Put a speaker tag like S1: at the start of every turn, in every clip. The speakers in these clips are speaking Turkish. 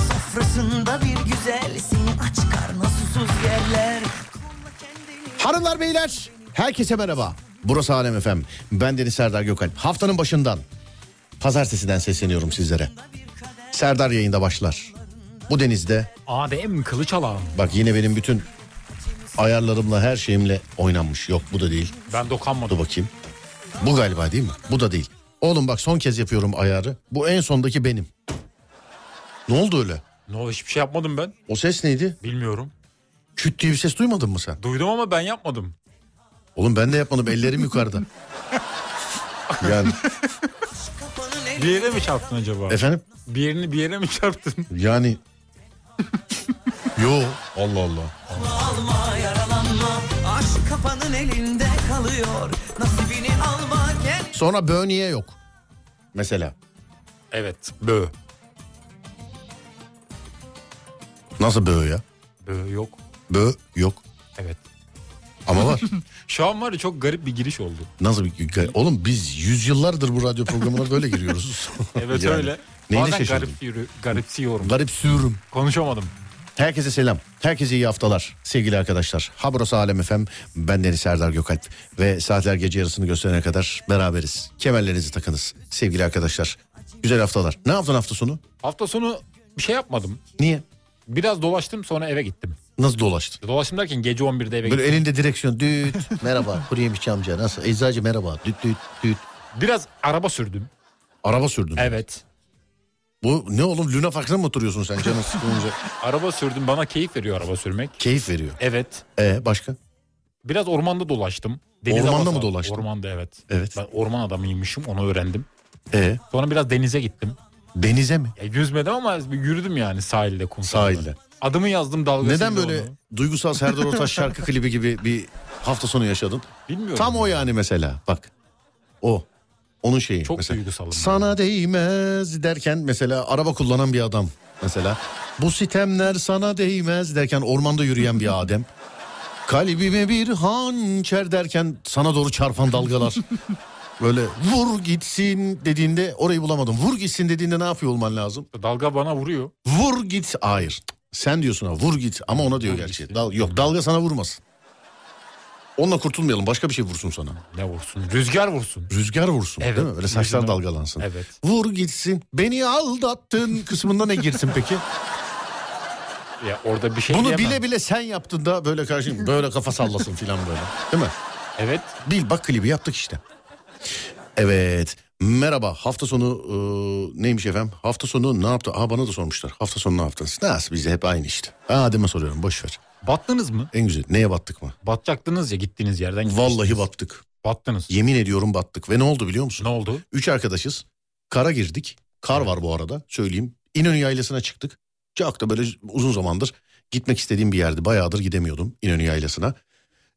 S1: Sofrasında bir güzel seni aç karnı susuz yerler.
S2: Hanımlar beyler herkese merhaba. Burası Alem FM. Ben Deniz Serdar Gökalp. Haftanın başından pazartesiden sesleniyorum sizlere. Serdar yayında başlar. Bu denizde
S3: ADM kılıç alan.
S2: bak yine benim bütün ayarlarımla her şeyimle oynanmış. Yok bu da değil.
S3: Ben
S2: Dur
S3: dokanmadım.
S2: bakayım. Bu galiba değil mi? Bu da değil. Oğlum bak son kez yapıyorum ayarı. Bu en sondaki benim. Ne oldu öyle?
S3: Ne oldu hiçbir şey yapmadım ben.
S2: O ses neydi?
S3: Bilmiyorum.
S2: Küt diye bir ses duymadın mı sen?
S3: Duydum ama ben yapmadım.
S2: Oğlum ben de yapmadım ellerim yukarıda. yani
S1: Kafanın
S3: Bir yere mi çarptın acaba?
S2: efendim?
S3: Bir yerini bir yere mi çarptın?
S2: Yani yo Allah Allah.
S1: alma yaralanma Aşk kafanın elinde kalıyor Nasibini alma gel
S2: Sonra böniye yok. Mesela
S3: Evet. Bö.
S2: nasıl bö ya?
S3: Bö yok.
S2: Bö yok
S3: Evet.
S2: ama var.
S3: Şu an var ya çok garip bir giriş oldu.
S2: nasıl bir Oğlum biz yüzyıllardır bu radyo programına böyle giriyoruz.
S3: Evet
S2: Yani
S3: öyle.
S2: neyine
S3: Bazen
S2: şaşırdın?
S3: garip yürü, garipsiyorum.
S2: Garip sürüm.
S3: Konuşamadım.
S2: Herkese selam. Herkese iyi haftalar sevgili arkadaşlar. Habros Alem FM. Ben Deniz Serdar Gökalp. Ve saatler gece yarısını gösterene kadar beraberiz. Kemerlerinizi takınız sevgili arkadaşlar. Güzel haftalar. Ne yaptın hafta sonu?
S3: Hafta sonu bir şey yapmadım.
S2: Niye?
S3: Biraz dolaştım sonra eve gittim.
S2: Nasıl dolaştın?
S3: Dolaştım derken gece 11'de eve
S2: Böyle
S3: gittim.
S2: elinde direksiyon düt merhaba kuru yemişçi amca nasıl eczacı merhaba düt düt düt.
S3: Biraz araba sürdüm.
S2: Araba sürdün.
S3: Evet.
S2: Bu ne oğlum Luna Park'ta mı oturuyorsun sen canın sıkılınca?
S3: Araba sürdüm. Bana keyif veriyor araba sürmek.
S2: Keyif veriyor.
S3: Evet.
S2: E başka?
S3: Biraz ormanda dolaştım.
S2: Ormanda
S3: havası
S2: mı
S3: aldım.
S2: dolaştın?
S3: Ormanda evet.
S2: Evet.
S3: Ben orman adamıymışım onu öğrendim.
S2: E
S3: Sonra biraz denize gittim.
S2: denize mi?
S3: Ya yüzmedim ama yürüdüm yani sahilde kumsalda.
S2: Sahilde.
S3: Adımı yazdım dalgasıyla
S2: Neden böyle
S3: onu.
S2: duygusal Serdar Ortaç şarkı klibi gibi bir hafta sonu yaşadın?
S3: Bilmiyorum.
S2: Tam o yani mesela bak. O. Onun şeyi.
S3: Çok
S2: mesela.
S3: duygusalım
S2: Sana değmez derken mesela araba kullanan bir adam mesela. Bu sitemler sana değmez derken ormanda yürüyen bir Adem. Kalbime bir hançer derken sana doğru çarpan dalgalar. Böyle vur gitsin dediğinde orayı bulamadım. Vur gitsin dediğinde ne yapıyor olman lazım?
S3: Dalga bana vuruyor.
S2: Vur git hayır. Sen diyorsun ha vur git ama ona diyor gerçi. Dal, yok dalga sana vurmasın. Onunla kurtulmayalım başka bir şey vursun sana.
S3: Ne vursun? Rüzgar vursun.
S2: Rüzgar vursun
S3: Evet,
S2: değil mi? Böyle saçlar
S3: yüzüne-
S2: dalgalansın.
S3: Evet.
S2: Vur gitsin. Beni aldattın kısmında ne girsin peki?
S3: Ya orada bir şey
S2: Bunu
S3: diyemem.
S2: bile bile sen yaptın da böyle karşı böyle kafa sallasın filan böyle. Değil mi?
S3: Evet.
S2: Bil bak klibi yaptık işte. Evet. Merhaba. Hafta sonu e, neymiş efendim? Hafta sonu ne yaptı? Aa bana da sormuşlar. Hafta sonu ne yaptınız? Nasıl bize hep aynı işte. Adem'e soruyorum boş ver.
S3: Battınız mı?
S2: En güzel neye battık mı?
S3: Batacaktınız ya gittiğiniz yerden. gittiniz.
S2: Vallahi battık.
S3: Battınız.
S2: Yemin ediyorum battık. Ve ne oldu biliyor musun?
S3: Ne oldu?
S2: Üç arkadaşız. Kara girdik. Kar var bu arada söyleyeyim. İnönü yaylasına çıktık. Çok da böyle uzun zamandır gitmek istediğim bir yerdi. Bayağıdır gidemiyordum İnönü yaylasına.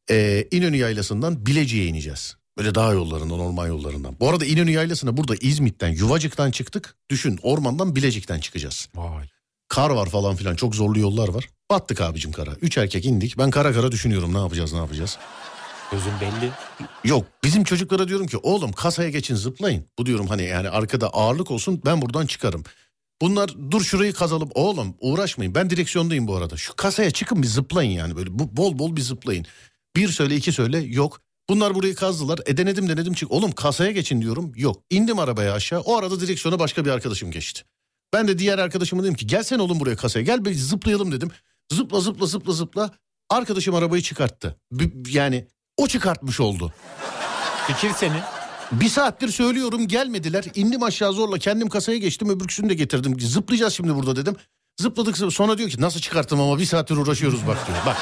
S2: Ee, İnönü yaylasından Bilecik'e ineceğiz. Böyle dağ yollarından, orman yollarından. Bu arada İnönü yaylasına burada İzmit'ten, Yuvacık'tan çıktık. Düşün ormandan Bilecik'ten çıkacağız.
S3: Vay.
S2: Kar var falan filan çok zorlu yollar var. Battık abicim kara. Üç erkek indik. Ben kara kara düşünüyorum ne yapacağız ne yapacağız.
S3: Gözüm belli.
S2: Yok bizim çocuklara diyorum ki oğlum kasaya geçin zıplayın. Bu diyorum hani yani arkada ağırlık olsun ben buradan çıkarım. Bunlar dur şurayı kazalım oğlum uğraşmayın ben direksiyondayım bu arada. Şu kasaya çıkın bir zıplayın yani böyle bu, bol bol bir zıplayın. Bir söyle iki söyle yok. Bunlar burayı kazdılar e denedim denedim çık. Oğlum kasaya geçin diyorum yok. İndim arabaya aşağı o arada direksiyona başka bir arkadaşım geçti. Ben de diğer arkadaşıma dedim ki gelsene oğlum buraya kasaya gel bir zıplayalım dedim. Zıpla zıpla zıpla zıpla arkadaşım arabayı çıkarttı. B- yani o çıkartmış oldu.
S3: Fikir seni.
S2: Bir saattir söylüyorum gelmediler. İndim aşağı zorla kendim kasaya geçtim öbürküsünü de getirdim. Zıplayacağız şimdi burada dedim. Zıpladık sonra diyor ki nasıl çıkarttım ama bir saattir uğraşıyoruz bak diyor. Bak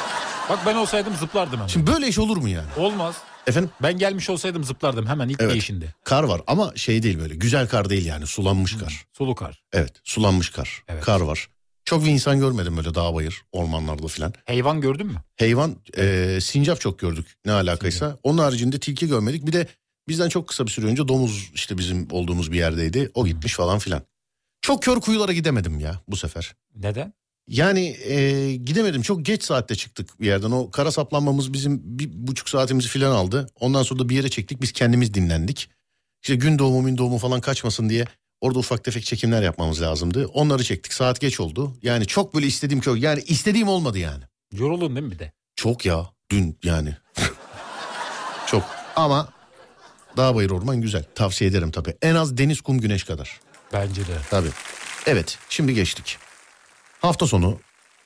S3: Bak ben olsaydım zıplardım hemen.
S2: şimdi böyle iş olur mu yani?
S3: Olmaz.
S2: Efendim
S3: Ben gelmiş olsaydım zıplardım hemen ilk
S2: Evet.
S3: değişinde.
S2: kar var ama şey değil böyle güzel kar değil yani
S3: Hmm.
S2: sulanmış kar.
S3: Sulu kar.
S2: Evet sulanmış kar
S3: Evet.
S2: kar var. Çok bir insan görmedim böyle dağ bayır ormanlarda filan.
S3: Heyvan gördün mü?
S2: Hayvan e, sincap çok gördük ne alakaysa. Onun haricinde tilki görmedik. Bir de bizden çok kısa bir süre önce domuz işte bizim olduğumuz bir yerdeydi. O gitmiş falan filan. Çok kör kuyulara gidemedim ya bu sefer.
S3: Neden?
S2: Yani e, gidemedim çok geç saatte çıktık bir yerden. O kara saplanmamız bizim bir buçuk saatimizi filan aldı. Ondan sonra da bir yere çektik biz kendimiz dinlendik. İşte gün doğumu min doğumu falan kaçmasın diye Orada ufak tefek çekimler yapmamız lazımdı. Onları çektik. Saat geç oldu. Yani çok böyle istediğim kö yani istediğim olmadı yani.
S3: Yoruldun değil mi bir de?
S2: Çok ya. Dün yani. çok. Ama Dağ Bayır Orman güzel. Tavsiye ederim tabii. En az deniz, kum, güneş kadar.
S3: Bence de.
S2: Tabii. Evet şimdi geçtik. Hafta sonu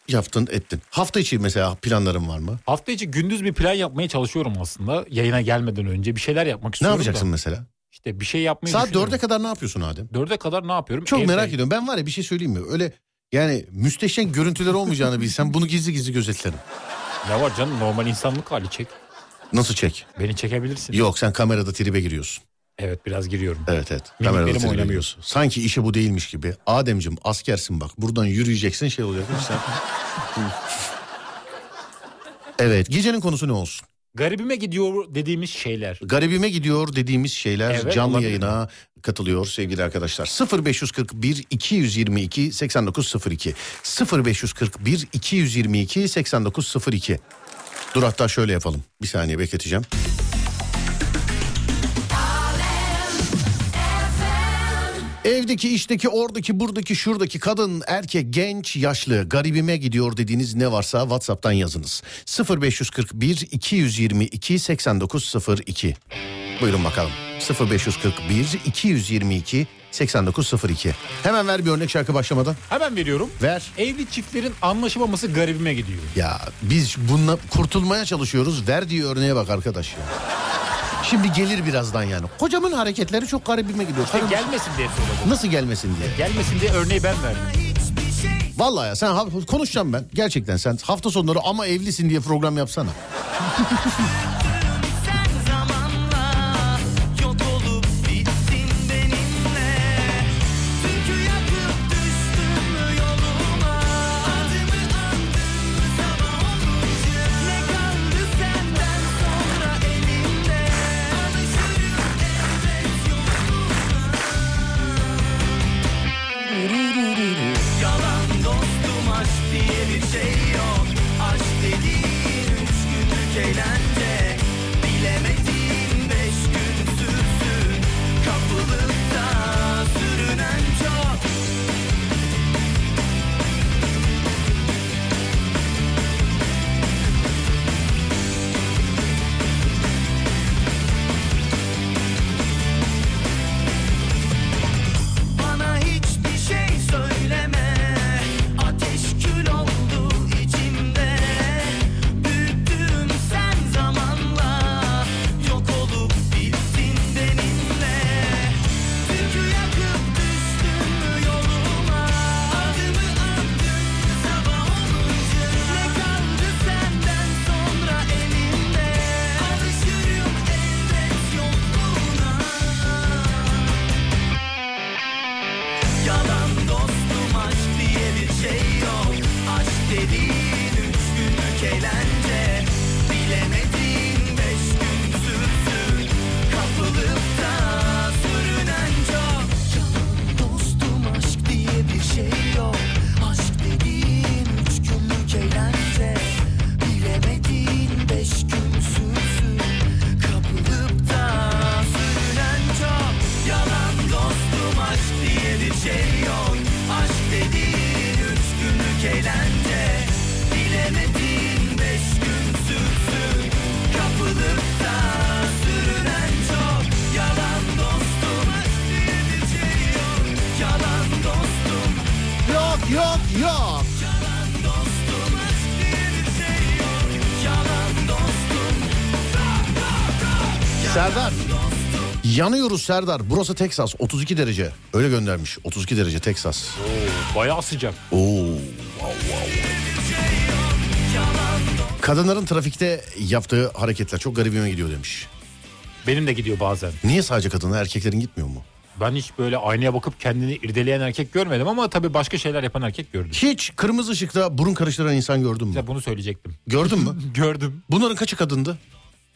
S2: yaptın ettin. Hafta içi mesela planların var mı?
S3: Hafta içi gündüz bir plan yapmaya çalışıyorum aslında. Yayına gelmeden önce bir şeyler yapmak
S2: Ne
S3: istiyorum.
S2: yapacaksın
S3: Da.
S2: mesela?
S3: İşte bir şey yapmayı
S2: Saat
S3: düşünüyorum.
S2: dörde kadar ne yapıyorsun Adem?
S3: Dörde kadar ne yapıyorum?
S2: Çok
S3: Evde-
S2: merak ediyorum. Ben var ya bir şey söyleyeyim mi? Öyle yani müsteşen görüntüler olmayacağını bilsem bunu gizli gizli gözetlerim.
S3: Ne var canım normal insanlık hali çek.
S2: Nasıl çek?
S3: Beni çekebilirsin.
S2: Yok sen kamerada tribe giriyorsun.
S3: Evet biraz giriyorum.
S2: Evet evet.
S3: Mimiklerim
S2: Kamerada tribe
S3: oynamıyor.
S2: giriyorsun. Sanki işi bu değilmiş gibi. Ademcim askersin bak. Buradan yürüyeceksin şey olacak. Sen... evet gecenin konusu ne olsun?
S3: Garibime gidiyor dediğimiz şeyler.
S2: Garibime gidiyor dediğimiz şeyler
S3: Evet,
S2: canlı
S3: olabilir.
S2: yayına katılıyor sevgili arkadaşlar. 0541 222 8902 0541 222 8902 Dur hatta şöyle yapalım. Bir saniye bekleteceğim. Evdeki, işteki, oradaki, buradaki, şuradaki kadın, erkek, genç, yaşlı, garibime gidiyor dediğiniz ne varsa WhatsApp'tan yazınız. 0541 222 8902. Buyurun bakalım. 0541 222 8902. Hemen ver bir örnek şarkı başlamadan.
S3: Hemen veriyorum.
S2: Ver.
S3: Evli çiftlerin anlaşamaması garibime gidiyor.
S2: Ya biz bununla kurtulmaya çalışıyoruz. Verdiği örneğe bak arkadaş ya. Şimdi gelir birazdan yani. Kocamın hareketleri çok garibime gidiyor.
S3: İşte
S2: Karım
S3: gelmesin diye söyledim.
S2: Nasıl gelmesin diye.
S3: Gelmesin diye örneği ben verdim.
S2: Vallahi ya sen ha- konuşacağım ben. Gerçekten sen hafta sonları ama evlisin diye program yapsana.
S4: Sen zamanla yok olup bittin benimle Çünkü yakıp düştüm yoluma Adımı andım sabah olunca Ne kaldı senden sonra elimde Alışırım elbet yoluna Yalan dostum aşk diye bir şey yok Aşk dediğin üç günlük eğlence Bilemediğin beş gün sürsün Kapılıkta sürünen çok Bana hiçbir şey söyleme Ateş kül oldu içimde Büyüttüm sen zamanla Yok olup bittin benimle Çünkü yakıp düştüm yoluma Adımı andım sabah olunca Ne kaldı senden sonra elimde Alışırım elbet yoluna Yalan dostum aşk diye bir şey yok Aşk dediğin üç günlük eğlence Bilemediğin beş gün sürsün Kapılıp da sürünen çok Yalan dostum aşk diye bir şey yok Aşk dediğin üç günlük eğlence Bilemediğin beş gün sürsün Kapılıp da sürünen çok Yalan dostum aşk diye bir şey yok Aşk dediğin üç günlük eğlence Bilemediğin beş gün sürsün Kapılıp da sürünen çok Yalan dostum aşk diye bir şey yok Yalan dostum
S2: Yok yok yok.
S4: Yalan dostum aşk diye bir şey yok Yalan dostum
S2: Serdar. Yanıyoruz Serdar. Burası Teksas 32 derece. Öyle göndermiş. 32 derece Teksas.
S3: Bayağı sıcak.
S2: Oo. wow, wow. Kadınların trafikte yaptığı hareketler çok garibime gidiyor demiş.
S3: Benim de gidiyor bazen.
S2: Niye sadece kadınlar erkeklerin gitmiyor mu?
S3: Ben hiç böyle aynaya bakıp kendini irdeleyen erkek görmedim ama tabii başka şeyler yapan erkek gördüm.
S2: Hiç kırmızı ışıkta burun karıştıran insan gördün mü?
S3: Size bunu söyleyecektim.
S2: Gördün mü?
S3: Gördüm.
S2: Bunların kaçı kadındı?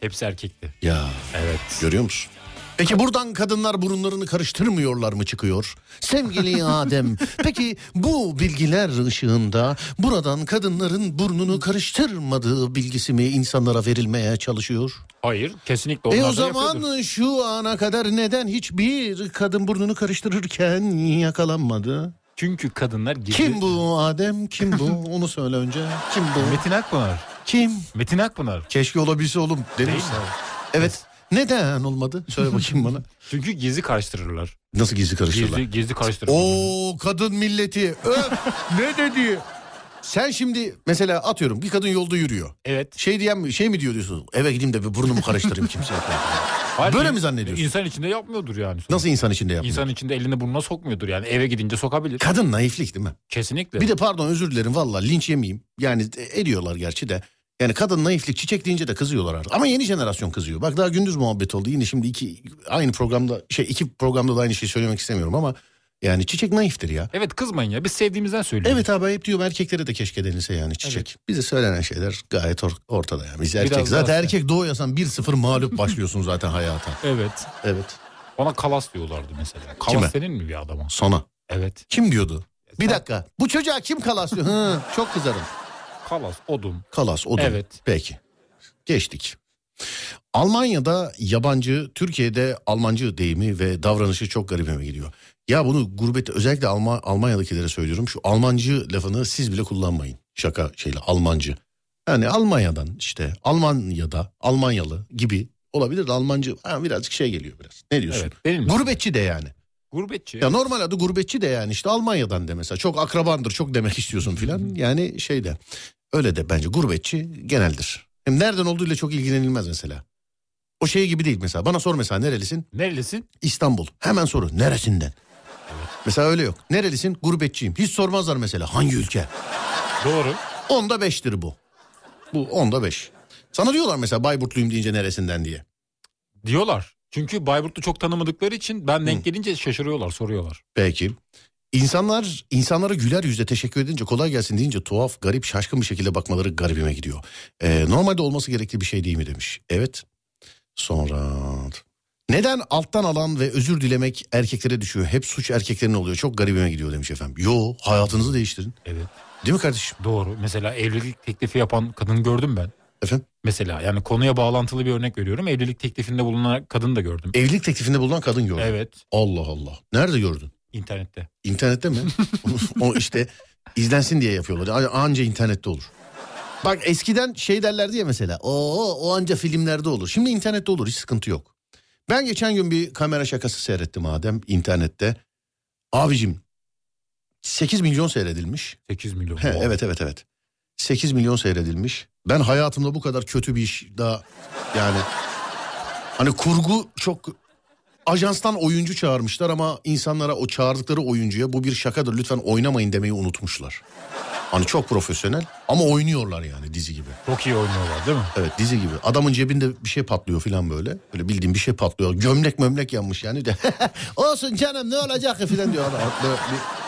S3: Hepsi erkekti.
S2: Ya
S3: Evet.
S2: görüyor musun? Peki buradan kadınlar burunlarını karıştırmıyorlar mı çıkıyor? Sevgili Adem, peki bu bilgiler ışığında buradan kadınların burnunu karıştırmadığı bilgisi mi insanlara verilmeye çalışıyor?
S3: Hayır kesinlikle onlar
S2: E
S3: da
S2: o
S3: yapıyordur.
S2: zaman şu ana kadar neden hiçbir kadın burnunu karıştırırken yakalanmadı?
S3: Çünkü kadınlar gizli.
S2: Kim bu Adem? Kim bu? Onu söyle önce. Kim bu?
S3: Metin Akpınar.
S2: Kim?
S3: Metin Akpınar.
S2: Keşke olabilse oğlum demiş. Evet. Neden olmadı? Söyle bakayım bana.
S3: Çünkü gizli karıştırırlar.
S2: Nasıl gizli karıştırırlar?
S3: Gizli, gizli karıştırırlar.
S2: O kadın milleti. Öf ne dedi? Sen şimdi mesela atıyorum bir kadın yolda yürüyor.
S3: Evet.
S2: Şey diyen mi- şey mi diyor diyorsun? Eve gideyim de bir burnumu karıştırayım kimseye.
S3: Hayır,
S2: Böyle
S3: in-
S2: mi zannediyorsun?
S3: İnsan içinde yapmıyordur yani.
S2: Nasıl insan içinde yapıyor?
S3: İnsan içinde elini burnuna sokmuyordur yani. Eve gidince sokabilir.
S2: Kadın naiflik değil mi?
S3: Kesinlikle.
S2: Bir de pardon özür dilerim valla linç yemeyeyim. Yani e, ediyorlar gerçi de. Yani kadın naiflik çiçek deyince de kızıyorlar artık. Ama yeni jenerasyon kızıyor. Bak daha gündüz muhabbet oldu. Yine şimdi iki aynı programda şey iki programda da aynı şeyi söylemek istemiyorum ama yani çiçek naiftir ya.
S3: Evet kızmayın ya. Biz sevdiğimizden söylüyoruz.
S2: Evet abi hep diyorum erkeklere de keşke denilse yani çiçek. Bize söylenen şeyler gayet or- ortada yani. Biz erkek
S3: Biraz daha
S2: zaten
S3: sen.
S2: erkek doğuyorsan 1-0 mağlup başlıyorsun zaten hayata.
S3: Evet.
S2: Evet.
S3: Bana kalas diyorlardı mesela. Kalas
S2: Kime?
S3: senin mi bir adama?
S2: Sana.
S3: Evet.
S2: Kim diyordu? Bir dakika. Bu çocuğa kim kalas diyor? Hı, çok kızarım.
S3: Kalas, odun.
S2: Kalas o da.
S3: Evet.
S2: Peki. Geçtik. Almanya'da yabancı, Türkiye'de Almancı deyimi ve davranışı çok garibime gidiyor. Ya bunu gurbette özellikle Alman, Almanya'dakilere söylüyorum. Şu Almancı lafını siz bile kullanmayın. Şaka şeyle Almancı. Yani Almanya'dan işte Almanya'da Almanyalı gibi olabilir de Almancı ha, birazcık şey geliyor biraz. Ne diyorsun?
S3: Evet. Benim mi?
S2: Gurbetçi de yani.
S3: Gurbetçi.
S2: Ya normal adı gurbetçi de yani işte Almanya'dan de mesela çok akrabandır çok demek istiyorsun filan yani şey de öyle de bence gurbetçi geneldir. Hem nereden olduğuyla çok ilgilenilmez mesela. O şey gibi değil mesela bana sor mesela nerelisin
S3: Nerelisin?
S2: İstanbul hemen soru neresinden. Mesela öyle yok nerelisin gurbetçiyim hiç sormazlar mesela hangi ülke
S3: Doğru.
S2: onda beştir bu bu onda beş. Sana diyorlar mesela Bayburtluyum deyince neresinden diye.
S3: Diyorlar. Çünkü Bayburt'u çok tanımadıkları için ben denk gelince şaşırıyorlar, soruyorlar.
S2: Peki. İnsanlar insanlara güler yüzle teşekkür edince kolay gelsin deyince tuhaf, garip, şaşkın bir şekilde bakmaları garibime gidiyor. Ee, normalde olması gerektiği bir şey değil mi demiş. Evet. Sonra neden alttan alan ve özür dilemek erkeklere düşüyor? Hep suç erkeklerin oluyor. Çok garibime gidiyor demiş efendim. Yo hayatınızı değiştirin.
S3: Evet.
S2: Değil mi kardeşim?
S3: Doğru. Mesela evlilik teklifi yapan kadın gördüm ben.
S2: Efendim?
S3: Mesela yani konuya bağlantılı bir örnek veriyorum. Evlilik teklifinde bulunan kadın da gördüm.
S2: Evlilik teklifinde bulunan kadın gördüm.
S3: Evet.
S2: Allah Allah. Nerede gördün?
S3: internette.
S2: İnternette mi? o işte izlensin diye yapıyorlar. A- Anca internette olur. Bak eskiden şey derlerdi ya mesela. O o anca filmlerde olur. Şimdi internette olur hiç sıkıntı yok. Ben geçen gün bir kamera şakası seyrettim Adem internette. Abicim 8 milyon seyredilmiş.
S3: 8 milyon.
S2: He, evet evet evet. 8 milyon seyredilmiş. Ben hayatımda bu kadar kötü bir iş daha yani hani kurgu çok ajanstan oyuncu çağırmışlar ama insanlara o çağırdıkları oyuncuya bu bir şakadır lütfen oynamayın demeyi unutmuşlar. Hani çok profesyonel ama oynuyorlar yani dizi gibi.
S3: Çok iyi oynuyorlar değil mi?
S2: Evet dizi gibi. Adamın cebinde bir şey patlıyor falan böyle. Böyle bildiğim bir şey patlıyor. Gömlek mömlek yanmış yani de. Olsun canım ne olacak ki falan diyor. Adam. Böyle bir-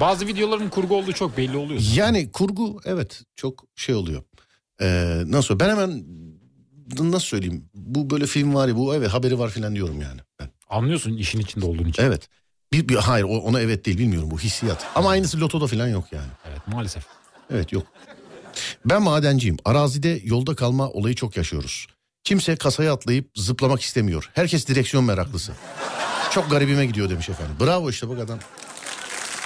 S3: Bazı videoların kurgu olduğu çok belli oluyor.
S2: Yani kurgu evet çok şey oluyor. Ee, nasıl ben hemen nasıl söyleyeyim bu böyle film var ya bu evet haberi var filan diyorum yani. Ben.
S3: Anlıyorsun işin içinde olduğun için.
S2: Evet. Bir, bir- hayır o- ona evet değil bilmiyorum bu hissiyat. Ama aynısı lotoda filan yok yani.
S3: Evet maalesef.
S2: Evet yok. Ben madenciyim. Arazide yolda kalma olayı çok yaşıyoruz. Kimse kasaya atlayıp zıplamak istemiyor. Herkes direksiyon meraklısı. Çok garibime gidiyor demiş efendim. Bravo işte bak adam.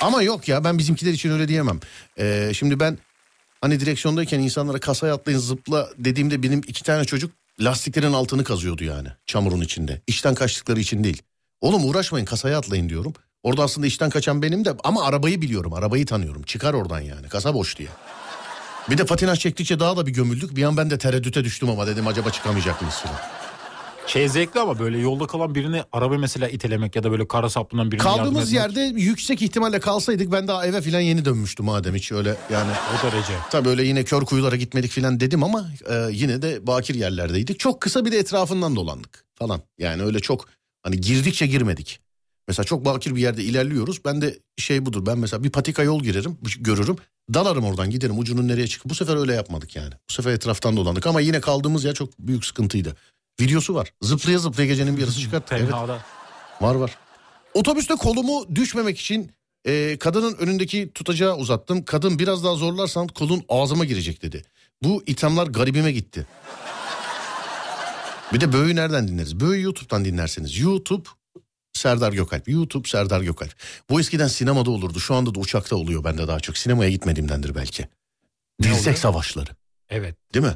S2: Ama yok ya ben bizimkiler için öyle diyemem. Ee, şimdi ben hani direksiyondayken insanlara kasaya atlayın zıpla dediğimde benim iki tane çocuk lastiklerin altını kazıyordu yani çamurun içinde. İşten kaçtıkları için değil. Oğlum uğraşmayın kasaya atlayın diyorum. Orada aslında işten kaçan benim de ama arabayı biliyorum arabayı tanıyorum. Çıkar oradan yani kasa boş diye. Bir de patinaj çektikçe daha da bir gömüldük. Bir an ben de tereddüte düştüm ama dedim acaba çıkamayacak mıyız falan.
S3: Şey zevkli ama böyle yolda kalan birini araba mesela itelemek ya da böyle kara saplanan birini yardım
S2: Kaldığımız
S3: etmek,
S2: yerde yüksek ihtimalle kalsaydık ben daha eve falan yeni dönmüştüm madem hiç öyle yani.
S3: O derece.
S2: Tabii öyle yine kör kuyulara gitmedik falan dedim ama e, yine de bakir yerlerdeydik. Çok kısa bir de etrafından dolandık falan. Yani öyle çok hani girdikçe girmedik. Mesela çok bakir bir yerde ilerliyoruz. Ben de şey budur ben mesela bir patika yol girerim görürüm. Dalarım oradan giderim ucunun nereye çıkıp. Bu sefer öyle yapmadık yani. Bu sefer etraftan dolandık ama yine kaldığımız yer çok büyük sıkıntıydı. Videosu var. Zıplaya zıplaya gecenin bir yarısı çıkarttı. evet
S3: Tenhada.
S2: var var. Otobüste kolumu düşmemek için e, kadının önündeki tutacağı uzattım. Kadın biraz daha zorlarsam kolun ağzıma girecek dedi. Bu ithamlar garibime gitti. Bir de Böğü nereden dinleriz? Böğü YouTube'dan dinlerseniz. YouTube Serdar Gökalp. YouTube Serdar Gökalp. Bu eskiden sinemada olurdu. Şu anda da uçakta oluyor bende daha çok. Sinemaya gitmediğimdendir belki.
S3: Ne oluyor?
S2: Dirsek savaşları.
S3: Evet.
S2: Değil mi?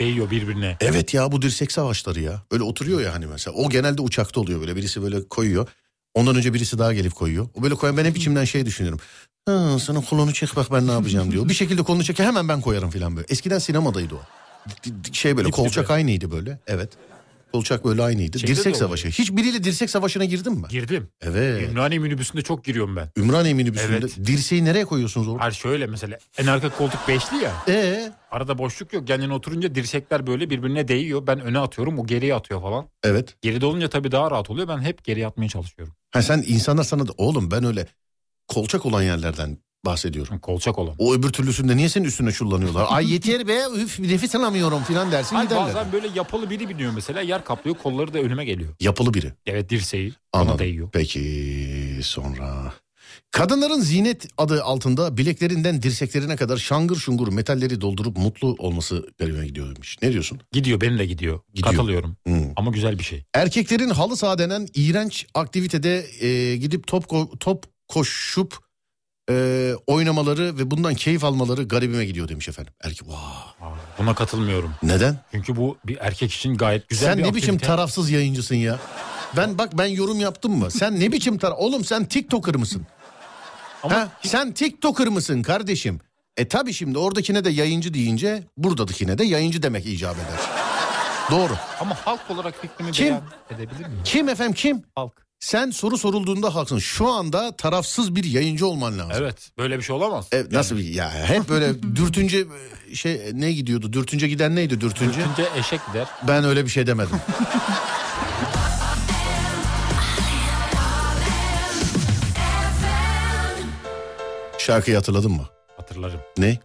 S3: Değiyor birbirine.
S2: Evet ya bu dirsek savaşları ya. Böyle oturuyor ya hani mesela. O genelde uçakta oluyor böyle. Birisi böyle koyuyor. Ondan önce birisi daha gelip koyuyor. O böyle koyan ben hep içimden şey düşünüyorum. Ha, sana kolunu çek bak ben ne yapacağım diyor. Bir şekilde kolunu çek hemen ben koyarım filan böyle. Eskiden sinemadaydı o. D- d- Şey böyle
S3: Dip
S2: kolçak
S3: dibe.
S2: aynıydı böyle. Evet. Kolçak böyle aynıydı.
S3: Şeyde de
S2: dirsek
S3: oluyor.
S2: savaşı. Hiç biriyle dirsek savaşına girdin mi?
S3: Girdim.
S2: Evet.
S3: Ümraniye minibüsünde çok giriyorum ben.
S2: Ümraniye minibüsünde
S3: Evet.
S2: dirseği nereye koyuyorsunuz orada?
S3: Hayır şöyle mesela en arka koltuk beşli ya.
S2: Ee,
S3: Arada boşluk yok. Kendine oturunca dirsekler böyle birbirine değiyor. Ben öne atıyorum o geriye atıyor falan.
S2: evet.
S3: Geride olunca tabii daha rahat oluyor. Ben hep geriye atmaya çalışıyorum.
S2: Ha sen insanlar sana da oğlum ben öyle kolçak olan yerlerden bahsediyorum.
S3: Kolçak olan.
S2: O öbür türlüsünde niye senin üstüne çullanıyorlar? Ay yeter be üf nefes alamıyorum filan dersin
S3: Hayır,
S2: giderler.
S3: Hani bazen böyle yapalı biri biniyor mesela yer kaplıyor kolları da önüme geliyor.
S2: Yapılı biri.
S3: Evet dirseği bana
S2: Anladım.
S3: değiyor.
S2: Peki sonra... Kadınların zinet adı altında bileklerinden dirseklerine kadar şangır şungur metalleri doldurup mutlu olması garibime gidiyor demiş. Ne diyorsun?
S3: Gidiyor benim de gidiyor.
S2: Gidiyor.
S3: Katılıyorum
S2: Hmm.
S3: ama güzel bir şey.
S2: Erkeklerin halı saha denen iğrenç aktivitede e, gidip top ko- top koşup e, oynamaları ve bundan keyif almaları garibime gidiyor demiş efendim. Erkek vaa.
S3: Aa, Buna katılmıyorum.
S2: Neden?
S3: Çünkü bu bir erkek için gayet güzel
S2: sen
S3: bir
S2: ne biçim
S3: aktivite.
S2: tarafsız yayıncısın ya? Ben bak ben yorum yaptım mı? Sen ne biçim tar Oğlum sen TikToker mısın?
S3: Ama
S2: ha? Sen TikToker mısın kardeşim? E tabi şimdi oradakine de yayıncı deyince buradakine de yayıncı demek icap eder. Doğru.
S3: Ama halk olarak fikrimi
S2: Kim?
S3: beyan edebilir miyim?
S2: Kim efendim kim?
S3: Halk.
S2: Sen soru sorulduğunda haksın. Şu anda tarafsız bir yayıncı olman lazım.
S3: Evet. Böyle bir şey olamaz.
S2: E, nasıl bir ya hep böyle dürtünce şey ne gidiyordu? Dürtünce giden neydi dürtünce?
S3: Çünkü eşek gider.
S2: Ben öyle bir şey demedim. Şarkıyı hatırladın mı?
S3: Hatırlarım.
S2: Ne?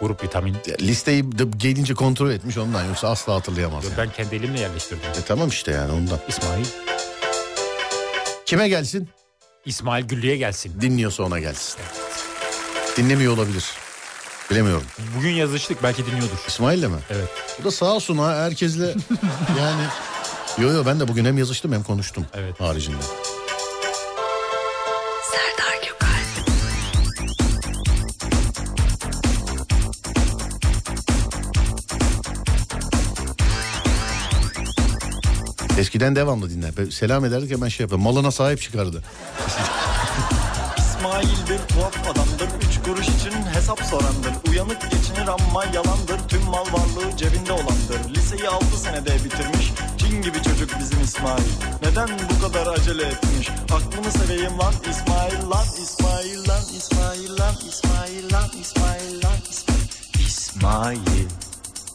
S3: Grup vitamin.
S2: Ya, Listeyi de gelince kontrol etmiş ondan yoksa asla hatırlayamaz. yani.
S3: Ben kendi elimle yerleştirdim.
S2: E, tamam işte yani ondan.
S3: İsmail.
S2: Kime gelsin?
S3: İsmail Güllü'ye gelsin.
S2: Dinliyorsa ona gelsin. Dinlemiyor olabilir. Bilemiyorum.
S3: Bugün yazıştık belki dinliyordur.
S2: İsmail'le mi?
S3: Evet.
S2: Bu da sağ olsun ha herkesle yani. Yo yo ben de bugün hem yazıştım hem konuştum.
S3: Evet.
S2: Haricinde.
S1: Serdar Gökalp
S2: Eskiden devamlı dinler. Böyle Selam ederdik hemen şey yapar. Malına sahip çıkardı.
S5: İsmail'dir tuhaf adamdır Üç kuruş için hesap sorandır Uyanık geçinir ama yalandır Tüm mal varlığı cebinde olandır Liseyi altı senede bitirmiş Cin gibi çocuk bizim İsmail Neden bu kadar acele etmiş Aklını seveyim lan İsmail lan İsmail lan İsmail lan İsmail lan İsmail lan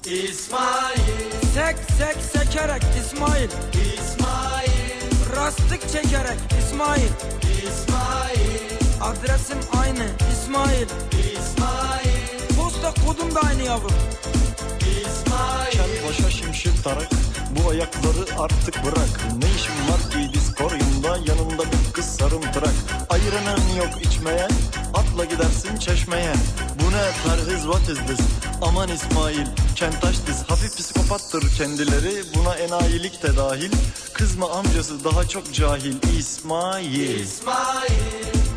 S5: İsmail
S6: Sek sek sekerek İsmail İsmail Rastlık çekerek İsmail İsmail Adresim aynı İsmail İsmail Posta kodum da aynı yavrum
S5: Kel başa şimşir tarak Bu ayakları artık bırak Ne işin var ki diskoryumda Yanında bir kız sarımtırak Ayıranın yok içmeye Atla gidersin çeşmeye Bu ne perhiz what is this Aman İsmail kentaş diz Hafif psikopattır kendileri Buna enayilik de dahil Kızma amcası daha çok cahil İsmail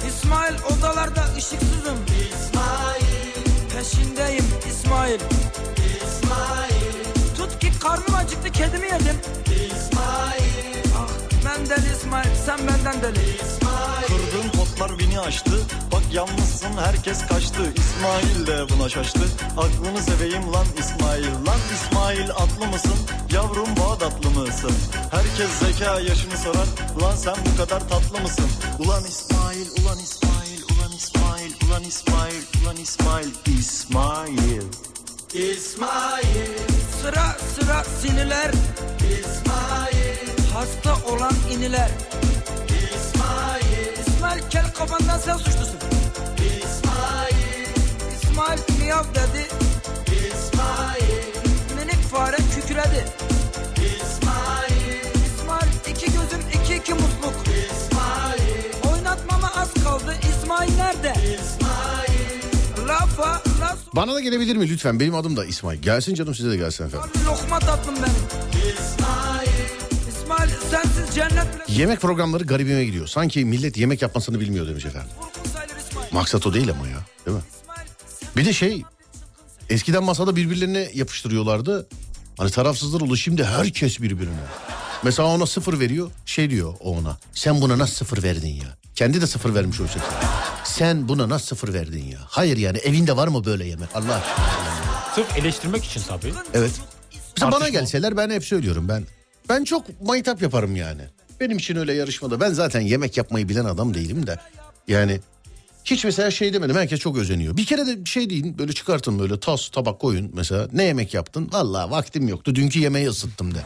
S6: İsmail odalarda ışıksızım İsmail Peşindeyim İsmail İsmail Tut ki karnım acıktı kedimi yedim İsmail Ah ben deli İsmail sen benden deli
S5: Kırdığın potlar beni açtı Bak yalnızsın herkes kaçtı İsmail de buna şaştı Aklını seveyim lan İsmail Lan İsmail atlı mısın? Yavrum Bağdatlı mısın? Herkes zeka yaşını sorar Ulan sen bu kadar tatlı mısın? Ulan İsmail, ulan İsmail Ulan İsmail, ulan İsmail Ulan İsmail, İsmail
S6: Sıra sıra siniler İsmail Hasta olan iniler İsmail İsmail kel kafandan sen suçlusun İsmail İsmail miyav dedi İsmail Minik fare kükredi İsmail
S2: Bana da gelebilir mi lütfen? Benim adım da İsmail. Gelsin canım size de gelsin efendim.
S6: Lokma tatlım benim. İsmail. İsmail sensiz cennet bile
S2: Yemek programları garibime gidiyor. Sanki millet yemek yapmasını bilmiyor demiş efendim.
S6: vurgun sayılır İsmail.
S2: Maksat o değil ama ya. Değil mi?
S6: İsmail sen
S2: Bir de şey eskiden masada birbirlerine yapıştırıyorlardı. Hani tarafsızlar oldu şimdi herkes birbirine. Mesela ona sıfır veriyor şey diyor o ona. Sen buna nasıl sıfır verdin ya? Kendi de sıfır vermiş olacak. Sen buna nasıl sıfır verdin ya? Hayır yani evinde var mı böyle yemek Allah aşkına?
S3: Sırf eleştirmek için tabii.
S2: Evet. Mesela bana
S3: Tartışma.
S2: gelseler ben hep söylüyorum ben. Ben çok maytap yaparım yani. Benim için öyle yarışmada. Ben zaten yemek yapmayı bilen adam değilim de. Yani hiç mesela şey demedim. Herkes çok özeniyor. Bir kere de bir şey deyin. Böyle çıkartın böyle tas tabak koyun. Mesela ne yemek yaptın? Vallahi vaktim yoktu. Dünkü yemeği ısıttım de.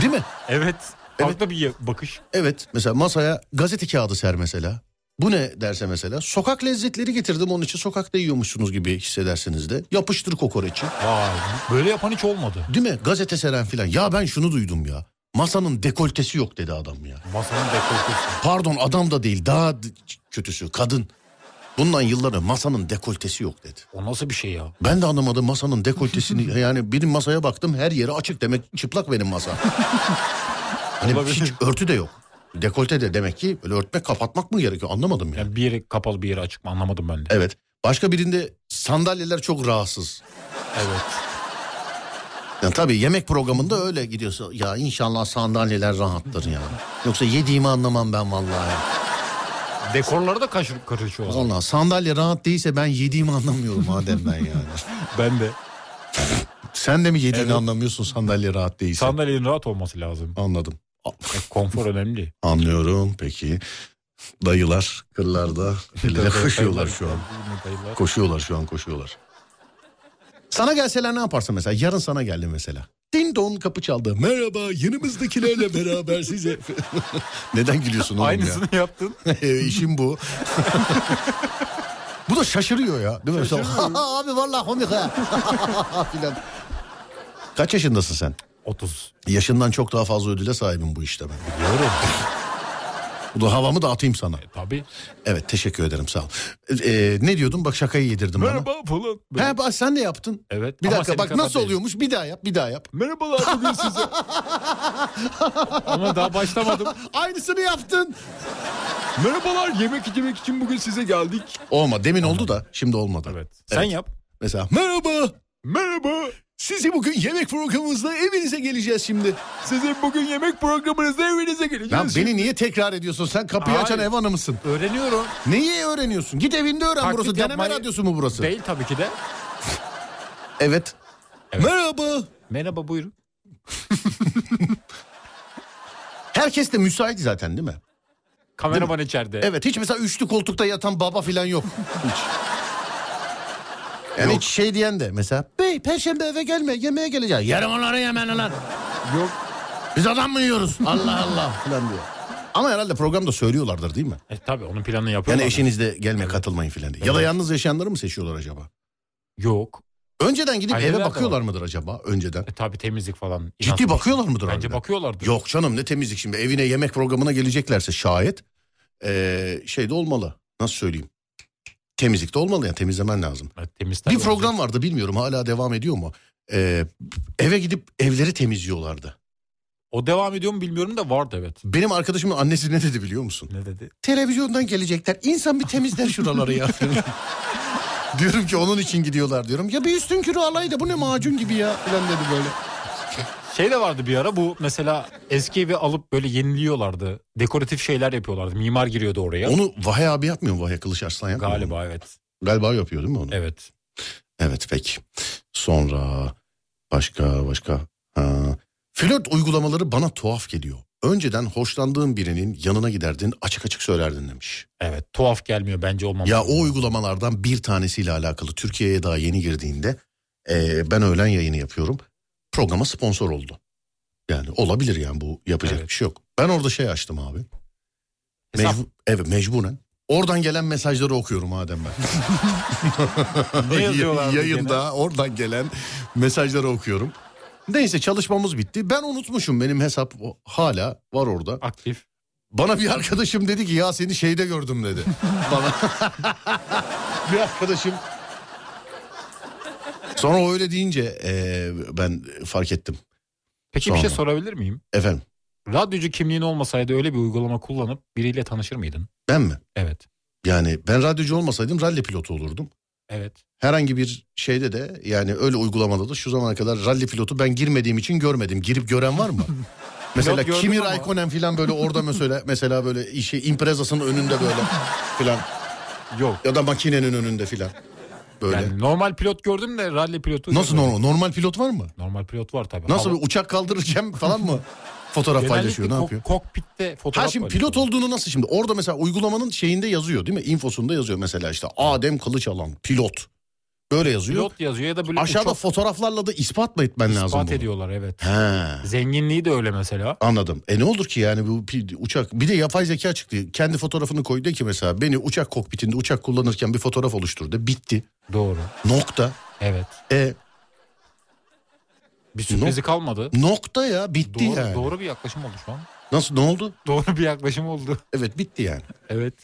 S2: Değil mi?
S3: Evet. Farklı bir ye- bakış.
S2: Evet. Mesela masaya gazete kağıdı ser mesela. Bu ne derse mesela. Sokak lezzetleri getirdim onun için sokakta yiyormuşsunuz gibi hissedersiniz de. Yapıştır kokoreçi.
S3: Vay. Böyle yapan hiç olmadı.
S2: Değil mi? Gazete seren filan. Ya ben şunu duydum ya. Masanın dekoltesi yok dedi adam ya.
S3: Masanın dekoltesi.
S2: Pardon adam da değil daha d- kötüsü kadın. Bundan yılları masanın dekoltesi yok dedi.
S3: O nasıl bir şey ya?
S2: Ben de anlamadım masanın dekoltesini. yani benim masaya baktım her yeri açık demek çıplak benim masa. hani
S3: Olabilir.
S2: hiç örtü de yok. Dekolte de demek ki böyle örtmek kapatmak mı gerekiyor anlamadım yani.
S3: Yani bir yeri kapalı bir yeri açık mı anlamadım ben de.
S2: Evet. Başka birinde sandalyeler çok rahatsız.
S3: Evet.
S2: Yani tabii yemek programında öyle gidiyorsa ya inşallah sandalyeler rahattır ya. Yoksa yediğimi anlamam ben vallahi.
S3: Dekorları da karşı- karışıyorlar.
S2: Vallahi sandalye rahat değilse ben yediğimi anlamıyorum madem ben yani.
S3: Ben de.
S2: Sen de mi yediğini
S3: Evet.
S2: anlamıyorsun sandalye rahat değilse?
S3: Sandalyenin rahat olması lazım.
S2: Anladım.
S3: E, konfor önemli.
S2: Anlıyorum peki. Dayılar kırlarda elinde koşuyorlar şu an.
S3: Dayılar.
S2: Koşuyorlar şu an koşuyorlar. Sana gelseler ne yaparsın mesela? Yarın sana geldi mesela. Din don kapı çaldı. Merhaba yanımızdakilerle beraber size. Neden gülüyorsun oğlum
S3: Aynısını yaptın.
S2: ya? İşim bu. bu da şaşırıyor ya. Değil mi? Mesela, Abi vallahi komik ha. Filan. Kaç yaşındasın sen?
S3: 30.
S2: Yaşından çok daha fazla ödüle sahibim bu işte ben. Biliyorum. Bu da havamı da atayım sana.
S3: E, Tabii.
S2: Evet teşekkür ederim sağ ol. Ee, ne diyordum bak şakayı yedirdim bana.
S3: Merhaba falan. Böyle.
S2: He, bak sen de yaptın.
S3: Evet.
S2: Bir
S3: Ama
S2: dakika
S3: senin
S2: bak
S3: kadar
S2: nasıl
S3: değil.
S2: oluyormuş bir daha yap bir daha yap.
S3: Merhabalar bugün size. Ama daha başlamadım.
S2: Aynısını yaptın.
S3: Merhabalar yemek içmek için bugün size geldik.
S2: Olma demin oldu da şimdi olmadı.
S3: Evet. Sen yap.
S2: Mesela merhaba
S3: Merhaba.
S2: sizi bugün yemek programımızda evinize geleceğiz şimdi.
S3: Sizin bugün yemek programınızda evinize
S2: Lan
S3: geleceğiz.
S2: beni niye tekrar ediyorsun sen kapıyı açan
S3: Hayır.
S2: ev hanımısın.
S3: Öğreniyorum.
S2: Neyi öğreniyorsun? Git evinde öğren
S3: Taklit
S2: burası deneme
S3: yapmayı-
S2: radyosu mu burası?
S3: Değil tabii ki de.
S2: Evet. Merhaba.
S3: Merhaba buyurun.
S2: Herkes de müsait zaten değil mi?
S3: Kameraman içeride.
S2: Evet hiç mesela üçlü koltukta yatan baba filan yok. Hiç. Yani hiç şey diyen de mesela bey perşembe eve gelme yemeğe geleceğiz. Yerim onları yemen lan.
S3: Yok.
S2: Biz adam mı yiyoruz? Allah Allah filan diyor. Ama herhalde programda söylüyorlardır değil mi?
S3: E, tabii onun planını
S2: Yani
S3: yapıyorlar.
S2: eşiniz de gelme katılmayın filan diye. Ya da yalnız yaşayanları mı seçiyorlar acaba?
S3: Yok.
S2: Önceden gidip
S3: Aileler
S2: eve
S3: de
S2: bakıyorlar mıdır acaba önceden?
S3: E, tabii temizlik falan.
S2: Ciddi bakıyorlar mıdır
S3: Bence
S2: harbiden?
S3: bakıyorlardır.
S2: Yok canım ne temizlik şimdi evine yemek programına geleceklerse şayet ee, şey de olmalı. Nasıl söyleyeyim? Temizlik de olmalı yani temizlemen lazım.
S3: E, temiz
S2: Bir
S3: tabii
S2: program vardı bilmiyorum hala devam ediyor mu? Ee, eve gidip evleri temizliyorlardı.
S3: O devam ediyor mu bilmiyorum da vardı evet.
S2: Benim arkadaşımın annesi ne dedi biliyor musun?
S3: Ne dedi?
S2: Televizyondan gelecekler. İnsan bir temizler şuraları ya. diyorum ki onun için gidiyorlar diyorum. Ya bir üstün kürü alaydı bu ne macun gibi ya falan dedi böyle.
S3: Şey de vardı bir ara bu mesela eski evi alıp böyle yeniliyorlardı. Dekoratif şeyler yapıyorlardı. Mimar giriyordu oraya.
S2: Onu Vahe abi yapmıyor mu? Vahe Kılıç Arslan yapmıyor mu?
S3: Galiba evet.
S2: Galiba yapıyor değil mi onu?
S3: Evet.
S2: Evet peki. Sonra başka başka. Ha. Flört uygulamaları bana tuhaf geliyor. Önceden hoşlandığın birinin yanına giderdin açık açık söylerdin demiş.
S3: Evet. Tuhaf gelmiyor bence olmamalı.
S2: Ya o uygulamalardan bir tanesiyle alakalı Türkiye'ye daha yeni girdiğinde eee, ben öğlen yayını yapıyorum. Programa sponsor oldu. Yani olabilir yani bu yapacak
S3: Evet.
S2: bir şey yok. Ben orada şey açtım abi.
S3: Hesap.
S2: Mecbu- evet mecburen. Oradan gelen mesajları okuyorum Adem ben.
S3: Ne yazıyorlardı
S2: Yayında oradan gelen mesajları okuyorum. Neyse çalışmamız bitti. Ben unutmuşum benim hesap o- hala var orada.
S3: Aktif.
S2: Bana bir arkadaşım dedi ki ya seni şeyde gördüm dedi. Bana bir arkadaşım Sonra o öyle deyince e, ben fark ettim.
S3: Peki
S2: Sonra.
S3: bir şey sorabilir miyim?
S2: Efendim
S3: Radyocu kimliğin olmasaydı öyle bir uygulama kullanıp biriyle tanışır mıydın?
S2: ben mi?
S3: Evet.
S2: Yani ben radyocu olmasaydım ralli pilotu olurdum.
S3: Evet.
S2: Herhangi bir şeyde de yani öyle uygulamada da şu zamana kadar ralli pilotu ben girmediğim için görmedim. Girip gören var mı? mesela
S3: Pilot gördüm
S2: Kimi
S3: ama.
S2: Raikkonen falan böyle orada mesela mesela böyle işi imprezasının önünde böyle falan
S3: Yok.
S2: ya da makinenin önünde falan böyle.
S3: Yani normal pilot gördüm de ralli pilotu.
S2: Nasıl
S3: görmedim.
S2: normal? Normal pilot var mı?
S3: Normal pilot var tabii.
S2: Nasıl
S3: Hava-
S2: bir uçak kaldırırken falan mı fotoğraf
S3: Genellikle
S2: paylaşıyor? Ne
S3: kok-
S2: yapıyor?
S3: Kokpitte fotoğraf
S2: Ha şimdi
S3: paylaşıyor.
S2: pilot olduğunu nasıl şimdi? Orada mesela uygulamanın şeyinde yazıyor değil mi? Infosunda yazıyor mesela işte Adem Kılıçalan pilot. Böyle yazıyor.
S3: Pilot yazıyor ya da böyle
S2: Aşağıda
S3: uçak
S2: fotoğraflarla da ispat mı etmen lazım?
S3: ispat
S2: bunu?
S3: ediyorlar evet.
S2: He.
S3: Zenginliği de öyle mesela.
S2: Anladım. E ne olur ki yani bu pi- uçak bir de yapay zeka çıktı. Kendi fotoğrafını koydu ki mesela beni uçak kokpitinde uçak kullanırken bir fotoğraf oluşturdu. Bitti.
S3: Doğru.
S2: Nokta.
S3: Evet.
S2: E
S3: Bir sürprizi kalmadı.
S2: nokta ya bitti
S3: Doğru,
S2: yani.
S3: doğru bir yaklaşım oldu şu an.
S2: Nasıl ne oldu?
S3: Doğru bir yaklaşım oldu.
S2: Evet bitti yani.
S3: Evet.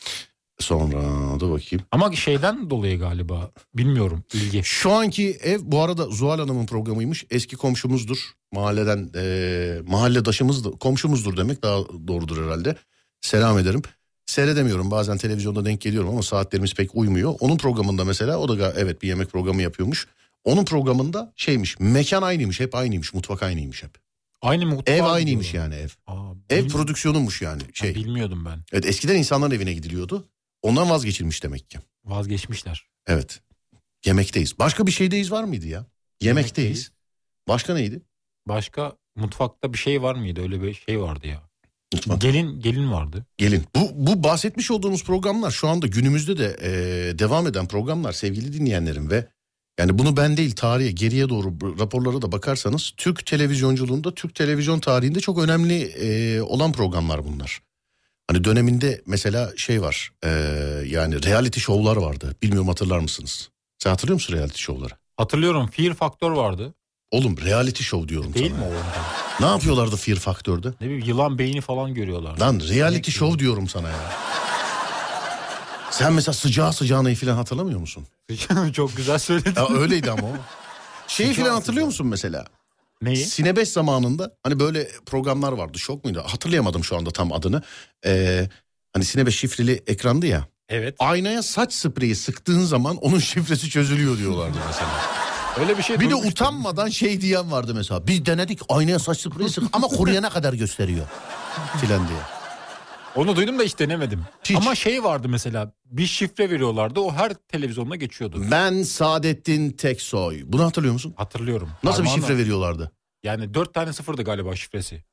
S2: Sonra da bakayım.
S3: Ama şeyden dolayı galiba. Bilmiyorum. İlgi.
S2: Şu anki ev bu arada Zuhal Hanım'ın programıymış. Eski komşumuzdur. Mahalleden eee mahalledaşımız da komşumuzdur demek daha doğrudur herhalde. Selam ederim. Seyredemiyorum bazen televizyonda denk geliyorum ama saatlerimiz pek uymuyor. Onun programında mesela o da ga- evet bir yemek programı yapıyormuş. Onun programında şeymiş mekan aynıymış hep aynıymış mutfak aynıymış hep.
S3: Aynı
S2: Ev
S3: mutfağa gidiyorlar.
S2: aynıymış yani ev.
S3: Aa,
S2: Ev
S3: bil-
S2: prodüksiyonumuş yani
S3: Ha,
S2: şey.
S3: Bilmiyordum ben.
S2: Evet eskiden insanların evine gidiliyordu. Ondan vazgeçilmiş demek ki.
S3: Vazgeçmişler.
S2: Evet. Yemekteyiz. Başka bir şeydeyiz var mıydı ya? Yemekteyiz. Başka neydi?
S3: Başka mutfakta bir şey var mıydı? Öyle bir şey vardı ya.
S2: Mutfak.
S3: Gelin gelin vardı.
S2: Gelin. Bu, bu bahsetmiş olduğumuz programlar şu anda günümüzde de e, devam eden programlar sevgili dinleyenlerim ve yani bunu ben değil tarihe geriye doğru bu raporlara da bakarsanız Türk televizyonculuğunda Türk televizyon tarihinde çok önemli e, olan programlar bunlar. Hani döneminde mesela şey var e, yani reality şovlar vardı bilmiyorum hatırlar mısınız? Sen hatırlıyor musun reality şovları?
S3: Hatırlıyorum Fear Factor vardı.
S2: Oğlum reality show diyorum
S3: Değil
S2: sana.
S3: mi o? onda?
S2: Ne yapıyorlardı Fear Factor'da?
S3: Ne bileyim yılan beyni falan görüyorlar.
S2: Lan reality show diyorum sana ya. Sen mesela sıcağı sıcağına falan hatırlamıyor musun?
S3: Çok güzel söyledin.
S2: Ya öyleydi ama o. Şeyi
S3: Sıcağı
S2: falan hatırlıyor musun mesela?
S3: Neyi?
S2: Sine 5 zamanında hani böyle programlar vardı. Şok muydu? Hatırlayamadım şu anda tam adını. Ee, hani Sine 5 şifreli ekrandı ya.
S3: Evet.
S2: Aynaya saç spreyi sıktığın zaman onun şifresi çözülüyor diyorlardı mesela.
S3: Öyle bir şey.
S2: Bir de
S3: duymuştum.
S2: utanmadan şey diyen vardı mesela. Biz denedik aynaya saç spreyi sık ama kuruyana kadar gösteriyor filan diye.
S3: Onu duydum da hiç denemedim.
S2: Hiç.
S3: Ama şey vardı mesela bir şifre veriyorlardı o her televizyonda geçiyordu.
S2: Ben Saadettin Teksoy. Bunu hatırlıyor musun?
S3: Hatırlıyorum.
S2: Nasıl bir
S3: Parmağınla-
S2: şifre veriyorlardı?
S3: Yani dört tane sıfırdı galiba şifresi.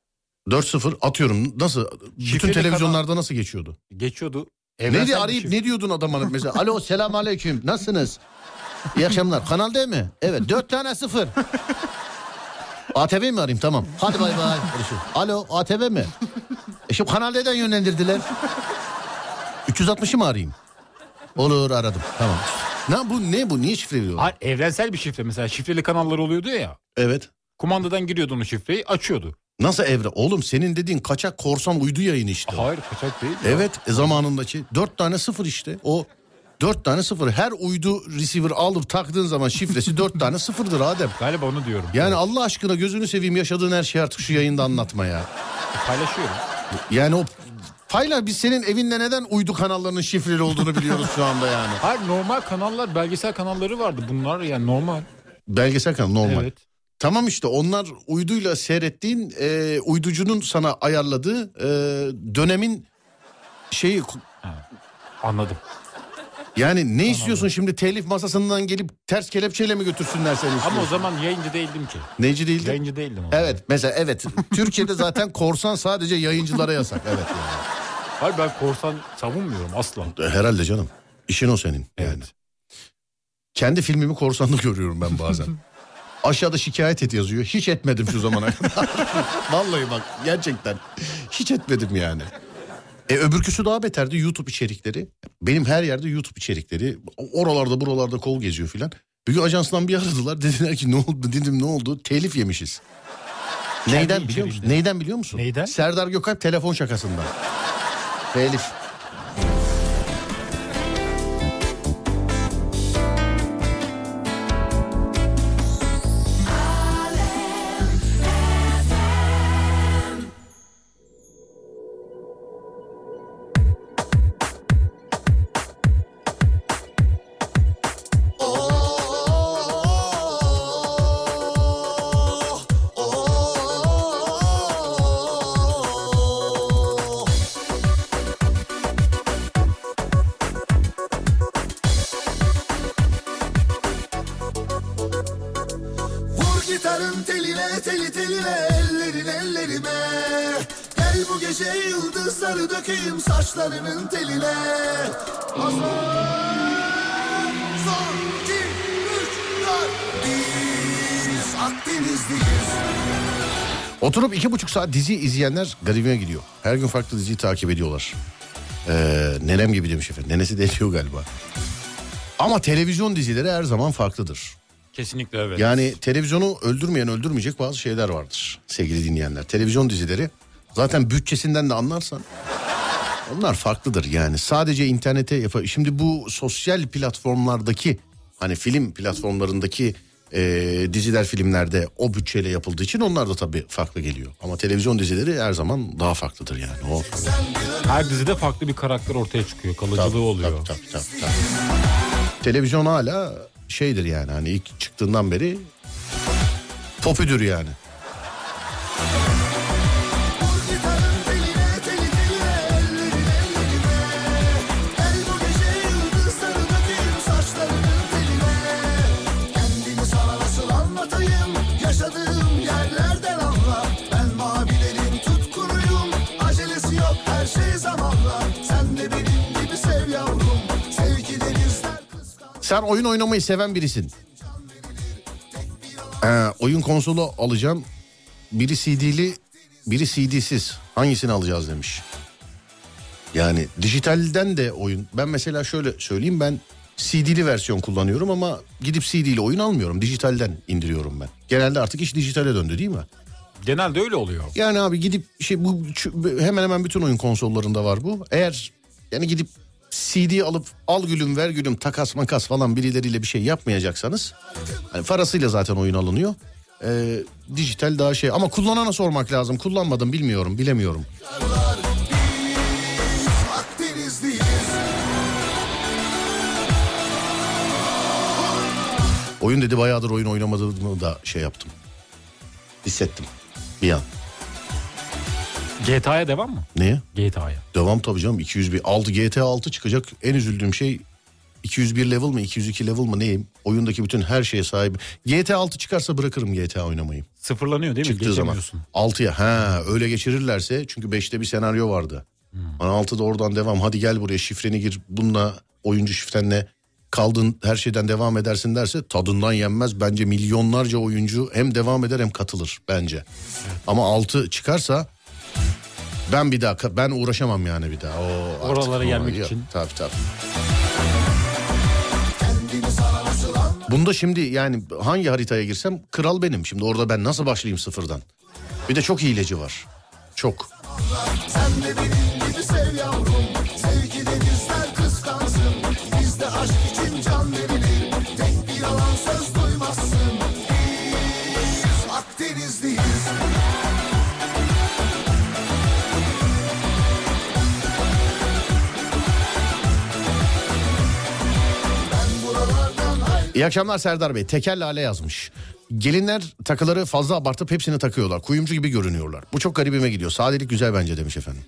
S2: 4-0 atıyorum. Nasıl? Bütün
S3: Şifreli
S2: televizyonlarda nasıl geçiyordu?
S3: Geçiyordu.
S2: Neydi
S3: Evrensel bir
S2: arayıp
S3: şifre.
S2: ne diyordun adama mesela? Alo selam aleyküm nasılsınız? İyi akşamlar. Kanal D mi? Evet 4 tane 0. ATV mi arayayım? Tamam. Hadi bay bay. Görüşürüz. Alo ATV mi? E şimdi Kanal D'den yönlendirdiler. 360'ı mı arayayım? Olur aradım. Tamam. Ne bu ne bu? Niye şifre veriyorlar?
S3: Hayır, evrensel bir şifre mesela şifreli kanallar oluyordu ya.
S2: Evet.
S3: Kumandadan giriyordun o şifreyi açıyordu.
S2: Nasıl e- evre? Oğlum senin dediğin kaçak korsan uydu yayını işte. o.
S3: Hayır kaçak değil. ya.
S2: Evet e, zamanındaki dört tane sıfır işte o dört tane sıfır her uydu receiver alıp taktığın zaman şifresi dört tane sıfırdır Adem.
S3: Galiba onu diyorum.
S2: Yani Allah aşkına gözünü seveyim yaşadığın her şeyi artık şu yayında anlatma ya.
S3: Paylaşıyorum.
S2: Yani o payla biz senin evinde neden uydu kanallarının şifreli olduğunu biliyoruz şu anda yani.
S3: Hayır normal kanallar belgesel kanalları vardı bunlar yani normal.
S2: Belgesel kanal normal.
S3: Evet.
S2: Tamam işte onlar uyduyla seyrettiğin e, uyducunun sana ayarladığı e, dönemin şeyi
S3: Anladım.
S2: yani ne istiyorsun şimdi telif masasından gelip ters kelepçeyle mi götürsünler seni
S3: Ama o
S2: istiyorsun?
S3: zaman yayıncı değildim ki.
S2: Neci değildi?
S3: Yayıncı değildim. o zaman.
S2: Evet mesela evet. Türkiye'de zaten korsan sadece yayıncılara yasak. Evet yani.
S3: Hayır ben korsan savunmuyorum asla.
S2: Ee, Herhalde canım. İşin o senin.
S3: Evet.
S2: Yani. Kendi filmimi korsanda görüyorum ben bazen. Aşağıda şikayet et yazıyor. Hiç etmedim şu zamana kadar. Vallahi bak gerçekten. Hiç etmedim yani. E öbürküsü daha beterdi YouTube içerikleri. Benim her yerde YouTube içerikleri. Oralarda buralarda kol geziyor filan. Bir gün ajanstan bir aradılar. Dediler ki ne oldu? Dedim ne oldu? Telif yemişiz. Neyden biliyor musun?
S3: içeriğinde.
S2: Neyden biliyor musun?
S3: Neyden?
S2: Serdar Gökalp telefon şakasından. Telif.
S4: Oh,
S7: gece yıldızları dökeyim saçlarının teline. Hasan, son, iki, üç, dört. Biz Akdenizliyiz.
S2: Oturup iki buçuk saat dizi izleyenler garibime gidiyor. Her gün farklı diziyi takip ediyorlar. Ee, nenem gibi demiş efendim. Nenesi de diyor galiba. Ama televizyon dizileri her zaman farklıdır.
S3: Kesinlikle evet.
S2: Yani televizyonu öldürmeyen öldürmeyecek bazı şeyler vardır sevgili dinleyenler. Televizyon dizileri zaten bütçesinden de anlarsan onlar farklıdır yani. Sadece internete yapar. Şimdi bu sosyal platformlardaki hani film platformlarındaki e, diziler filmlerde o bütçeyle yapıldığı için onlar da tabii farklı geliyor. Ama televizyon dizileri her zaman daha farklıdır yani. O,
S3: Her dizide farklı bir karakter ortaya çıkıyor. Kalıcılığı oluyor.
S2: Tabii, tabii, tabii, tabii. Televizyon hala şeydir yani hani ilk çıktığından beri popüdür yani.
S7: Vur gitarın teline, teli teline, ellerin ellerine. Gel bu gece yıldızları dökeyim saçlarının teline. Kendimi sana nasıl anlatayım, yaşadığım yerlerden anla. Ben mavilerin tutkunuyum, acelesi yok her şey zamanla. Sen de benim gibi sev yavrum, sevgi denizler kıskan.
S2: Sen oyun oynamayı seven birisin. Ee, oyun konsolu alacağım. Biri CD'li, biri CD'siz. Hangisini alacağız demiş. Yani dijitalden de oyun. Ben mesela şöyle söyleyeyim ben CD'li versiyon kullanıyorum ama gidip CD'li oyun almıyorum. Dijitalden indiriyorum ben. Genelde artık iş dijitale döndü değil mi?
S3: Genelde öyle oluyor.
S2: Yani abi gidip şey bu ç- hemen hemen bütün oyun konsollarında var bu. Eğer yani gidip CD alıp al gülüm ver gülüm takas makas falan birileriyle bir şey yapmayacaksanız hani parasıyla zaten oyun alınıyor. Ee, dijital daha şey ama kullanana sormak lazım. Kullanmadım bilmiyorum bilemiyorum.
S7: Akdenizliyiz,
S2: Oyun dedi bayağıdır oyun oynamadığımı da şey yaptım. Hissettim bir an.
S3: GTA'ya devam mı?
S2: Neye?
S3: GTA'ya.
S2: Devam tabii canım 201 6 GTA 6 çıkacak. En üzüldüğüm şey 201 level mı 202 level mı neyim? Oyundaki bütün her şeye sahibim. GTA 6 çıkarsa bırakırım GTA oynamayı.
S3: Sıfırlanıyor değil mi?
S2: Çıktığı zaman.
S3: Geçemiyorsun.
S2: 6'ya ha öyle geçirirlerse çünkü 5'te bir senaryo vardı. Bana 6'da oradan devam hadi gel buraya şifreni gir bununla oyuncu şifrenle kaldığın her şeyden devam edersin derse tadından yenmez. Bence milyonlarca oyuncu hem devam eder hem katılır bence. Ama 6 çıkarsa ben bir daha ka- ben uğraşamam yani bir daha. Oo, artık
S3: Oralara
S2: ama
S3: gelmek
S2: yok.
S3: için.
S2: Tabii tabii.
S7: kendimi sana nasıl anlatayım.
S2: Bunda şimdi yani hangi haritaya girsem kral benim. Şimdi orada ben nasıl başlayayım sıfırdan? Bir de çok hileci var. Çok.
S7: Sen de benim gibi sev yavrum Sevgi denizler kıskansın Bizde aşk için can verilir Tek bir yalan söz duymazsın Biz Akdenizliyiz
S2: İyi akşamlar Serdar Bey. Tekel Lale yazmış. Gelinler takıları fazla abartıp hepsini takıyorlar. Kuyumcu gibi görünüyorlar. Bu çok garibime gidiyor. Sadelik güzel bence demiş efendim.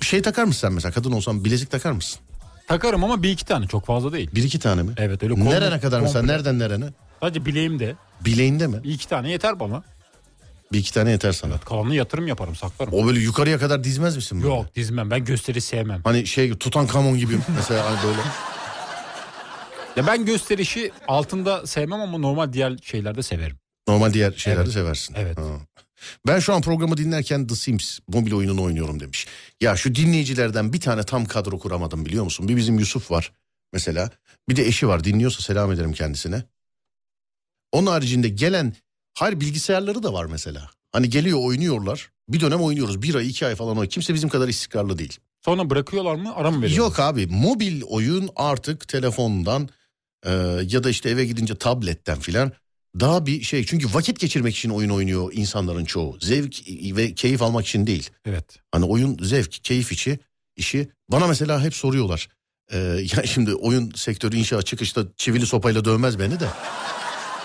S2: Bir şey takar mısın sen mesela? Kadın olsan bilezik takar mısın?
S3: Takarım ama bir iki tane çok fazla değil.
S2: Bir iki tane mi?
S3: Evet, öyle komple-
S2: Nerene kadar mesela?
S3: komple.
S2: Nereden nerene?
S3: Sadece bileğimde
S2: Bileğinde mi?
S3: bir iki tane yeter bana.
S2: Bir iki tane yeter sana.
S3: Kalanını yatırım yaparım saklarım.
S2: O böyle yukarıya kadar dizmez misin böyle?
S3: Yok dizmem ben gösteri sevmem.
S2: Hani şey tutan kamon gibi mesela hani böyle.
S3: Ya ben gösterişi altında sevmem ama normal diğer şeylerde severim.
S2: Normal diğer şeyleri
S3: Evet.
S2: seversin.
S3: Evet.
S2: Ha. Ben şu an programı dinlerken The Sims mobil oyununu oynuyorum demiş. Ya şu dinleyicilerden bir tane tam kadro kuramadım biliyor musun? Bir bizim Yusuf var mesela. Bir de eşi var dinliyorsa selam ederim kendisine. Onun haricinde gelen hayır bilgisayarları da var mesela. Hani geliyor oynuyorlar. Bir dönem oynuyoruz. Bir ay iki ay falan oynuyor. Kimse bizim kadar istikrarlı değil.
S3: Sonra bırakıyorlar mı ara mı veriyorlar?
S2: Yok abi mobil oyun artık telefondan e, ya da işte eve gidince tabletten filan daha bir şey. Çünkü vakit geçirmek için oyun oynuyor insanların çoğu. Zevk ve keyif almak için değil.
S3: Evet.
S2: Hani oyun zevk, keyif içi işi. Bana mesela hep soruyorlar. E, ya şimdi oyun sektörü inşaat çıkışta çivili sopayla dövmez beni de.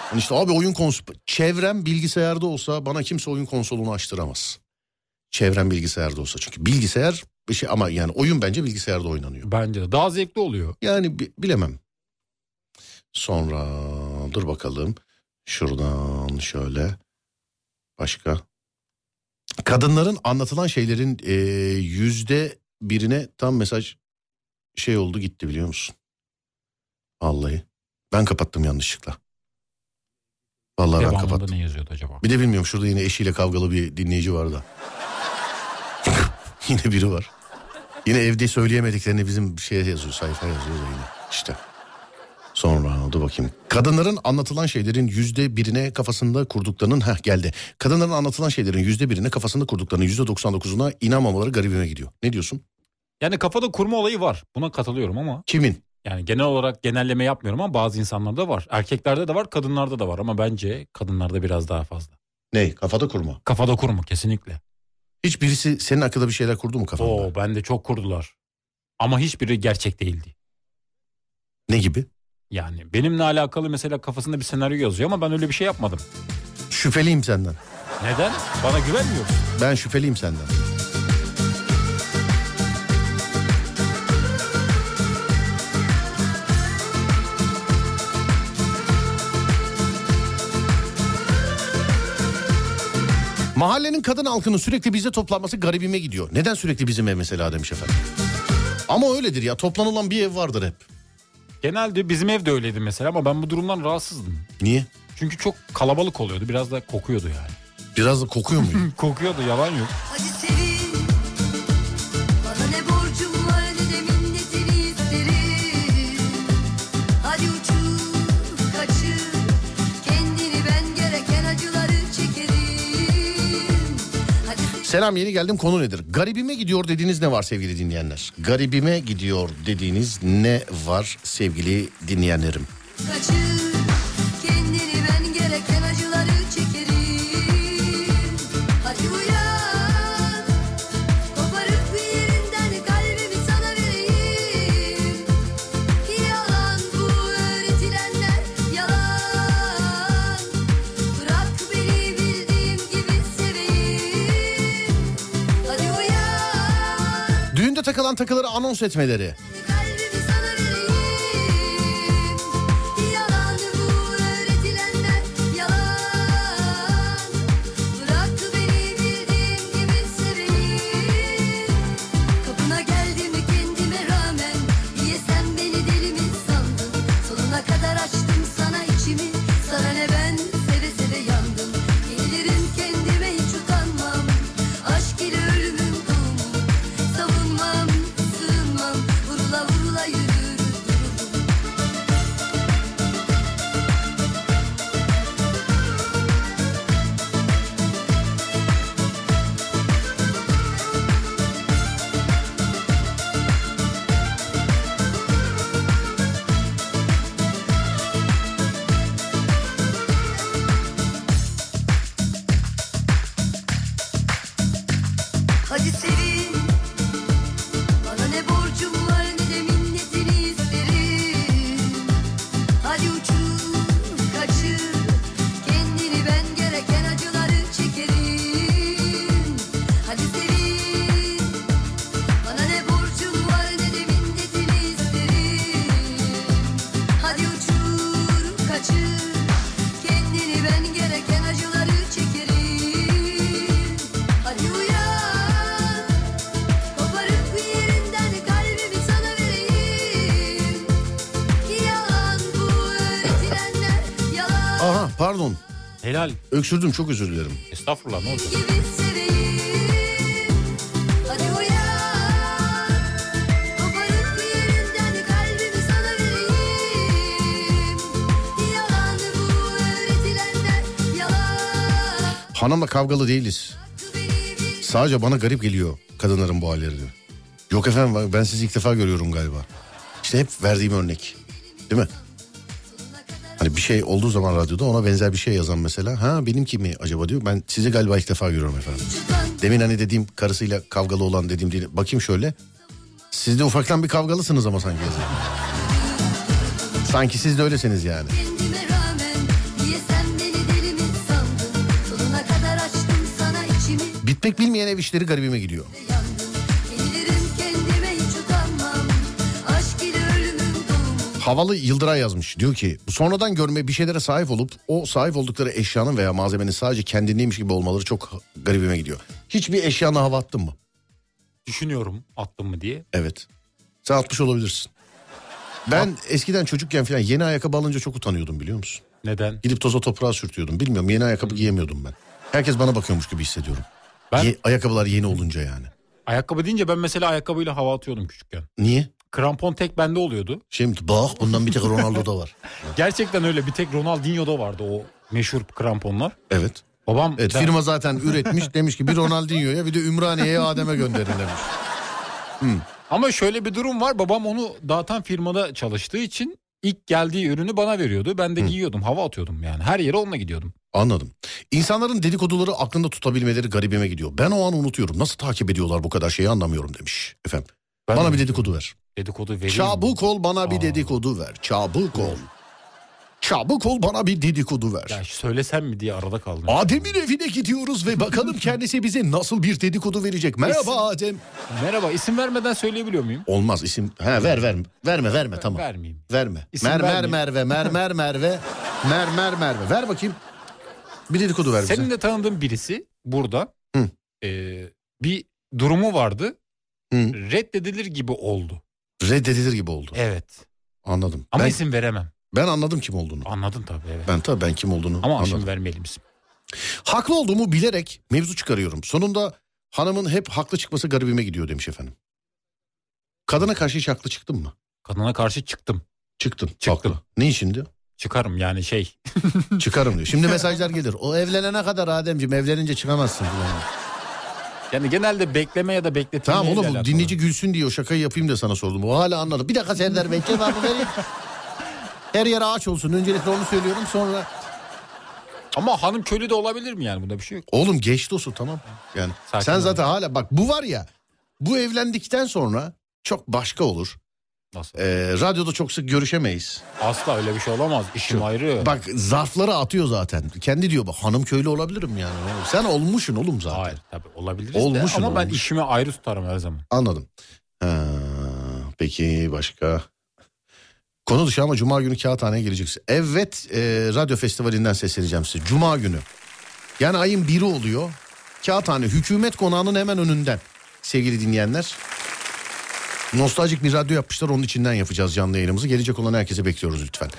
S2: Hani işte abi oyun konsolu... Çevrem bilgisayarda olsa bana kimse oyun konsolunu açtıramaz. Çevrem bilgisayarda olsa. Çünkü bilgisayar bir şey ama yani oyun bence bilgisayarda oynanıyor.
S3: Bence de. Daha zevkli oluyor.
S2: Yani bi- bilemem. Sonra dur bakalım. Şuradan şöyle. Başka. Kadınların anlatılan şeylerin e, yüzde birine tam mesaj şey oldu gitti biliyor musun? Vallahi. Ben kapattım yanlışlıkla. Vallahi ben
S3: Devamında
S2: kapattım.
S3: ne yazıyordu acaba?
S2: Bir de bilmiyorum şurada yine eşiyle kavgalı bir dinleyici var da. yine biri var. Yine evde söyleyemediklerini bizim şeye yazıyor sayfa yazıyor da yine işte. Sonra oldu bakayım. Kadınların anlatılan şeylerin yüzde birine kafasında kurduklarının heh geldi. Kadınların anlatılan şeylerin yüzde birine kafasında kurduklarının yüzde 99'una inanmamaları garibime gidiyor. Ne diyorsun?
S3: Yani kafada kurma olayı var. Buna katılıyorum ama
S2: Kimin?
S3: yani genel olarak genelleme yapmıyorum ama bazı insanlarda var. Erkeklerde de var, kadınlarda da var ama bence kadınlarda biraz daha fazla.
S2: Ney? Kafada kurma.
S3: Kafada kurma kesinlikle.
S2: Hiç birisi senin hakkında bir şeyler kurdu mu kafanda?
S3: Oo bende çok kurdular. Ama hiçbiri gerçek değildi.
S2: Ne gibi?
S3: Yani benimle alakalı mesela kafasında bir senaryo yazıyor ama ben öyle bir şey yapmadım.
S2: Şüpheliyim senden.
S3: Neden? Bana güvenmiyor.
S2: Ben şüpheliyim senden. Mahallenin kadın halkının sürekli bize toplanması garibime gidiyor. Neden sürekli bizim ev mesela demiş efendim. Ama öyledir ya toplanılan bir ev vardır hep.
S3: Genelde bizim evde öyleydi mesela ama ben bu durumdan rahatsızdım.
S2: Niye?
S3: Çünkü çok kalabalık oluyordu. Biraz da kokuyordu yani.
S2: Biraz da kokuyor muyum?
S3: Kokuyordu yalan yok.
S4: Hadi sevin Bana ne borcum var ne de minnetini isterim Hadi uçur kaçır Kendini ben gereken acıları çekerim Hadi sevin
S2: Selam yeni geldim konu nedir? Garibime gidiyor dediğiniz ne var sevgili dinleyenler? Garibime gidiyor dediğiniz ne var sevgili dinleyenlerim?
S4: kaçır Kendini ben gereken acıları çekerim Hadi uyan Koparıp bir yerinden kalbimi sana vereyim Yalan bu öğretilenler yalan Bırak beni bildiğim gibi seveyim Hadi uyan
S2: Düğünde takılan takıları anons etmeleri.
S4: Kalbimi sana vereyim Yalan bu öğretilenler yalan Bırak beni bildiğim gibi seveyim Kapına geldim kendime rağmen Niye sen beni deli mi sandın Sonuna kadar açtım sana içimi Sana ne ben seve seve yandım Gelirim kendime hiç utanmam Aşk ile ölümüm doğumum Savunmam, sığınmam Vurula vurula yürür dururum Hadi sevin Bana ne borcum var ne de minnetini isterim Hadi uçur kaçır Kendini ben gereken acıları çekerim Hadi sevin Bana ne borcum var ne de minnetini isterim Hadi uçur kaçır Kendini ben gereken acıları çekerim Hadi uyan Koparıp bir yerinden kalbimi sana vereyim Yalan bu öğretilenler yalan
S2: Aha pardon
S3: Helal.
S2: öksürdüm çok özür dilerim.
S3: Estağfurullah ne olacak?
S4: gibi seveyim Hadi uyan Koparıp bir yerinden kalbimi sana vereyim Yalan bu öğretilenler yalan
S2: Hanımla kavgalı değiliz. Sadece bana garip geliyor kadınların bu halleri. diyor. Yok efendim ben sizi ilk defa görüyorum galiba. İşte hep verdiğim örnek. Değil mi? Hani bir şey olduğu zaman radyoda ona benzer bir şey yazan mesela. Ha benimki mi acaba diyor. Ben sizi galiba ilk defa görüyorum efendim. Demin hani dediğim karısıyla kavgalı olan dediğim değil. Bakayım şöyle. Siz de ufaktan bir kavgalısınız ama sanki. yazıyor. Sanki siz de öylesiniz yani.
S4: Kendime rağmen Niye sen beni deli mi sandın Sonuna kadar açtım sana içimi
S2: Bitmek bilmeyen ev işleri garibime gidiyor.
S4: Yandım Gelirim kendime hiç utanmam Aşk ile ölümün doğumu
S2: Havalı Yıldıray yazmış. Diyor ki sonradan görme bir şeylere sahip olup o sahip oldukları eşyanın veya malzemenin sadece kendindeymiş gibi olmaları çok garibime gidiyor. Hiçbir eşyana hava attın mı?
S3: Düşünüyorum attım mı diye.
S2: Evet. Sen atmış olabilirsin. Ben eskiden çocukken falan yeni ayakkabı alınca çok utanıyordum biliyor musun?
S3: Neden?
S2: Gidip toza toprağa sürtüyordum. Bilmiyorum yeni ayakkabı giyemiyordum ben. Herkes bana bakıyormuş gibi hissediyorum.
S3: Ben-
S2: Ye- ayakkabılar yeni olunca yani.
S3: Ayakkabı deyince ben mesela ayakkabıyla hava atıyordum küçükken.
S2: Niye?
S3: Krampon tek bende oluyordu.
S2: Şimdi bak bundan bir tek Ronaldo da var.
S3: Gerçekten öyle bir tek Ronaldinho'da vardı o meşhur kramponlar.
S2: Evet.
S3: Babam
S2: Evet
S3: ben-
S2: firma zaten üretmiş demiş ki bir Ronaldinho'ya bir de Ümraniye'ye Adem'e gönderin demiş.
S3: Ama şöyle bir durum var. Babam onu dağıtan firmada çalıştığı için ilk geldiği ürünü bana veriyordu. Ben de giyiyordum, hava atıyordum yani. Her yere onunla gidiyordum.
S2: Anladım. İnsanların dedikoduları aklında tutabilmeleri garibime gidiyor. Ben o an unutuyorum. Nasıl takip ediyorlar bu kadar şeyi anlamıyorum demiş efendim.
S3: Ben
S2: bana
S3: de-
S2: bir dedikodu ver.
S3: Dedikodu vereyim.
S2: Çabuk ol bana bir
S3: Aa.
S2: dedikodu ver. Çabuk ol. Çabuk ol bana bir dedikodu ver.
S3: Ya söylesem mi diye arada kaldım.
S2: Adem'in evine gidiyoruz ve bakalım kendisi bize nasıl bir dedikodu verecek. Merhaba Adem.
S3: Merhaba, isim vermeden söyleyebiliyor muyum?
S2: Olmaz isim. Ha ver ver. Verme verme tamam.
S3: Vermeyeyim.
S2: Verme.
S3: İsim
S2: Mermer
S3: vermeyeyim.
S2: Merve, mermer Merve, mermer Merve. Ver bakayım. Bir dedikodu ver bize.
S3: Senin de tanıdığın birisi burada
S2: Hı.
S3: eee, bir durumu vardı.
S2: Hı.
S3: Reddedilir gibi oldu.
S2: Reddedilir gibi oldu.
S3: Evet.
S2: Anladım.
S3: Ama
S2: ben,
S3: isim veremem.
S2: ben anladım kim olduğunu.
S3: Anladın tabii evet.
S2: Ben tabii ben kim olduğunu
S3: Ama
S2: anladım.
S3: şimdi vermeyelim isim.
S2: Haklı olduğumu bilerek mevzu çıkarıyorum. Sonunda hanımın hep haklı çıkması garibime gidiyor demiş efendim. Kadına karşı hiç haklı çıktın mı?
S3: Kadına karşı çıktım.
S2: Çıktın.
S3: Çıktım.
S2: Haklı. Ne için diyor?
S3: Çıkarım yani şey.
S2: Çıkarım diyor. Şimdi mesajlar gelir. O evlenene kadar Ademciğim evlenince çıkamazsın. Falan.
S3: Yani genelde bekleme ya da bekletilmeyle
S2: Tamam oğlum bu
S3: alakalı.
S2: dinleyici gülsün diye o şakayı yapayım da sana sordum. O hala anladı. Bir dakika Serdar Bey cevabı vereyim. Her yer ağaç olsun. Öncelikle onu söylüyorum sonra.
S3: Ama hanım köylü de olabilir mi yani? Bunda bir şey yok.
S2: Oğlum geçti olsun tamam. Yani
S3: Sakin
S2: sen
S3: ol.
S2: zaten hala bak bu var ya. Bu evlendikten sonra çok başka olur.
S3: Nasıl?
S2: Ee, radyoda çok sık görüşemeyiz.
S3: Asla öyle bir şey olamaz. İşim ayrı.
S2: Bak zarfları atıyor zaten. Kendi diyor bak hanım köylü olabilirim yani. Oğlum, Sen olmuşsun oğlum zaten.
S3: Hayır tabii olabiliriz
S2: Olmuşsun,
S3: de. Ama ben
S2: olmuş.
S3: işimi ayrı tutarım her zaman.
S2: Anladım. Ha, peki başka? Konu dışı ama cuma günü kağıthaneye geleceksin. Evet e, radyo festivalinden sesleneceğim size. Cuma günü. Yani ayın biri oluyor. Kağıthane hükümet konağının hemen önünden. Sevgili dinleyenler. Nostaljik bir radyo yapmışlar onun içinden yapacağız canlı yayınımızı. Gelecek olan herkese bekliyoruz lütfen.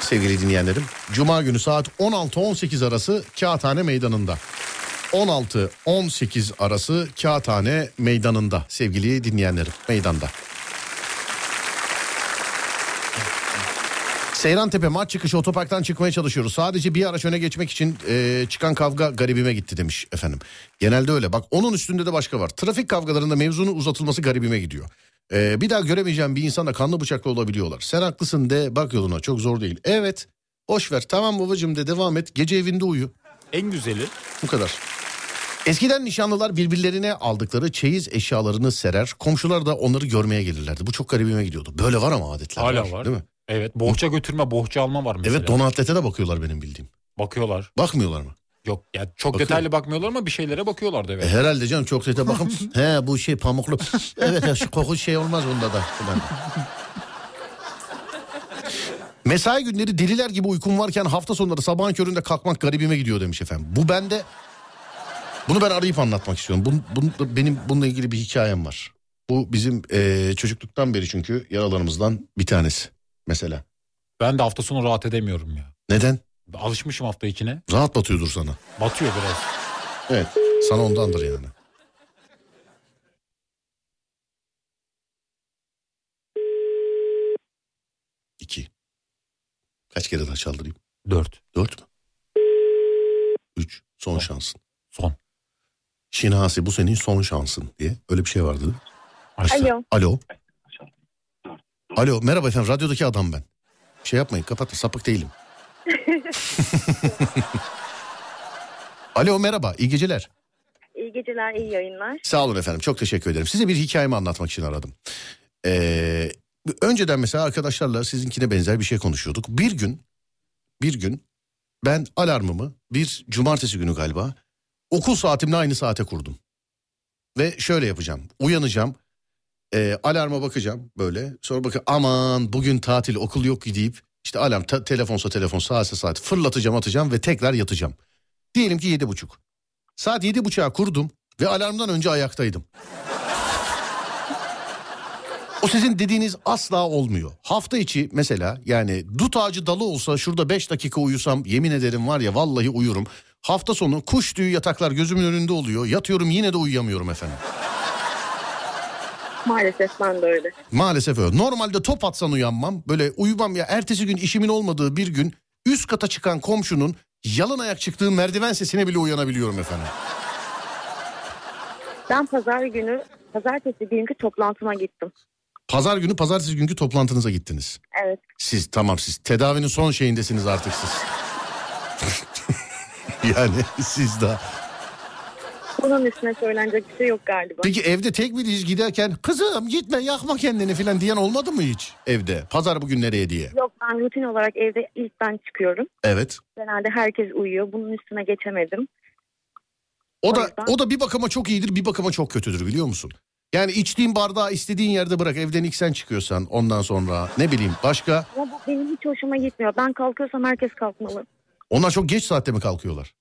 S2: Sevgili dinleyenlerim. Cuma günü saat 16-18 arası Kağıthane Meydanı'nda. 16-18 arası Kağıthane Meydanı'nda sevgili dinleyenlerim meydanda. Seyrantepe maç çıkışı otoparktan çıkmaya çalışıyoruz. Sadece bir araç öne geçmek için e, çıkan kavga garibime gitti demiş efendim. Genelde öyle. Bak onun üstünde de başka var. Trafik kavgalarında mevzunun uzatılması garibime gidiyor. E, bir daha göremeyeceğim bir insanla kanlı bıçaklı olabiliyorlar. Sen haklısın de bak yoluna çok zor değil. Evet boş ver tamam babacığım de devam et gece evinde uyu.
S3: En güzeli
S2: Bu kadar. Eskiden nişanlılar birbirlerine aldıkları çeyiz eşyalarını serer. Komşular da onları görmeye gelirlerdi. Bu çok garibime gidiyordu. Böyle var ama adetler
S3: hala var.
S2: Değil mi?
S3: Evet bohça götürme bohça alma var mesela.
S2: Evet don atlete de bakıyorlar benim bildiğim.
S3: Bakıyorlar.
S2: Bakmıyorlar mı?
S3: Yok ya çok
S2: Bakıyor.
S3: detaylı bakmıyorlar ama bir şeylere bakıyorlardı evet.
S2: E, herhalde canım çok sete bakın. He bu şey pamuklu. evet ya, şu koku şey olmaz bunda da. Ulan. Mesai günleri deliler gibi uykum varken hafta sonları sabahın köründe kalkmak garibime gidiyor demiş efendim. Bu bende... Bunu ben arayıp anlatmak istiyorum. Bun, bun- benim bununla ilgili bir hikayem var. Bu bizim eee, çocukluktan beri çünkü yaralarımızdan bir tanesi. Mesela.
S3: Ben de hafta sonu rahat edemiyorum ya.
S2: Neden?
S3: Alışmışım hafta içine.
S2: Rahat batıyordur sana.
S3: Batıyor biraz.
S2: Evet. Sana ondandır yani. İki. Kaç kere daha çaldırayım?
S3: Dört.
S2: Dört mü? Üç. Son şansın.
S3: Son.
S2: Şinasi bu senin son şansın diye. Öyle bir şey vardı değil mi?
S3: Açtı.
S8: Alo.
S2: Alo. Alo merhaba efendim radyodaki adam ben. Şey yapmayın kapatın sapık değilim. Alo merhaba iyi geceler.
S8: İyi geceler, iyi yayınlar.
S2: Sağ olun efendim çok teşekkür ederim. Size bir hikayemi anlatmak için aradım. Ee, önceden mesela arkadaşlarla sizinkine benzer bir şey konuşuyorduk. Bir gün, bir gün ben alarmımı bir cumartesi günü galiba okul saatimle aynı saate kurdum. Ve şöyle yapacağım. Uyanacağım. Ee, alarma bakacağım böyle. Sonra bakın aman bugün tatil okul yok ki deyip işte alarm ta- telefonsa telefon saatse saat fırlatacağım atacağım ve tekrar yatacağım. Diyelim ki yedi buçuk. Saat yedi buçuğa kurdum ve alarmdan önce ayaktaydım. O sizin dediğiniz asla olmuyor. Hafta içi mesela yani dut ağacı dalı olsa şurada 5 dakika uyusam yemin ederim var ya vallahi uyurum. Hafta sonu kuş tüyü yataklar gözümün önünde oluyor. Yatıyorum yine de uyuyamıyorum efendim.
S8: Maalesef ben de öyle.
S2: Maalesef öyle. Normalde top atsan uyanmam. Böyle uyumam ya ertesi gün işimin olmadığı bir gün üst kata çıkan komşunun yalın ayak çıktığı merdiven sesine bile uyanabiliyorum efendim.
S8: Ben pazar günü, pazartesi günkü toplantıma gittim.
S2: Pazar günü pazartesi günkü toplantınıza gittiniz.
S8: Evet.
S2: Siz tamam siz tedavinin son şeyindesiniz artık siz. yani siz daha.
S8: Bunun üstüne söylenecek bir şey yok galiba.
S2: Peki e- evde tek biriyiz giderken kızım gitme yakma kendini filan diyen olmadı mı hiç evde? Pazar bugün nereye diye.
S8: Yok ben rutin olarak evde ilk ben çıkıyorum.
S2: Evet.
S8: Genelde herkes uyuyor. Bunun üstüne geçemedim.
S2: O
S8: O
S2: da
S8: yüzden-
S2: o da bir bakıma çok iyidir, bir bakıma çok kötüdür biliyor musun? Yani içtiğin bardağı istediğin yerde bırak. Evden ilk sen çıkıyorsan ondan sonra ne bileyim başka.
S8: Ama bu benim hiç hoşuma gitmiyor. Ben kalkıyorsam herkes kalkmalı.
S2: Onlar çok geç saatte mi kalkıyorlar?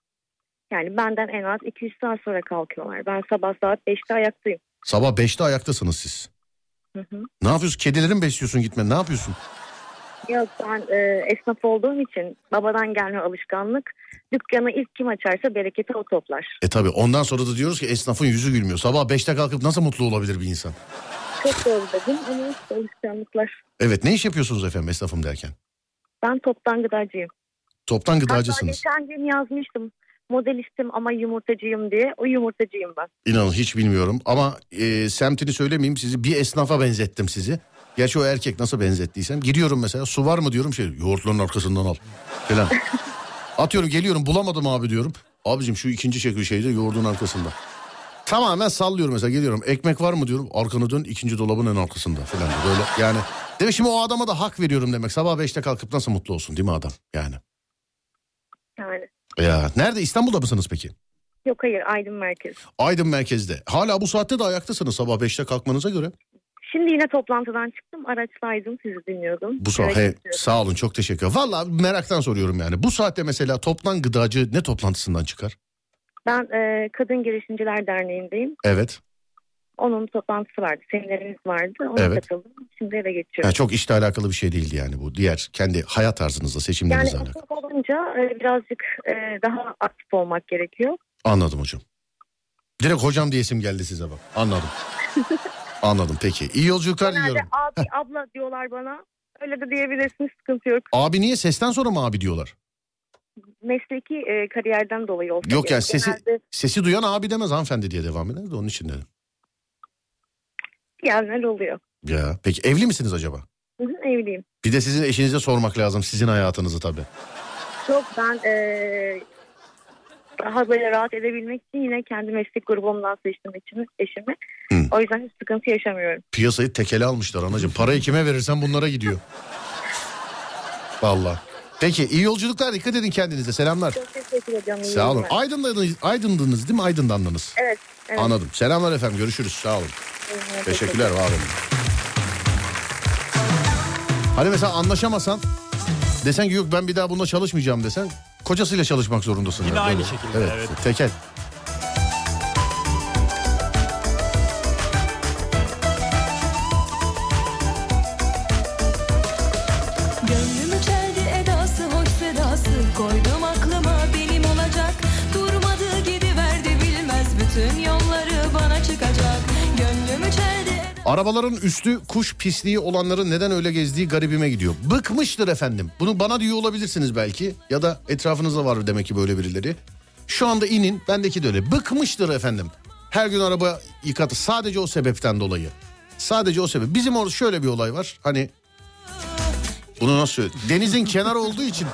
S8: Yani benden en az 2-3 saat sonra kalkıyorlar. Ben sabah saat 5'te ayaktayım.
S2: Sabah 5'te ayaktasınız siz.
S8: Hı hı.
S2: Ne yapıyorsun? Kedileri mi besliyorsun gitme? Ne yapıyorsun?
S8: Yok ben e, esnaf olduğum için babadan gelme alışkanlık. Dükkanı ilk kim açarsa bereketi o toplar.
S2: E tabi ondan sonra da diyoruz ki esnafın yüzü gülmüyor. Sabah 5'te kalkıp nasıl mutlu olabilir bir insan?
S8: Çok doğru dedim ama işte alışkanlıklar.
S2: Evet ne iş yapıyorsunuz efendim esnafım derken?
S8: Ben toptan gıdacıyım.
S2: Toptan
S8: Hatta
S2: gıdacısınız.
S8: geçen gün yazmıştım. Modelistim ama yumurtacıyım diye. O yumurtacıyım ben.
S2: İnanın hiç bilmiyorum ama e, semtini söylemeyeyim sizi bir esnafa benzettim sizi. Gerçi o erkek nasıl benzettiysem giriyorum mesela su var mı diyorum şey yoğurtların arkasından al falan. Atıyorum geliyorum bulamadım abi diyorum. Abicim şu ikinci şekil şeyde yoğurdun arkasında. Tamamen sallıyorum mesela geliyorum ekmek var mı diyorum arkanı dön ikinci dolabın en arkasında falan böyle yani. Demek şimdi o adama da hak veriyorum demek sabah beşte kalkıp nasıl mutlu olsun değil mi adam yani.
S8: Yani
S2: Ya nerede İstanbul'da mısınız peki?
S8: yok hayır Aydın Merkez.
S2: Aydın merkezde. Hala bu saatte de ayaktasınız sabah 5'te kalkmanıza göre.
S8: Şimdi yine toplantıdan çıktım. Araçtaydım. Sizi dinliyordum.
S2: Bu saat
S8: Evet,
S2: he,
S8: dinliyorum.
S2: sağ olun çok teşekkür ederim. Valla meraktan soruyorum yani. Bu saatte mesela toptan gıdacı ne toplantısından çıkar?
S8: Ben e, Kadın Girişimciler Derneği'ndeyim.
S2: Evet.
S8: Onun toplantısı vardı. Seminerimiz vardı. Ona
S2: Evet.
S8: katıldım. Şimdi eve geçiyorum.
S2: Yani çok işle alakalı bir şey değildi yani bu. Diğer kendi hayat tarzınızla
S8: yani
S2: seçimlerinizle alakalı.
S8: aktif olunca e, birazcık e, daha aktif olmak gerekiyor.
S2: Anladım hocam. Direkt hocam diyesim geldi size bak. Anladım. Anladım peki. İyi yolculuklar
S8: Genelde
S2: diliyorum.
S8: abi, abla diyorlar bana. Öyle de diyebilirsiniz. Sıkıntı yok.
S2: Abi niye sesten sonra mı abi diyorlar?
S8: Mesleki e, kariyerden dolayı olsa
S2: Yok
S8: gerek.
S2: yani sesi-
S8: Genelde
S2: Sesi duyan abi demez hanımefendi diye devam eder de onun için dedim.
S8: diyenler oluyor.
S2: Ya peki evli misiniz acaba?
S8: Hı hı, Evliyim.
S2: Bir de sizin eşinize sormak lazım sizin hayatınızı tabii.
S8: Yok ben e, daha böyle rahat edebilmek için yine kendi meslek grubumdan seçtim eşimi. eşimi.
S2: Hı.
S8: O yüzden hiç sıkıntı yaşamıyorum.
S2: Piyasayı tekele almışlar anacığım. Parayı kime verirsen bunlara gidiyor. Valla. Peki iyi yolculuklar dikkat edin kendinize selamlar.
S8: Çok teşekkür ediyorum. iyi
S2: Sağ olun.
S8: yayınlar.
S2: Aydınlandınız, aydındınız değil mi? Aydınlandınız.
S8: Evet. evet.
S2: Anladım. Selamlar efendim görüşürüz sağ olun.
S8: Teşekkürler.
S2: Teşekkürler var olun. Hani mesela anlaşamasan desen ki yok ben bir daha bununla çalışmayacağım desen kocasıyla çalışmak zorundasın.
S3: Yine
S2: yani,
S3: aynı
S2: değil mi?
S3: şekilde, evet.
S2: Tekel.
S9: Gönlümü çeldi edası hoş sedası Koydum aklıma benim olacak Durmadı gidiverdi bilmez Bütün yolları bana çıkacak Gönlümü çeldi
S2: Arabaların üstü kuş pisliği olanların neden öyle gezdiği garibime gidiyor. Bıkmıştır efendim. Bunu bana diyor olabilirsiniz belki. Ya da etrafınızda var demek ki böyle birileri. Şu anda inin bendeki de öyle. Bıkmıştır efendim. Her gün araba yıkat sadece o sebepten dolayı. Sadece o sebep. Bizim orada şöyle bir olay var. Hani bunu nasıl söyleyeyim? Denizin kenarı olduğu için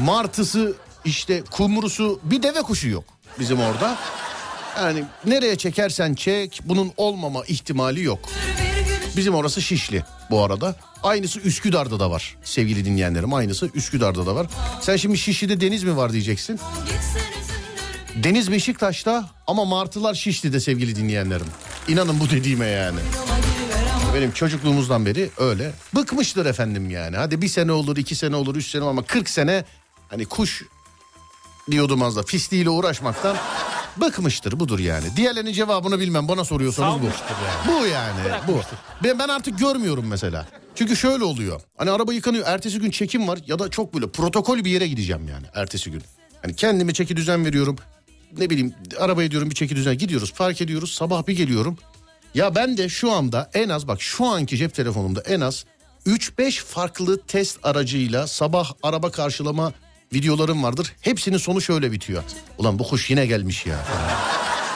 S2: martısı işte kumrusu bir deve kuşu yok bizim orada. Yani nereye çekersen çek bunun olmama ihtimali yok. Bizim orası Şişli bu arada. Aynısı Üsküdar'da da var sevgili dinleyenlerim. Aynısı Üsküdar'da da var. Sen şimdi Şişli'de deniz mi var diyeceksin. Deniz Beşiktaş'ta ama martılar Şişli'de sevgili dinleyenlerim. İnanın bu dediğime yani. Benim çocukluğumuzdan beri öyle. Bıkmıştır efendim yani. Hadi bir sene olur, iki sene olur, üç sene olur ama 40 sene hani kuş diyordum az da pisliğiyle uğraşmaktan bıkmıştır budur yani. Diğerlerinin cevabını bilmem bana soruyorsanız bu.
S3: Salmıştır
S2: Bu yani bu. Ben, ben artık görmüyorum mesela. Çünkü şöyle oluyor. Hani araba yıkanıyor ertesi gün çekim var ya da çok böyle protokol bir yere gideceğim yani ertesi gün. Hani kendime çeki düzen veriyorum. Ne bileyim arabaya diyorum bir çeki düzen gidiyoruz park ediyoruz sabah bir geliyorum. Ya ben de şu anda en az bak şu anki cep telefonumda en az 3-5 farklı test aracıyla sabah araba karşılama videolarım vardır. Hepsinin sonu şöyle bitiyor. Ulan bu kuş yine gelmiş ya.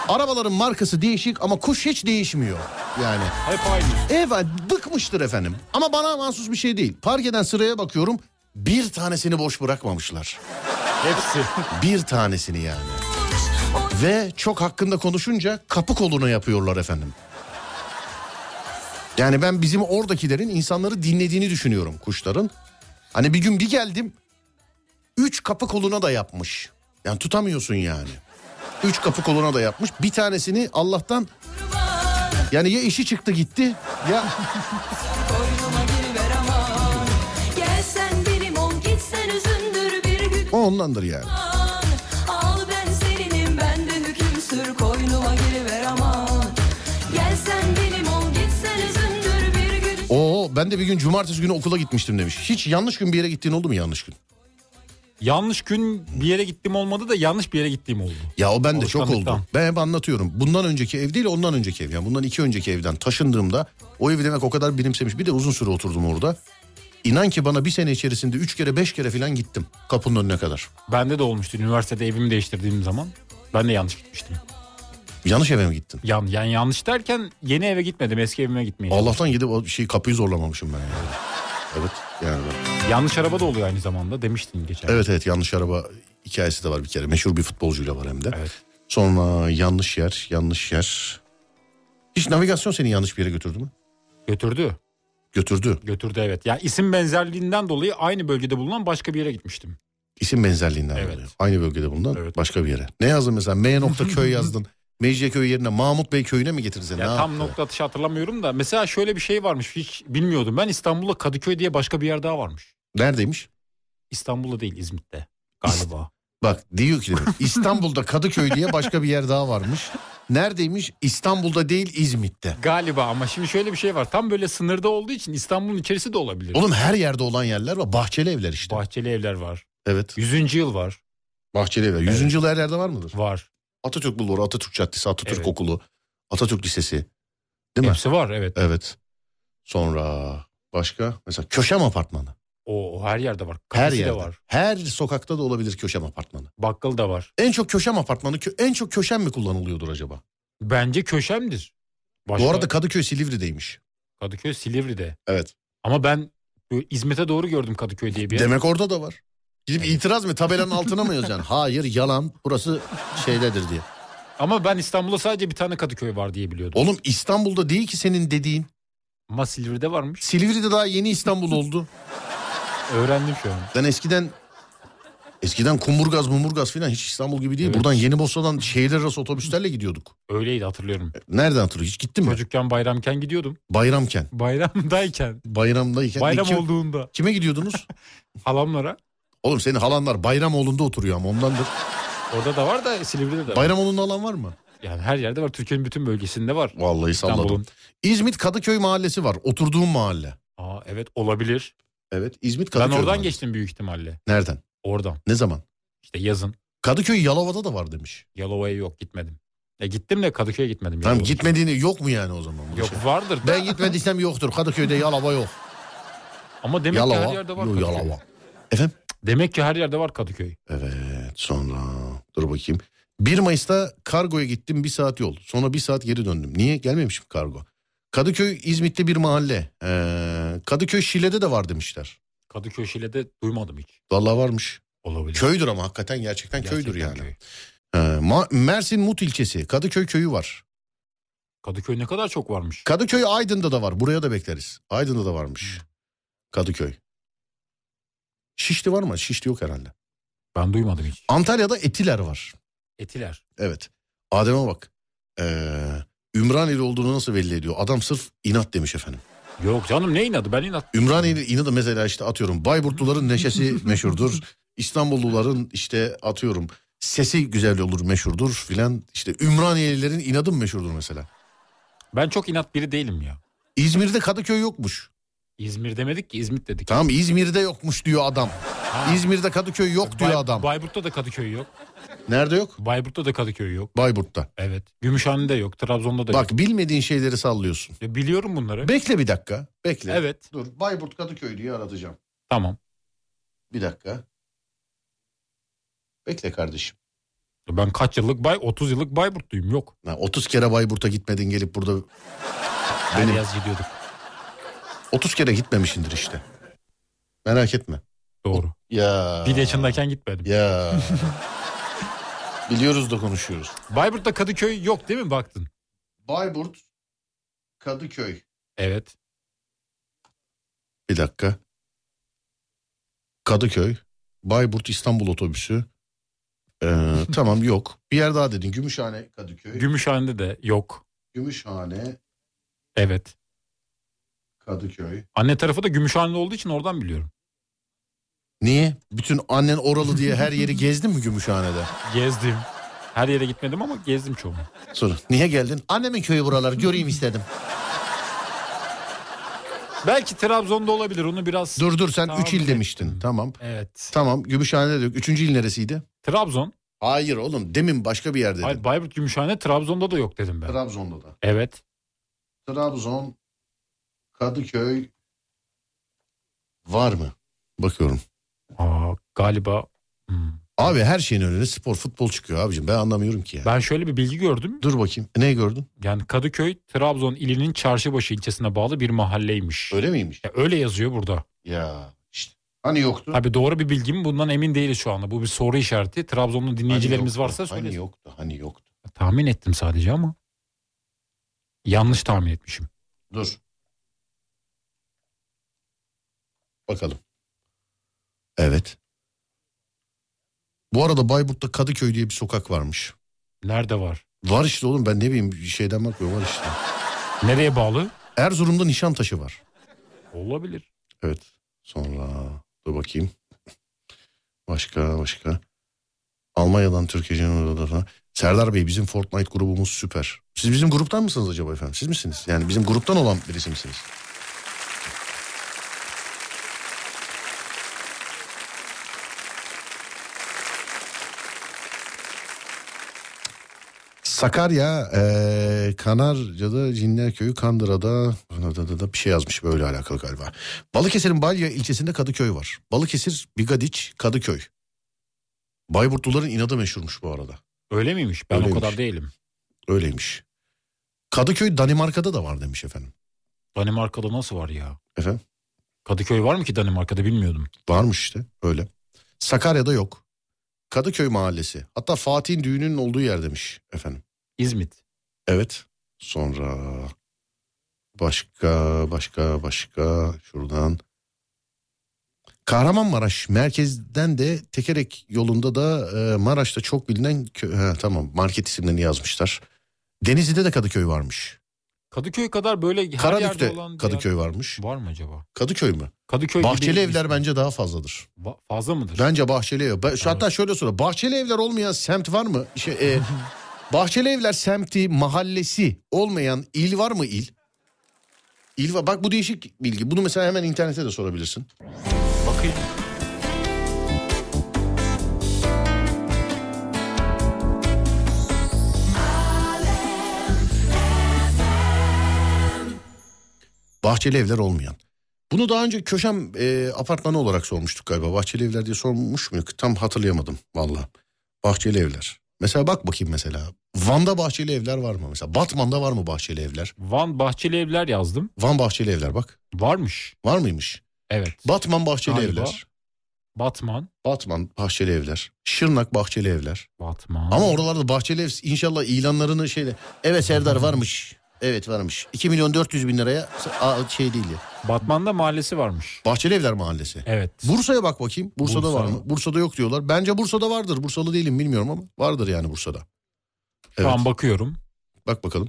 S2: Arabaların markası değişik ama kuş hiç değişmiyor. Yani
S3: Hep aynı.
S2: evet bıkmıştır efendim. Ama bana mahsus bir şey değil. Park eden sıraya bakıyorum bir tanesini boş bırakmamışlar.
S3: Hepsi.
S2: Bir tanesini yani. Ve çok hakkında konuşunca kapı kolunu yapıyorlar efendim. Yani ben bizim oradakilerin insanları dinlediğini düşünüyorum kuşların. Hani bir gün bir geldim. Üç kapı koluna da yapmış. Yani tutamıyorsun yani. Üç kapı koluna da yapmış. Bir tanesini Allah'tan yani ya işi çıktı gitti ya
S9: Gelsen benim ol gitsen üzündür bir gün
S2: o ondandır yani.
S9: aman. Al ben seninim bende hüküm sür koynuma giriver aman Gelsen benim ol gitsen üzündür bir gün
S2: Oo ben de bir gün cumartesi günü okula gitmiştim demiş. Hiç yanlış gün bir yere gittiğin oldu mu yanlış gün?
S3: Yanlış gün bir yere gittiğim olmadı da yanlış bir yere gittiğim oldu.
S2: Ya o ben de çok
S3: Alışkanlıktan.
S2: oldu. Ben hep anlatıyorum. Bundan önceki ev değil ondan önceki ev. Yani bundan iki önceki evden taşındığımda o evi demek o kadar benimsemiş. Bir de uzun süre oturdum orada. İnan ki bana bir sene içerisinde üç kere beş kere falan gittim kapının önüne kadar.
S3: Bende de olmuştu üniversitede evimi değiştirdiğim zaman. Ben de yanlış gitmiştim.
S2: Yanlış eve mi gittin?
S3: Yan, yani yanlış derken yeni eve gitmedim eski evime gitmeye.
S2: Allah'tan gidip o şey kapıyı zorlamamışım ben yani. Evet yani ben-
S3: Yanlış araba da oluyor aynı zamanda demiştin geçen.
S2: Evet evet yanlış araba hikayesi de var bir kere. Meşhur bir futbolcuyla var hem de.
S3: Evet.
S2: Sonra yanlış yer yanlış yer. Hiç navigasyon seni yanlış bir yere götürdü mü?
S3: Götürdü.
S2: Götürdü.
S3: Götürdü evet. Yani isim benzerliğinden dolayı aynı bölgede bulunan başka bir yere gitmiştim.
S2: İsim benzerliğinden
S3: Evet.
S2: dolayı. Aynı bölgede bulunan
S3: Evet.
S2: başka bir yere. Ne yazdın mesela? M nokta köy yazdın. Mecidiyeköy yerine Mahmut Bey köyüne mi getirdin? seni?
S3: Ya
S2: ne
S3: tam
S2: yaptı?
S3: nokta atışı hatırlamıyorum da mesela şöyle bir şey varmış hiç bilmiyordum. Ben İstanbul'da Kadıköy diye başka bir yer daha varmış.
S2: Neredeymiş?
S3: İstanbul'da değil İzmit'te galiba.
S2: Bak diyor ki demek, İstanbul'da Kadıköy diye başka bir yer daha varmış. Neredeymiş? İstanbul'da değil İzmit'te.
S3: galiba ama şimdi şöyle bir şey var. Tam böyle sınırda olduğu için İstanbul'un içerisi de olabilir.
S2: Oğlum her yerde olan yerler var. Bahçeli evler işte.
S3: Bahçeli evler var.
S2: evet.
S3: 100. yıl var.
S2: Bahçeli evler. Yüzüncü yıl her yerde var mıdır?
S3: Var.
S2: Atatürk Bulvarı, Atatürk Caddesi, Atatürk
S3: Evet.
S2: Okulu, Atatürk Lisesi. Değil mi?
S3: Hepsi var evet.
S2: Evet. Sonra başka? Mesela Köşem Apartmanı.
S3: O, o her yerde var.
S2: Her
S3: Kafesi
S2: yerde.
S3: de var.
S2: Her sokakta da olabilir Köşem Apartmanı.
S3: Bakkal da var.
S2: En çok köşem apartmanı kö- en çok köşem mi kullanılıyordur acaba?
S3: Bence köşemdir. Başka-
S2: Bu arada Kadıköy Silivri'deymiş.
S3: Kadıköy Silivri'de.
S2: Evet.
S3: Ama ben böyle İzmit'e doğru gördüm Kadıköy diye bir yer.
S2: Demek orada da var. Gidip itiraz mı tabelanın altına mı yazacaksın? Hayır yalan burası şeydedir diye.
S3: Ama ben İstanbul'da sadece bir tane Kadıköy var diye biliyordum.
S2: Oğlum İstanbul'da değil ki senin dediğin.
S3: Ama Silivri'de varmış.
S2: Silivri'de daha yeni İstanbul oldu.
S3: Öğrendim şu an.
S2: Ben eskiden eskiden Kumburgaz Mumurgaz falan hiç İstanbul gibi değil.
S3: Evet.
S2: Buradan Yeni Bosna'dan şehirler arası otobüslerle gidiyorduk.
S3: Öyleydi hatırlıyorum.
S2: Nereden hatırlıyorsun? Hiç gittin mi?
S3: Çocukken bayramken gidiyordum.
S2: Bayramken.
S3: Bayramdayken.
S2: Bayramdayken.
S3: Bayram
S2: Kim-
S3: olduğunda
S2: Kime gidiyordunuz?
S3: halamlara.
S2: Oğlum senin halanlar Bayramoğlu'nda oturuyor ama ondandır.
S3: Orada da var da Silivri'de de var.
S2: Bayramoğlu'nda alan var mı?
S3: Yani her yerde var. Türkiye'nin bütün bölgesinde var.
S2: Vallahi salladım.
S3: İstanbul'un.
S2: İzmit Kadıköy Mahallesi var. Oturduğum mahalle.
S3: Aa, evet olabilir.
S2: Evet İzmit
S3: Ben
S2: Kadıköy
S3: oradan
S2: Mahallesi.
S3: geçtim büyük ihtimalle.
S2: Nereden?
S3: Oradan.
S2: Ne zaman?
S3: İşte yazın.
S2: Kadıköy Yalova'da da var demiş.
S3: Yalova'ya yok gitmedim. Ya gittim de Kadıköy'e gitmedim.
S2: Tamam
S3: Yalova'da.
S2: gitmediğini yok mu yani o zaman? bu
S3: Yok
S2: şey?
S3: vardır. da.
S2: Ben gitmediysem yoktur. Kadıköy'de Yalova yok.
S3: Ama demek
S2: Yalova.
S3: ki her yerde var
S2: yok,
S3: Kadıköy.
S2: Yalova. Efendim?
S3: Demek ki her yerde var Kadıköy.
S2: Evet sonra dur bakayım. 1 Mayıs'ta kargoya gittim bir saat yol. Sonra bir saat geri döndüm. Niye? Gelmemişim kargo. Kadıköy İzmit'te bir mahalle. Ee, Kadıköy Şile'de de var demişler.
S3: Kadıköy Şile'de duymadım hiç.
S2: Vallahi varmış.
S3: Olabilir.
S2: Köydür ama hakikaten gerçekten,
S3: Gerçekten
S2: köydür yani.
S3: köy.
S2: Ee, Ma- Mersin Mut ilçesi Kadıköy köyü var.
S3: Kadıköy ne kadar çok varmış.
S2: Kadıköy Aydın'da da var. Buraya da bekleriz. Aydın'da da varmış.
S3: Hmm.
S2: Kadıköy. Şişli var mı? Şişli yok herhalde.
S3: Ben duymadım hiç.
S2: Antalya'da Etiler var.
S3: Etiler.
S2: Evet. Adem'e bak. Ee, Ümraneli olduğunu nasıl belli ediyor? Adam sırf inat demiş efendim.
S3: Yok canım ne inadı ben inat.
S2: Ümraniye'nin inadı mesela işte atıyorum Bayburtluların neşesi meşhurdur. İstanbulluların işte atıyorum sesi güzel olur meşhurdur filan. İşte Ümraniyelilerin inadı mı meşhurdur mesela?
S3: Ben çok inat biri değilim ya.
S2: İzmir'de Kadıköy yokmuş.
S3: İzmir demedik ki İzmit dedik.
S2: Tamam İzmir'de yokmuş diyor adam. İzmir'de Kadıköy yok diyor
S3: Bay-
S2: adam.
S3: Bayburt'ta da Kadıköy yok.
S2: Nerede yok?
S3: Bayburt'ta da Kadıköy yok.
S2: Bayburt'ta.
S3: Evet. Gümüşhane'de yok. Trabzon'da da yok.
S2: Bak bilmediğin şeyleri sallıyorsun.
S3: Ya Biliyorum bunları.
S2: Bekle bir dakika. Bekle.
S3: Evet.
S2: Dur Bayburt Kadıköy diye aratacağım.
S3: Tamam.
S2: Bir dakika. Bekle kardeşim.
S3: Ben kaç yıllık Bay 30 yıllık Bayburtluyum yok.
S2: Ha, 30 kere Bayburt'a gitmedin gelip burada
S3: Her
S2: Benim-
S3: yaz gidiyorduk.
S2: 30 kere gitmemişindir işte. Merak etme.
S3: Doğru.
S2: Ya.
S3: Bir de yaşındayken gitmedim.
S2: Ya. Biliyoruz da konuşuyoruz.
S3: Bayburt'ta Kadıköy yok değil mi baktın?
S2: Bayburt, Kadıköy.
S3: Evet.
S2: Bir dakika. Kadıköy, Bayburt İstanbul otobüsü. Ee, tamam yok. Bir yer daha dedin. Gümüşhane, Kadıköy.
S3: Gümüşhane'de de yok.
S2: Gümüşhane,
S3: Evet.
S2: Kadıköy.
S3: Anne tarafı da Gümüşhane'de olduğu için oradan biliyorum.
S2: Niye? Bütün annen oralı diye her yeri gezdin mi Gümüşhane'de?
S3: Gezdim. Her yere gitmedim ama gezdim çoğunu.
S2: Sonra niye geldin? Annemin köyü buralar göreyim istedim.
S3: Belki Trabzon'da olabilir onu biraz.
S2: Dur dur sen
S3: Tamam,
S2: 3 il
S3: bilemedim.
S2: demiştin. Tamam.
S3: Evet.
S2: Tamam Gümüşhane'de de yok. Üçüncü il neresiydi?
S3: Trabzon.
S2: Hayır oğlum demin başka bir yerde.
S3: Hayır Bayburt Gümüşhane Trabzon'da da yok dedim ben.
S2: Trabzon'da da.
S3: evet.
S2: Trabzon, Kadıköy var mı? Bakıyorum.
S3: Aa, galiba. Hmm.
S2: Abi her şeyin önüne spor, futbol çıkıyor abicim. Ben anlamıyorum ki ya.
S3: Ben şöyle bir bilgi gördüm.
S2: Dur bakayım. Ne gördün?
S3: Yani Kadıköy Trabzon ilinin Çarşıbaşı ilçesine bağlı bir mahalleymiş.
S2: Öyle miymiş?
S3: Ya öyle yazıyor burada.
S2: Ya işte. Hani yoktu?
S3: Tabii doğru bir bilgi mi bundan emin değiliz şu anda. Bu bir soru işareti. Trabzonlu dinleyicilerimiz
S2: Hani yoktu,
S3: varsa söylesin.
S2: Hani yoktu, hani yoktu.
S3: Tahmin ettim sadece ama yanlış tahmin etmişim.
S2: Dur. Bakalım. Evet. Bu arada Bayburt'ta Kadıköy diye bir sokak varmış.
S3: Nerede var?
S2: Var işte oğlum ben ne bileyim şeyden bakmıyorum var işte.
S3: Nereye bağlı?
S2: Erzurum'da Nişantaşı var.
S3: Olabilir.
S2: Evet. Sonra dur bakayım. Başka başka. Almanya'dan Türkiye'den oradan. Serdar Bey bizim Fortnite grubumuz süper. Siz bizim gruptan mısınız acaba efendim? Siz misiniz? Yani bizim gruptan olan birisi misiniz? Sakarya, eee Kanarca'da, Cinlerköy'ü, Kandıra'da da, da, da bir şey yazmış böyle alakalı galiba. Balıkesir'in Balya ilçesinde Kadıköy var. Balıkesir, Bigadiç, Kadıköy. Bayburtluların inadı meşhurmuş bu arada.
S3: Öyle miymiş? Ben
S2: Öyleymiş.
S3: o kadar değilim.
S2: Öyleymiş. Kadıköy Danimarka'da da var demiş efendim.
S3: Danimarka'da nasıl var ya?
S2: Efendim?
S3: Kadıköy var mı ki Danimarka'da bilmiyordum.
S2: Varmış işte öyle. Sakarya'da yok. Kadıköy mahallesi. Hatta Fatih'in düğününün olduğu yer demiş efendim.
S3: İzmit.
S2: Evet. Sonra başka başka başka şuradan. Kahramanmaraş merkezden de tekerek yolunda da e, Maraş'ta çok bilinen kö- ha, tamam market isimlerini yazmışlar. Denizli'de de Kadıköy varmış.
S3: Kadıköy kadar böyle her
S2: Karadük'te
S3: yerde olan bir
S2: Kadıköy
S3: yer-
S2: varmış.
S3: var mı acaba?
S2: Kadıköy mü?
S3: Kadıköy gibi
S2: bahçeli
S3: değil.
S2: evler bence daha fazladır.
S3: Ba- fazla mıdır?
S2: Bence bahçeli ev. Ben- şu- Hatta
S3: Evet.
S2: şöyle sonra bahçeli evler olmayan semt var mı? Şey, e, bahçeli evler semti, mahallesi olmayan il var mı il? İl var. Bak bu değişik bilgi. Bunu mesela hemen internete de sorabilirsin.
S3: Bakayım.
S2: Bahçeli evler olmayan. Bunu daha önce köşem e, apartmanı olarak sormuştuk galiba. Bahçeli evler diye sormuş muyduk? Tam hatırlayamadım valla. Bahçeli evler. Mesela bak bakayım mesela. Van'da bahçeli evler var mı? Mesela Batman'da var mı bahçeli evler?
S3: Van Bahçeli Evler yazdım.
S2: Van bahçeli evler bak.
S3: Varmış.
S2: Var mıymış?
S3: Evet.
S2: Batman bahçeli
S3: Galiba.
S2: evler.
S3: Batman.
S2: Batman bahçeli evler. Şırnak bahçeli evler.
S3: Batman.
S2: Ama oralarda bahçeli ev inşallah ilanlarını şeyle. Evet Serdar varmış. Evet varmış. 2 milyon 400 bin liraya Aa, şey değil ya.
S3: Batman'da mahallesi varmış.
S2: Bahçeli evler mahallesi.
S3: Evet.
S2: Bursa'ya bak bakayım. Bursa'da
S3: Bursa.
S2: var mı? Bursa'da yok diyorlar. Bence Bursa'da vardır. Bursalı değilim bilmiyorum ama vardır yani Bursa'da.
S3: Şu
S2: Evet.
S3: an bakıyorum.
S2: Bak bakalım.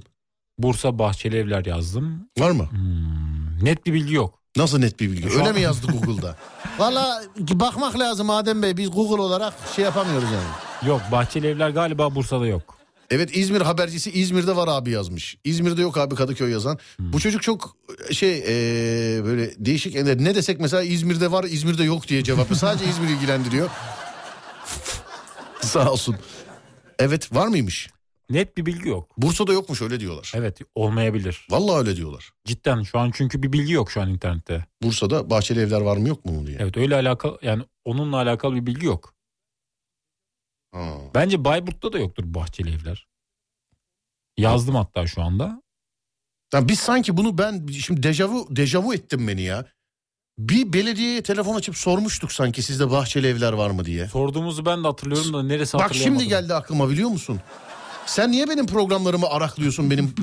S3: Bursa Bahçeli Evler yazdım.
S2: Var mı?
S3: Hmm, net bir bilgi yok.
S2: Nasıl net bir bilgi?
S3: Şu
S2: Öyle
S3: an-
S2: mi yazdı Google'da? Valla bakmak lazım Adem Bey. Biz Google olarak şey yapamıyoruz yani.
S3: Yok Bahçeli Evler galiba Bursa'da yok.
S2: Evet İzmir habercisi İzmir'de var abi yazmış. İzmir'de yok abi Kadıköy yazan.
S3: Hmm.
S2: Bu çocuk çok şey eee, böyle değişik e, ne desek mesela İzmir'de var İzmir'de yok diye cevap. Sadece İzmir ilgilendiriyor. Sağ olsun. Evet var mıymış?
S3: Net bir bilgi yok.
S2: Bursa'da yokmuş öyle diyorlar.
S3: Evet olmayabilir.
S2: Vallahi öyle diyorlar.
S3: Cidden şu an çünkü bir bilgi yok şu an internette.
S2: Bursa'da bahçeli evler var mı yok mu diye.
S3: Evet öyle alakalı yani onunla alakalı bir bilgi yok.
S2: Ha.
S3: Bence Bayburt'ta da yoktur Bahçeli Evler. Yazdım hatta şu anda.
S2: Ya biz sanki bunu ben şimdi dejavu dejavu ettim beni ya. Bir belediyeye telefon açıp sormuştuk sanki sizde bahçeli evler var mı diye.
S3: Sorduğumuzu ben de hatırlıyorum da neresi
S2: Bak
S3: hatırlayamadım.
S2: şimdi geldi aklıma biliyor musun? Sen niye benim programlarımı araklıyorsun benim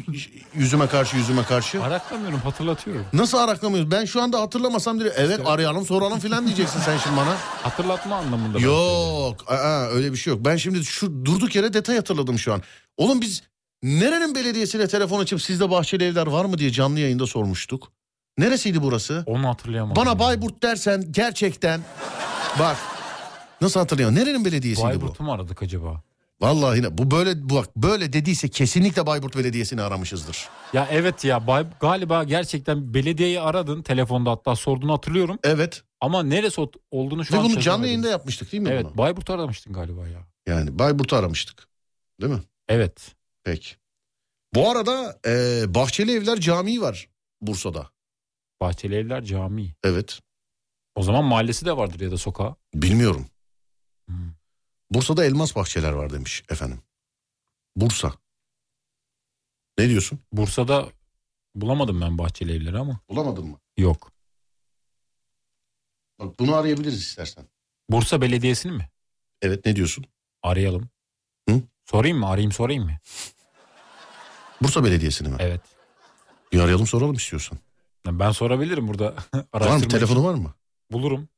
S2: yüzüme karşı yüzüme karşı?
S3: Araklamıyorum hatırlatıyorum.
S2: Nasıl araklamıyorsun? Ben şu anda hatırlamasam direkt evet arayalım soralım filan diyeceksin sen şimdi bana.
S3: Hatırlatma anlamında. ben söylüyorum.
S2: Yok aa, öyle bir şey yok. Ben şimdi şu durduk yere detay hatırladım şu an. Oğlum biz nerenin belediyesine telefon açıp sizde bahçeli evler var mı diye canlı yayında sormuştuk. Neresiydi burası?
S3: Onu hatırlayamadım.
S2: Bana Bayburt dersen gerçekten bak nasıl hatırlayamam. Nerenin belediyesiydi bu?
S3: Bayburt'u mu aradık acaba?
S2: Vallahi yine bu böyle bu bak böyle dediyse kesinlikle Bayburt Belediyesi'ni aramışızdır.
S3: Ya evet ya Bay, galiba gerçekten belediyeyi aradın telefonda hatta sorduğunu hatırlıyorum.
S2: Evet.
S3: Ama neresi ot- olduğunu şu
S2: Ve
S3: an
S2: bunu canlı
S3: çözemedim.
S2: yayında yapmıştık değil mi
S3: Evet
S2: bunu?
S3: Bayburt'u aramıştın galiba ya.
S2: Yani Bayburt'u aramıştık. Değil mi?
S3: Evet.
S2: Peki. Bu arada e, Bahçeli Evler Camii var Bursa'da.
S3: Bahçeli Evler Camii.
S2: Evet.
S3: O zaman mahallesi de vardır ya da sokağı.
S2: Bilmiyorum.
S3: Hmm.
S2: Bursa'da elmas bahçeler var demiş efendim. Bursa. Ne diyorsun?
S3: Bursa'da bulamadım ben Bahçeli Evleri ama
S2: Bulamadın mı?
S3: yok.
S2: Bak bunu arayabiliriz istersen.
S3: Bursa Belediyesi'ni mi?
S2: Evet ne diyorsun?
S3: Arayalım.
S2: Hı?
S3: Sorayım mı? Arayayım sorayım mı?
S2: Bursa Belediyesi'ni mi?
S3: Evet.
S2: Bir arayalım soralım istiyorsan.
S3: Ya Ben sorabilirim burada.
S2: Var mı?
S3: Araştırma
S2: Telefonu
S3: için.
S2: var mı?
S3: Bulurum.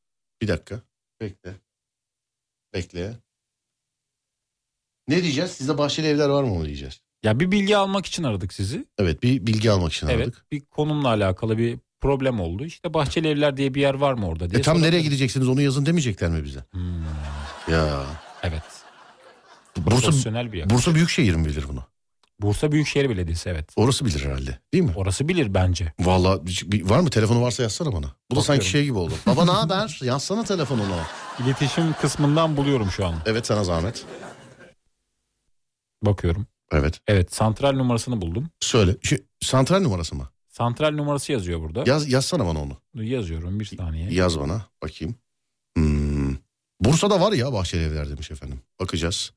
S2: Bir dakika. Bekle. Bekle. Ne diyeceğiz? Sizde bahçeli evler var mı onu diyeceğiz.
S3: Ya bir bilgi almak için aradık sizi.
S2: Evet bir bilgi almak için
S3: Evet.
S2: aradık.
S3: Bir konumla alakalı bir problem oldu. İşte Bahçeli Evler diye bir yer var mı orada diye.
S2: E tam
S3: sorabilirim.
S2: nereye gideceksiniz onu yazın demeyecekler mi bize?
S3: Hmm,
S2: Ya.
S3: evet.
S2: Bursa,
S3: Profesyonel bir yer.
S2: Bursa Büyükşehir mi bilir bunu?
S3: Bursa Büyükşehir Belediyesi evet.
S2: Orası bilir herhalde değil mi?
S3: Orası bilir bence.
S2: Vallahi bir- şey, bir- var mı telefonu varsa yazsana bana. Bu da sanki
S3: Bakıyorum.
S2: şey gibi oldu. Baba ne haber? Yazsana telefonunu.
S3: İletişim kısmından buluyorum şu an.
S2: Evet sana zahmet.
S3: Bakıyorum.
S2: Evet.
S3: Evet santral numarasını buldum.
S2: Söyle. Şu, santral numarası mı?
S3: Santral numarası yazıyor burada.
S2: Yaz, yazsana bana onu.
S3: Yazıyorum bir saniye.
S2: Yaz bana bakayım. Hmm. Bursa'da var ya Bahçeli Evler demiş efendim. Bakacağız.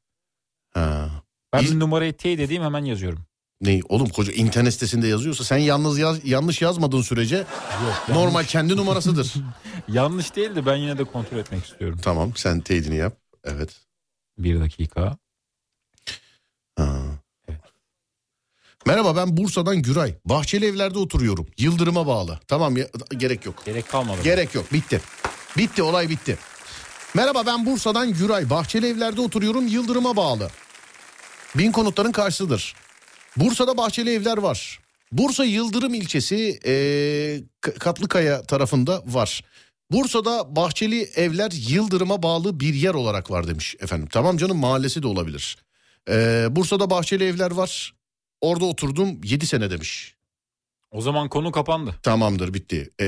S2: Ha.
S3: ben
S2: İz-
S3: bir numarayı teyit edeyim hemen yazıyorum.
S2: Ne oğlum koca internet sitesinde yazıyorsa sen yalnız yaz, yanlış yazmadığın sürece
S3: Yok,
S2: normal kendi numarasıdır.
S3: Yanlış değil de ben yine de kontrol etmek istiyorum.
S2: tamam sen teyidini yap. Evet.
S3: Bir dakika.
S2: Ha. Merhaba ben Bursa'dan Güray. Bahçeli Evler'de oturuyorum. Yıldırım'a bağlı. Tamam ya, gerek yok.
S3: Gerek kalmadı.
S2: Gerek yok bitti. Bitti olay bitti. Merhaba ben Bursa'dan Güray. Bahçeli evlerde oturuyorum Yıldırım'a bağlı. Bin konutların karşısıdır. Bursa'da bahçeli evler var. Bursa Yıldırım ilçesi eee, K- Katlıkaya tarafında var. Bursa'da bahçeli evler Yıldırım'a bağlı bir yer olarak var demiş efendim. Tamam canım mahallesi de olabilir. Eee, Bursa'da bahçeli evler var. Orada oturdum 7 sene demiş.
S3: O zaman konu kapandı.
S2: Tamamdır bitti. Ee,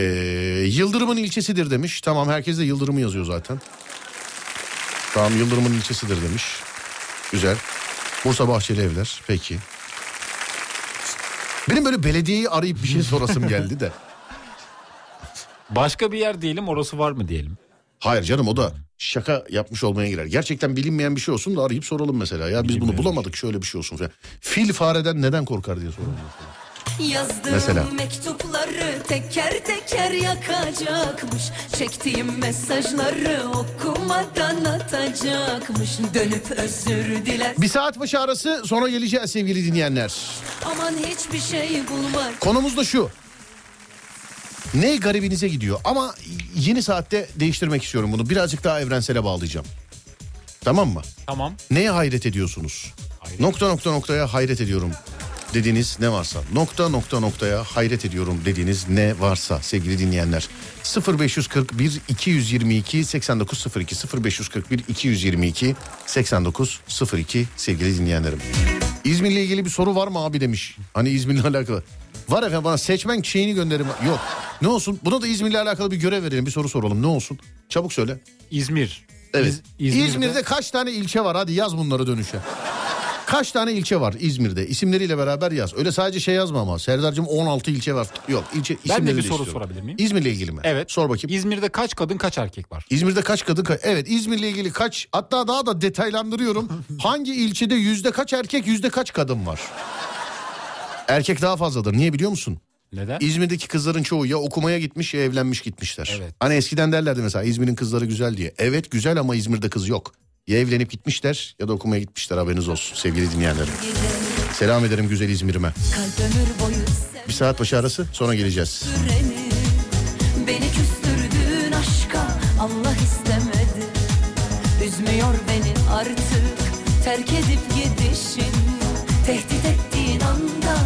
S2: Yıldırım'ın ilçesidir demiş. Tamam herkes de Yıldırım'ı yazıyor zaten. Tamam Yıldırım'ın ilçesidir demiş. Güzel. Bursa Bahçeli Evler peki. Benim böyle belediyeyi arayıp bir şey sorasım geldi de.
S3: Başka bir yer diyelim orası var mı diyelim.
S2: Hayır canım o da şaka yapmış olmaya girer. Gerçekten bilinmeyen bir şey olsun da arayıp soralım mesela. Ya biz bunu
S3: Bilinmeyen
S2: bulamadık şöyle bir şey olsun falan. Fil fareden neden korkar diye soralım. mesela.
S9: Yazdığım
S2: Mesela.
S9: mektupları teker teker yakacakmış Çektiğim mesajları okumadan atacakmış Dönüp özür diler
S2: Bir saat başı arası sonra geleceğiz sevgili dinleyenler.
S9: aman hiçbir şey bulmak
S2: Konumuz da şu. Ne garibinize gidiyor ama yeni saatte değiştirmek istiyorum bunu. Birazcık daha evrensele bağlayacağım. Tamam mı?
S3: Tamam.
S2: Neye hayret ediyorsunuz?
S3: Hayret.
S2: Nokta nokta noktaya hayret ediyorum. dediğiniz ne varsa nokta nokta noktaya hayret ediyorum dediğiniz ne varsa sevgili dinleyenler 0541 222 8902 0541 222 8902 sevgili dinleyenlerim. İzmir'le ilgili bir soru var mı abi demiş. Hani İzmir'le alakalı. Var efendim bana seçmen şeyini gönderin. Yok. Ne olsun? Buna da İzmir'le alakalı bir görev verelim. Bir soru soralım. Ne olsun? Çabuk söyle.
S3: İzmir.
S2: Evet.
S3: İz-
S2: İzmir'de... kaç tane ilçe var? Hadi yaz bunları dönüşe. Kaç tane ilçe var İzmir'de? İsimleriyle beraber yaz. Öyle sadece şey yazma ama. Serdar'cığım 16 ilçe var. Yok ilçe
S3: Ben de
S2: isimleri
S3: bir soru
S2: istiyorum.
S3: sorabilir miyim?
S2: İzmir'le ilgili mi?
S3: Evet.
S2: Sor bakayım.
S3: İzmir'de kaç kadın kaç erkek var?
S2: İzmir'de kaç kadın kaç? Evet İzmir'le ilgili kaç hatta daha da detaylandırıyorum. Hangi ilçede yüzde kaç erkek yüzde kaç kadın var? Erkek daha fazladır. Niye biliyor musun?
S3: Neden?
S2: İzmir'deki kızların çoğu ya okumaya gitmiş ya evlenmiş gitmişler.
S3: Evet.
S2: Hani eskiden derlerdi mesela İzmir'in kızları güzel diye. Evet güzel ama İzmir'de kız yok. Ya evlenip gitmişler ya da okumaya gitmişler haberiniz olsun sevgili dinleyenlerim. Selam ederim güzel İzmir'ime.
S9: Kalp ömür boyu
S2: Bir saat başı arası sonra geleceğiz.
S9: süreni Beni küstürdüğün aşka Allah istemedi Üzmüyor beni artık terk edip gidişin Tehdit ettiğin anda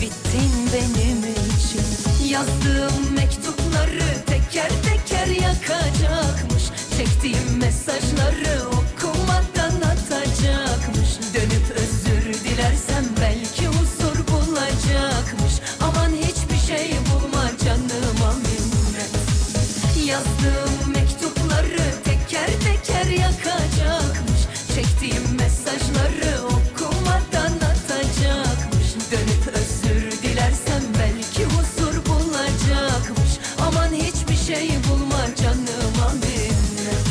S9: bittin benim için Yazdığım mektupları teker teker yakacakmış Çektiğim mesajları okumadan atacakmış Dönüp özür dilersem belki huzur bulacakmış Aman hiçbir şey bulma canıma minnet Yazdığım mektupları teker teker yakacakmış Çektiğim mesajları okumadan atacakmış Dönüp özür dilersem belki huzur bulacakmış Aman hiçbir şey bulma canıma minnet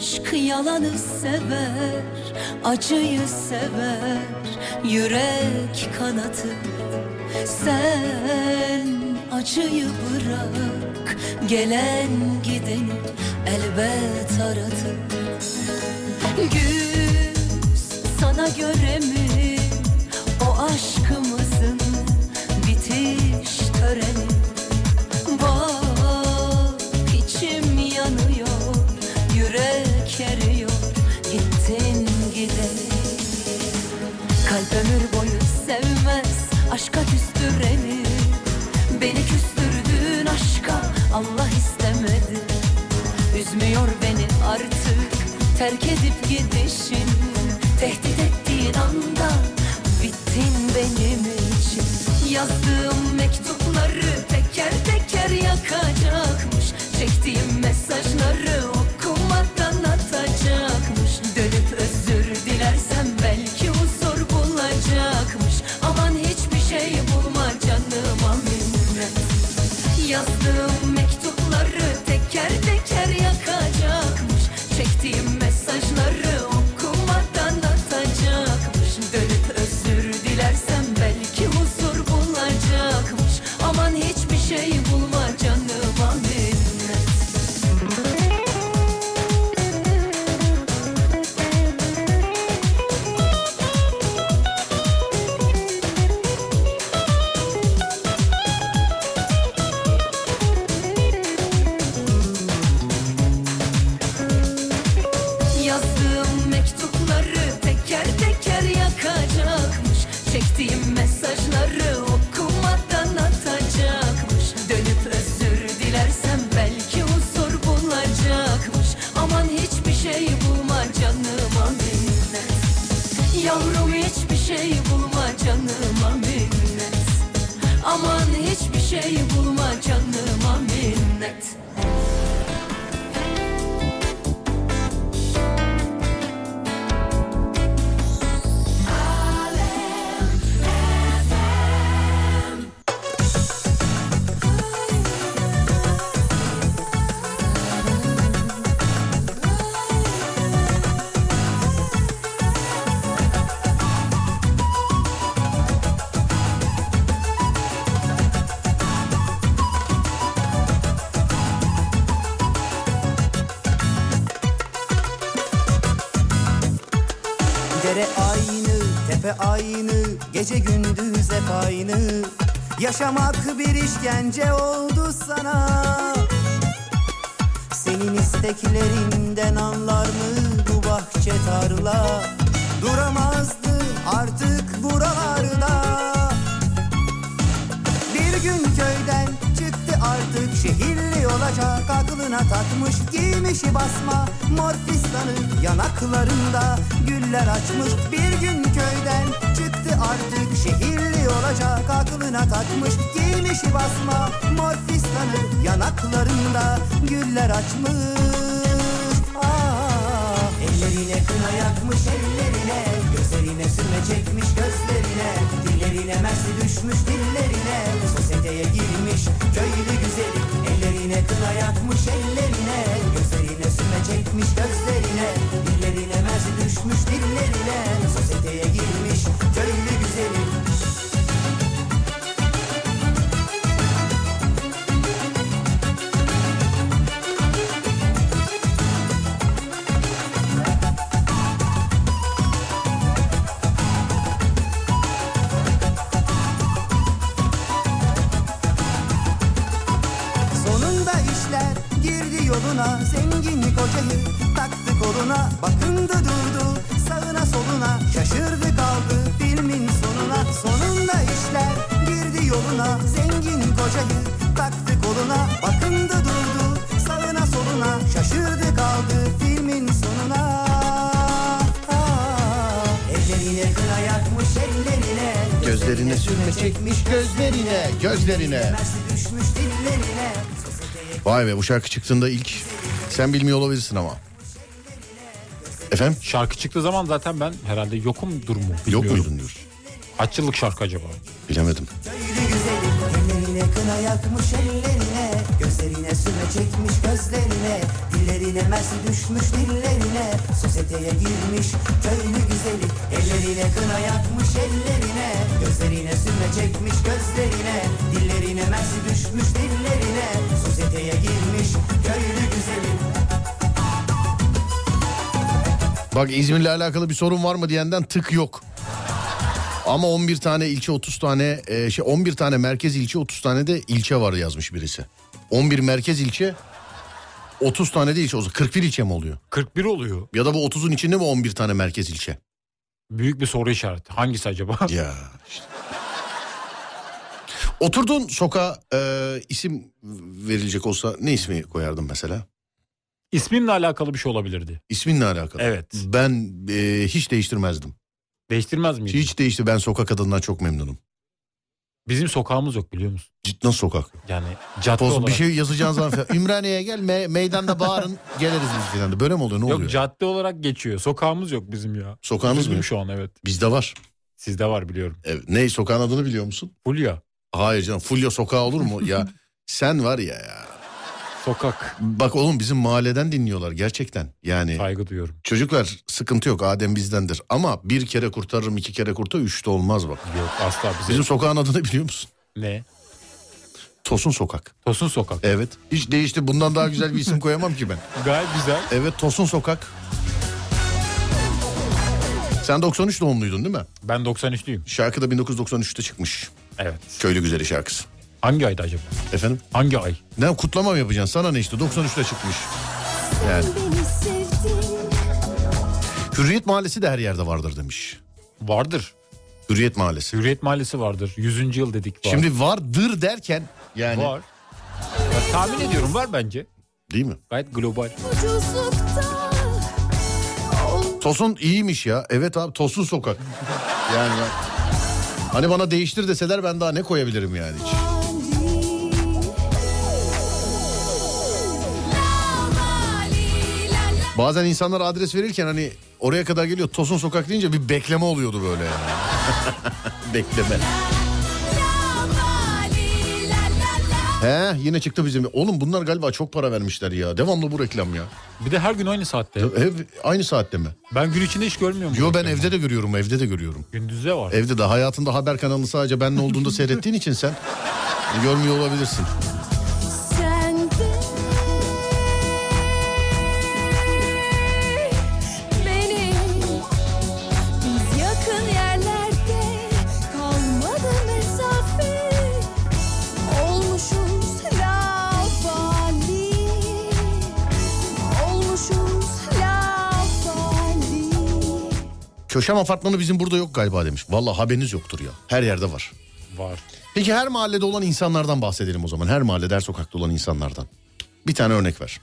S9: Aşk yalanı sever, acıyı sever, yürek kanatı. Sen acıyı bırak, gelen gideni elbet aratır. Güz sana göre mi o aşkımızın bitiş töreni? Bak içim yanıyor, yürek eriyor, gittin gidelim. Kalp ömür boyu sevmez, aşka küstüreni. Beni küstürdüğün aşka Allah istemedi. Üzmüyor beni artık terk edip gidişin Tehdit ettiğin anda bittin benim için Yazdığım mektupları teker teker yakacakmış Çektiğim mesajları okumadan atacakmış Dönüp özür dilersem belki huzur bulacakmış Aman hiçbir şey bulma canıma minnet Yazdığım mektupları teker teker yakacakmış Çektiğim mesajları okumadan atacakmış Dönüp özür dilersem belki huzur bulacakmış Aman hiçbir şey bulma canıma minnet Yazdığım mektupları teker teker yakacakmış Çektiğim mesajları okumadan atacakmış Dönüp özür dilersem belki huzur bulacakmış Aman hiçbir şey bulma canıma minnet Yavrum hiçbir şey bulma canıma minnet Aman hiçbir şey bulma canıma minnet
S10: Dere aynı, tepe aynı, gece gündüz hep aynı. Yaşamak bir işkence oldu sana. Senin isteklerinden anlar mı bu bahçe tarla? Duramazdı artık buralarda. Bir gün köyden çıktı artık şehirli olacak aklına takmış giymişi basma mor fistanı yanaklarında güller açmış bir gün köyden çıktı artık şehirli olacak aklına takmış giymişi basma mor fistanı yanaklarında güller açmış ah, ellerine kına yakmış ellerine gözlerine sürme çekmiş gözlerine dillerine mersi düşmüş dillerine sosyeteye girmiş köylü güzeli ellerine kına yakmış ellerine gözlerine sürme çekmiş gözlerine dillerine mersi düşmüş dillerine sosyeteye girmiş köylü güzeli Sonunda işler girdi yoluna Zenginlik ocağı taktı koluna Bakındı durdu sağına soluna Şaşırdı kaldı filmin sonuna Sonunda işler girdi yoluna Zenginlik ocağı taktı koluna Bakındı durdu sağına soluna Şaşırdı kaldı filmin sonuna Ah, Ellerine kına yakmış ellerine
S2: Gözlerine sürme
S10: çekmiş gözlerine
S2: Gözlerine.
S10: Mersi düşmüş dillerine
S2: Vay be bu şarkı çıktığında ilk sen bilmiyor olabilirsin ama. Efendim?
S3: Şarkı çıktığı zaman zaten ben herhalde yokum durumu.
S2: Yok
S3: bilmiyorum.
S2: muydun diyorsun?
S3: Kaç yıllık şarkı acaba?
S2: Bilemedim.
S10: Köylü güzeli Ellerine kına yakmış ellerine Gözlerine sürme çekmiş gözlerine Dillerine mersi düşmüş dillerine Sosyeteye girmiş köylü güzeli Ellerine kına yakmış ellerine Gözlerine sürme çekmiş gözlerine Dillerine mersi düşmüş dillerine Sosyeteye girmiş köylü güzeli
S2: Bak İzmir'le alakalı bir sorun var mı diyenden tık yok. Ama 11 tane ilçe 30 tane e, şey 11 tane merkez ilçe 30 tane de ilçe var yazmış birisi. 11 merkez ilçe 30 tane de ilçe olsa 41 ilçe mi oluyor?
S3: 41 oluyor.
S2: Ya da bu 30'un içinde mi 11 tane merkez ilçe?
S3: Büyük bir soru işareti. Hangisi acaba?
S2: Ya işte. Oturduğun sokağa e, isim verilecek olsa ne ismi koyardım mesela?
S3: İsmimle alakalı bir şey olabilirdi.
S2: İsminle alakalı.
S3: Evet.
S2: Ben e, hiç değiştirmezdim.
S3: Değiştirmez miydi?
S2: Hiç değişti. Ben sokak adından çok memnunum.
S3: Bizim sokağımız yok biliyor musun?
S2: Ciddi nasıl sokak?
S3: Yani cadde
S2: Poz,
S3: olarak.
S2: bir şey yazacağın zaman falan, Ümraniye'ye gel me- meydanda bağırın geliriz biz filan. de. Böyle mi oluyor ne
S3: yok
S2: oluyor?
S3: cadde olarak geçiyor. Sokağımız yok bizim ya.
S2: Sokağınız mı?
S3: Üzgünüm şu an evet.
S2: Bizde var.
S3: Sizde var biliyorum.
S2: Evet. Ne sokağın adını biliyor musun?
S3: Fulya.
S2: Hayır canım Fulya sokağı olur mu? ya sen var ya ya.
S3: Sokak.
S2: Bak oğlum bizim mahalleden dinliyorlar gerçekten. Yani
S3: Saygı duyuyorum.
S2: çocuklar sıkıntı yok Adem bizdendir. Ama bir kere kurtarırım iki kere kurtar üçte olmaz bak.
S3: Yok asla bize.
S2: Bizim sokağın adını biliyor musun?
S3: Ne?
S2: Tosun Sokak.
S3: Tosun Sokak.
S2: Evet. Hiç değişti bundan daha güzel bir isim koyamam ki ben.
S3: Gayet güzel.
S2: Evet Tosun Sokak. Sen 93 doğumluydun değil mi?
S3: Ben 93'lüyüm.
S2: Şarkı da 1993'te çıkmış.
S3: Evet.
S2: Köylü Güzeli şarkısı.
S3: Hangi aydı acaba?
S2: Efendim?
S3: Hangi ay?
S2: Ne kutlama mı yapacaksın? Sana ne işte 93'te çıkmış. Yani.
S9: Beni sevdin
S2: Hürriyet Mahallesi de her yerde vardır demiş.
S3: Vardır.
S2: Hürriyet Mahallesi.
S3: Hürriyet Mahallesi vardır. 100. yıl dedik var.
S2: Şimdi vardır derken yani
S3: var. Ya, tahmin ediyorum var bence.
S2: değil mi?
S3: Gayet global.
S9: ucuzlukta
S2: Tosun iyiymiş ya. Evet abi Tosun Sokak. Yani ben- Hani bana değiştir deseler ben daha ne koyabilirim yani hiç.
S9: Ali
S2: Bazen insanlar adres verirken hani oraya kadar geliyor Tosun Sokak deyince bir bekleme oluyordu böyle yani. bekleme. He yine çıktı bizim. Oğlum bunlar galiba çok para vermişler ya. Devamlı bu reklam ya.
S3: Bir de her gün aynı saatte.
S2: Ev aynı saatte mi?
S3: Ben gün içinde hiç görmüyorum. bu
S2: Yo ben
S3: reklamı.
S2: evde de görüyorum evde de görüyorum.
S3: Gündüzde var.
S2: Evde de hayatında haber kanalını sadece ben ne olduğunda seyrettiğin için sen görmüyor olabilirsin.
S9: sen de beni
S2: Köşem apartmanı bizim burada yok galiba demiş. Valla haberiniz yoktur ya. Her yerde var.
S3: Var.
S2: Peki her mahallede olan insanlardan bahsedelim o zaman. Her mahallede her sokakta olan insanlardan. Bir tane örnek ver.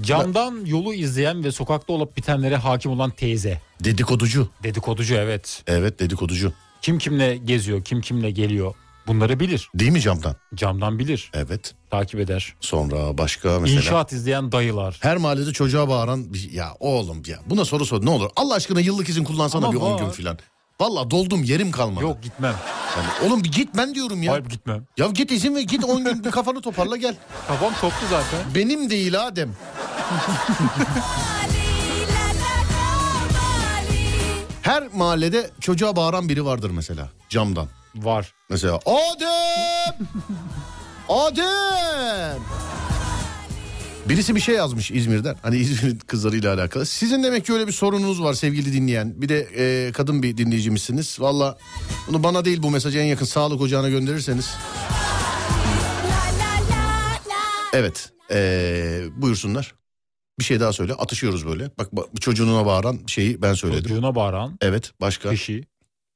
S3: Camdan yolu izleyen ve sokakta olup bitenlere hakim olan teyze.
S2: Dedikoducu.
S3: Dedikoducu evet.
S2: Evet dedikoducu.
S3: Kim kimle geziyor, kim kimle geliyor. Bunları bilir.
S2: Değil mi camdan?
S3: Camdan bilir.
S2: Evet.
S3: Takip eder.
S2: Sonra başka mesela.
S3: İnşaat izleyen dayılar.
S2: Her mahallede çocuğa bağıran bir ya oğlum ya buna soru sor ne olur Allah aşkına yıllık izin kullansana
S3: Ama
S2: bir 10 gün
S3: var.
S2: filan. Valla doldum yerim kalmadı.
S3: Yok gitmem.
S2: Yani, oğlum bir git ben diyorum ya.
S3: Hayır gitmem.
S2: Ya git izin ve git 10 gün bir kafanı toparla gel.
S3: Kafam toplu zaten.
S2: Benim değil Adem. Her mahallede çocuğa bağıran biri vardır mesela camdan.
S3: Var.
S2: Mesela Adem! Adem! Birisi bir şey yazmış İzmir'den. Hani İzmir'in kızlarıyla alakalı. Sizin demek ki öyle bir sorununuz var sevgili dinleyen. Bir de e, kadın bir dinleyicimizsiniz. Valla bunu bana değil bu mesajı en yakın sağlık ocağına gönderirseniz. Evet. e, buyursunlar. Bir şey daha söyle. Atışıyoruz böyle. Bak, bak çocuğuna bağıran şeyi ben söyledim.
S3: Çocuğuna bağıran
S2: Evet başka.
S3: kişi.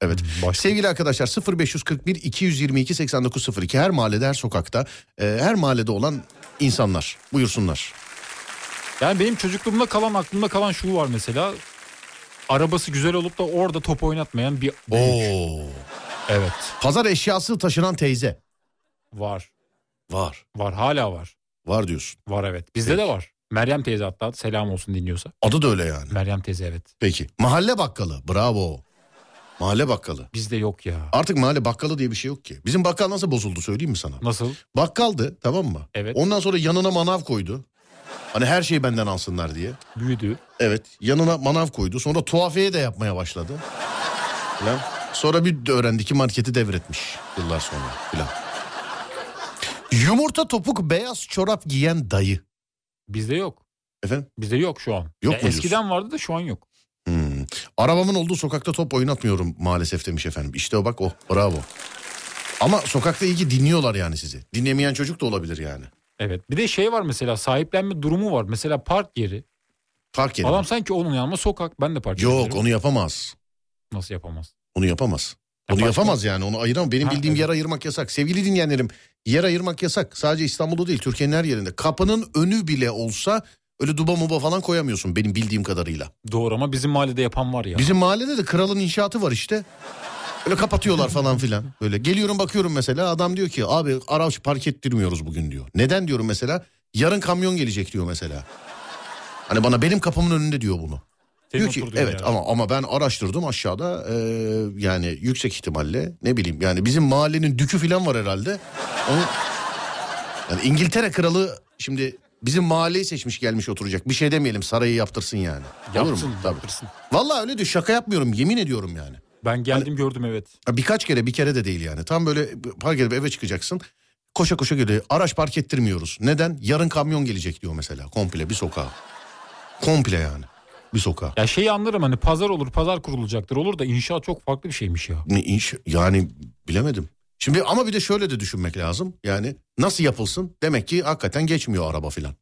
S2: Evet.
S3: Hmm, Başka.
S2: Sevgili arkadaşlar 0541 222 8902 her mahallede her sokakta e, her mahallede olan insanlar buyursunlar.
S3: Yani benim çocukluğumda kalan aklımda kalan şu var mesela. Arabası güzel olup da orada top oynatmayan bir büyük.
S2: Oo.
S3: Evet
S2: Pazar eşyası taşınan teyze
S3: var.
S2: var.
S3: Var hala var.
S2: Var diyorsun.
S3: Var evet. Bizde de var. Meryem teyze hatta selam olsun dinliyorsa.
S2: Adı da öyle yani.
S3: Meryem teyze evet.
S2: Peki. Mahalle bakkalı. Bravo. Mahalle bakkalı.
S3: Bizde yok ya.
S2: Artık mahalle bakkalı diye bir şey yok ki. Bizim bakkal nasıl bozuldu söyleyeyim mi sana?
S3: Nasıl?
S2: Bakkaldı tamam mı?
S3: Evet.
S2: Ondan sonra yanına manav koydu. Hani her şeyi benden alsınlar diye.
S3: Büyüdü.
S2: Evet yanına manav koydu. Sonra tuhafiye de yapmaya başladı. Falan. Sonra bir de öğrendi ki marketi devretmiş yıllar sonra filan. Yumurta topuk beyaz çorap giyen dayı.
S3: Bizde yok.
S2: Efendim?
S3: Bizde yok şu an.
S2: Yok
S3: Ya
S2: mu
S3: eskiden vardı da şu an yok.
S2: Hmm. Arabamın olduğu sokakta top oynatmıyorum maalesef demiş efendim. İşte o bak o bravo. Ama sokakta iyi ki dinliyorlar yani sizi. Dinlemeyen çocuk da olabilir yani.
S3: Evet. Bir de şey var mesela sahiplenme durumu var. Mesela park yeri.
S2: Fark edin.
S3: Adam sanki onun yanıma sokak. Ben de park
S2: Yok
S3: yapıyorum.
S2: onu yapamaz.
S3: Nasıl yapamaz?
S2: Onu yapamaz.
S3: Ya
S2: Onu
S3: başka-
S2: yapamaz yani onu ayıramam. Benim
S3: Ha,
S2: bildiğim
S3: evet.
S2: yer ayırmak yasak. Sevgili dinleyenlerim yer ayırmak yasak. Sadece İstanbul'da değil Türkiye'nin her yerinde. Kapının önü bile olsa öyle duba muba falan koyamıyorsun benim bildiğim kadarıyla.
S3: Doğru ama bizim mahallede yapan var ya.
S2: Bizim mahallede de kralın inşaatı var işte. Öyle kapatıyorlar falan filan. Böyle geliyorum bakıyorum mesela adam diyor ki abi araç park ettirmiyoruz bugün diyor. Neden diyorum mesela? Yarın kamyon gelecek diyor mesela. Hani bana benim kapımın önünde diyor bunu.
S3: Senin
S2: Diyor ki
S3: oturduğun
S2: evet
S3: yer.
S2: ama ama ben araştırdım aşağıda e, yani yüksek ihtimalle ne bileyim yani bizim mahallenin dükü falan var herhalde. Onu, yani İngiltere kralı şimdi bizim mahalleyi seçmiş gelmiş oturacak. Bir şey demeyelim sarayı yaptırsın yani. Olur
S3: Yapsın,
S2: mu? Tabii.
S3: yaptırsın.
S2: Vallahi öyle diyor şaka yapmıyorum yemin ediyorum yani.
S3: Ben geldim gördüm evet.
S2: Ya Birkaç kere bir kere de değil yani. Tam böyle park edip eve çıkacaksın. Koşa koşa geliyor. Araç park ettirmiyoruz. Neden? Yarın kamyon gelecek diyor mesela. Komple bir sokağa. Komple yani. Bir sokağa.
S3: Ya şeyi anlarım hani pazar olur pazar kurulacaktır olur da inşaat çok farklı bir şeymiş ya.
S2: Ne iş- yani bilemedim. Şimdi ama bir de şöyle de düşünmek lazım. Yani nasıl yapılsın? Demek ki hakikaten geçmiyor araba filan.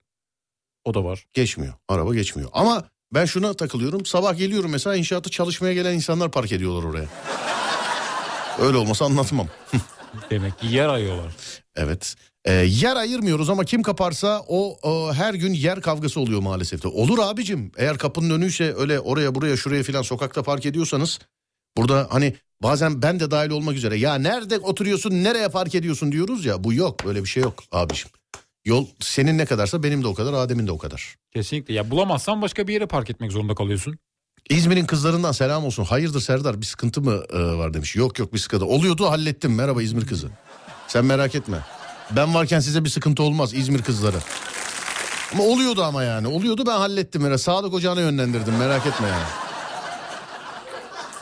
S3: O da var.
S2: Geçmiyor. Araba geçmiyor. Ama ben şuna takılıyorum. Sabah geliyorum mesela inşaatı çalışmaya gelen insanlar park ediyorlar oraya. Öyle olmasa anlatmam.
S3: Demek ki yer ayıyorlar.
S2: Evet. Ee, yer ayırmıyoruz ama kim kaparsa o, o her gün yer kavgası oluyor maalesef de. Olur abicim. Eğer kapının önüyse öyle oraya buraya şuraya filan sokakta park ediyorsanız burada hani bazen ben de dahil olmak üzere ya nerede oturuyorsun nereye park ediyorsun diyoruz ya bu yok böyle bir şey yok abicim. Yol senin ne kadarsa benim de o kadar Adem'in de o kadar.
S3: Kesinlikle. Ya bulamazsan başka bir yere park etmek zorunda kalıyorsun.
S2: İzmir'in kızlarından selam olsun. Hayırdır Serdar bir sıkıntı mı e, var demiş. Yok yok bir sıkıntı. Oluyordu hallettim. Merhaba İzmir kızı. Sen merak etme. Ben varken size bir sıkıntı olmaz İzmir kızları. Ama oluyordu ama yani. Oluyordu ben hallettim. Merhaba. Sağlık ocağına yönlendirdim merak etme yani.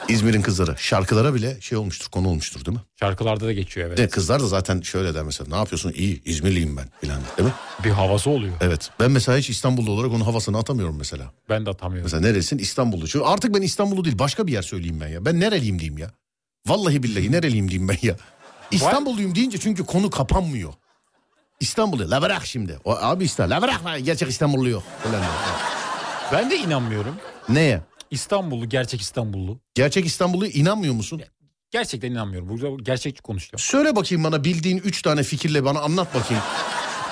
S2: İzmir'in kızları şarkılara bile şey olmuştur konu olmuştur değil mi?
S3: Şarkılarda da geçiyor evet.
S2: De E, kızlar da zaten şöyle der mesela ne yapıyorsun iyi İzmirliyim ben filan değil mi?
S3: Bir havası oluyor.
S2: Evet ben mesela hiç İstanbullu olarak onun havasını atamıyorum mesela.
S3: Ben de atamıyorum.
S2: Mesela neresin? İstanbul'u. Çünkü artık ben İstanbul'u değil başka bir yer söyleyeyim ben ya. Ben nereliyim diyeyim ya. Vallahi billahi nereliyim diyeyim ben ya. İstanbulluyum deyince çünkü konu kapanmıyor. İstanbul'u la bırak şimdi. O abi işte la bırak lan, gerçek İstanbullu yok. Falan diyor.
S3: Ben de inanmıyorum.
S2: Neye?
S3: İstanbullu, gerçek İstanbullu.
S2: Gerçek İstanbul'a inanmıyor musun?
S3: Gerçekten inanmıyorum. Burada gerçek konuşacağım.
S2: Söyle bakayım bana bildiğin üç tane fikirle bana anlat bakayım.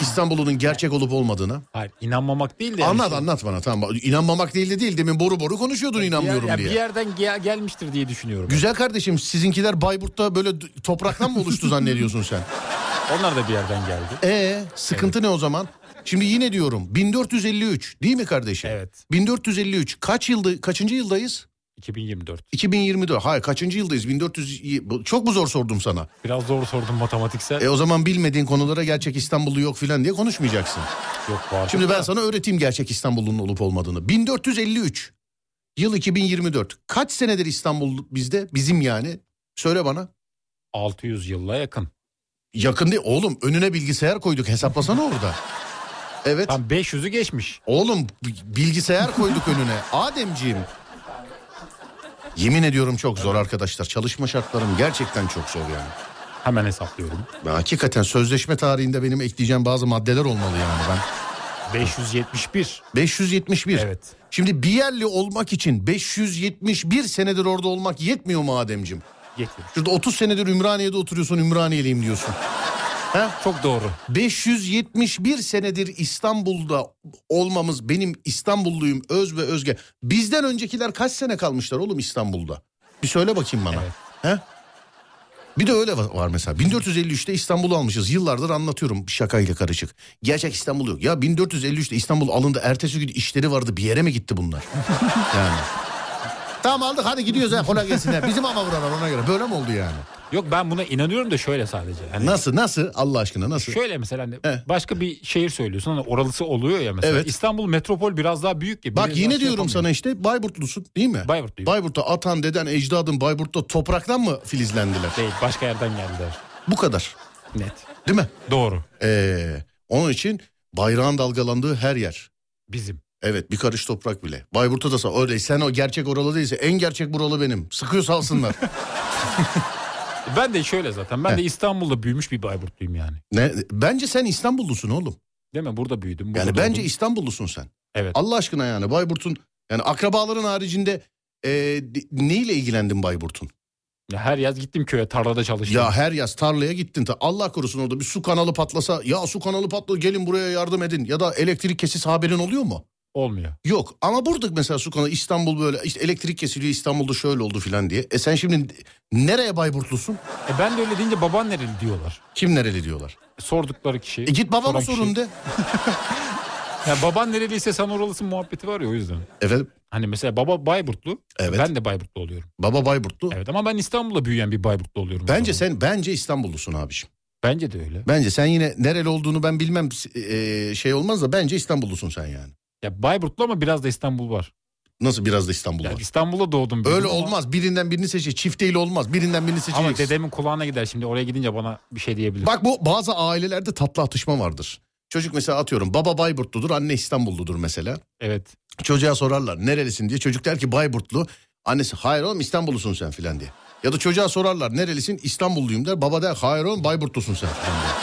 S2: İstanbul'un gerçek olup olmadığını.
S3: Hayır inanmamak değil de. yani
S2: anlat
S3: işte-
S2: anlat bana tamam. İnanmamak değil de değil. Demin boru boru konuşuyordun inanmıyorum
S3: bir, yer- ya
S2: diye.
S3: Bir yerden gel- gelmiştir diye düşünüyorum.
S2: Güzel kardeşim sizinkiler Bayburt'ta böyle d- topraktan mı oluştu zannediyorsun sen?
S3: Onlar da bir yerden geldi.
S2: E sıkıntı ne o zaman? Şimdi yine diyorum 1453 değil mi kardeşim?
S3: Evet.
S2: 1453 kaç yılda kaçıncı yıldayız?
S3: 2024.
S2: 2024. Hayır kaçıncı yıldayız? 1400 y- bu- çok mu zor sordum sana?
S3: Biraz zor sordum matematiksel.
S2: E o zaman bilmediğin konulara gerçek İstanbullu yok filan diye konuşmayacaksın.
S3: Yok var.
S2: Şimdi ben sana öğreteyim gerçek İstanbul'un olup olmadığını. 1453 yıl 2024. Kaç senedir İstanbul bizde? Bizim yani. Söyle bana.
S3: 600 yıla yakın.
S2: Yakın değil oğlum. Önüne bilgisayar koyduk. Hesaplasana orada. Evet.
S3: Tam 500'ü geçmiş.
S2: Oğlum b- bilgisayar koyduk önüne. Ademciğim. Yemin ediyorum çok zor arkadaşlar. Çalışma şartlarım gerçekten çok zor yani.
S3: Hemen hesaplıyorum.
S2: Ben hakikaten sözleşme tarihinde benim ekleyeceğim bazı maddeler olmalı yani ben.
S3: 571.
S2: 571.
S3: Evet.
S2: Şimdi bir yerli olmak için 571 senedir orada olmak yetmiyor mu Ademciğim?
S3: Yetiyor.
S2: Şurada 30 senedir Ümraniye'de oturuyorsun Ümraniyeliyim diyorsun.
S3: Çok doğru.
S2: 571 senedir İstanbul'da olmamız benim İstanbulluyum öz ve özge. Bizden öncekiler kaç sene kalmışlar oğlum İstanbul'da? Bir söyle bakayım bana. He? Bir de öyle va- var mesela. 1453'te İstanbul'u almışız. Yıllardır anlatıyorum şakayla karışık. Gerçek İstanbul yok. Ya 1453'te İstanbul alındı. Ertesi gün işleri vardı. Bir yere mi gitti bunlar? yani. Tamam aldık hadi gidiyoruz ha kolay gelsin. ha. Bizim ama vurarlar ona göre. Böyle mi oldu yani?
S3: Yok ben buna inanıyorum da şöyle sadece. Hani
S2: Nasıl nasıl Allah aşkına nasıl?
S3: Şöyle mesela hani
S2: He.
S3: başka bir şehir söylüyorsun hani oralısı oluyor ya mesela.
S2: Evet.
S3: İstanbul metropol biraz daha büyük ya.
S2: Bak
S3: biraz
S2: yine
S3: daha şey
S2: diyorum sana
S3: yapamıyor.
S2: işte Bayburtlusun değil mi?
S3: Bayburtluyum.
S2: Bayburt'ta atan deden ecdadın Bayburt'ta topraktan mı filizlendiler?
S3: Değil başka yerden geldiler.
S2: Bu kadar
S3: Net.
S2: değil mi?
S3: Doğru.
S2: Ee, onun için bayrağın dalgalandığı her yer.
S3: Bizim.
S2: Evet bir karış toprak bile. Bayburt'ta da sa- öyle sen o gerçek oralı değilse en gerçek buralı benim. Sıkıyorsa alsınlar.
S3: Ben de şöyle zaten. Ben de İstanbul'da büyümüş bir Bayburtluyum yani.
S2: ne? Bence sen İstanbullusun oğlum.
S3: Değil mi? Burada büyüdüm. Burada
S2: Yani bence
S3: doğdum.
S2: İstanbullusun sen.
S3: Evet.
S2: Allah aşkına yani Bayburt'un yani akrabaların haricinde e, di- neyle ilgilendin Bayburt'un?
S3: Ya Her yaz gittim köye tarlada çalıştım.
S2: Ya her yaz tarlaya gittin. Ta- Allah korusun orada bir su kanalı patlasa. Ya su kanalı patladı gelin buraya yardım edin. Ya da elektrik kesis haberin oluyor mu?
S3: Olmuyor.
S2: Yok ama burada mesela su kanalı İstanbul böyle işte elektrik kesiliyor İstanbul'da şöyle oldu filan diye. E sen şimdi nereye Bayburtlusun?
S3: E ben de öyle deyince baban nereli diyorlar.
S2: Kim nereli diyorlar?
S3: Sordukları kişi.
S2: E git babana
S3: soran
S2: sorun
S3: kişi.
S2: de.
S3: Ya baban nereliyse sen oralısın muhabbeti var ya o yüzden.
S2: Efendim
S3: Hani mesela baba Bayburtlu.
S2: Evet.
S3: Ben de Bayburtlu oluyorum.
S2: baba Bayburtlu.
S3: Evet ama ben İstanbul'da büyüyen bir Bayburtlu oluyorum. o
S2: Bence
S3: zaman.
S2: sen bence İstanbullusun abiciğim.
S3: Bence de öyle.
S2: Bence sen yine nereli olduğunu ben bilmem e, şey olmaz da bence İstanbullusun sen yani.
S3: Ya Bayburtlu ama biraz da İstanbul var.
S2: Nasıl biraz da İstanbul
S3: Yani
S2: var.
S3: İstanbul'da doğdum. büyüdüm
S2: Öyle
S3: ama-
S2: olmaz. Birinden birini seçe. Çift değil olmaz. Birinden birini
S3: Ama
S2: seçeceksin.
S3: dedemin kulağına gider şimdi oraya gidince bana bir şey diyebilir.
S2: Bak bu bazı ailelerde tatlı atışma vardır. Çocuk mesela atıyorum baba Bayburtludur anne İstanbulludur mesela.
S3: Evet.
S2: Çocuğa sorarlar nerelisin diye çocuk der ki Bayburtlu. Annesi hayır oğlum İstanbullusun sen filan diye. Ya da çocuğa sorarlar nerelisin İstanbulluyum der. Baba der hayır oğlum Bayburtlusun sen filan diye.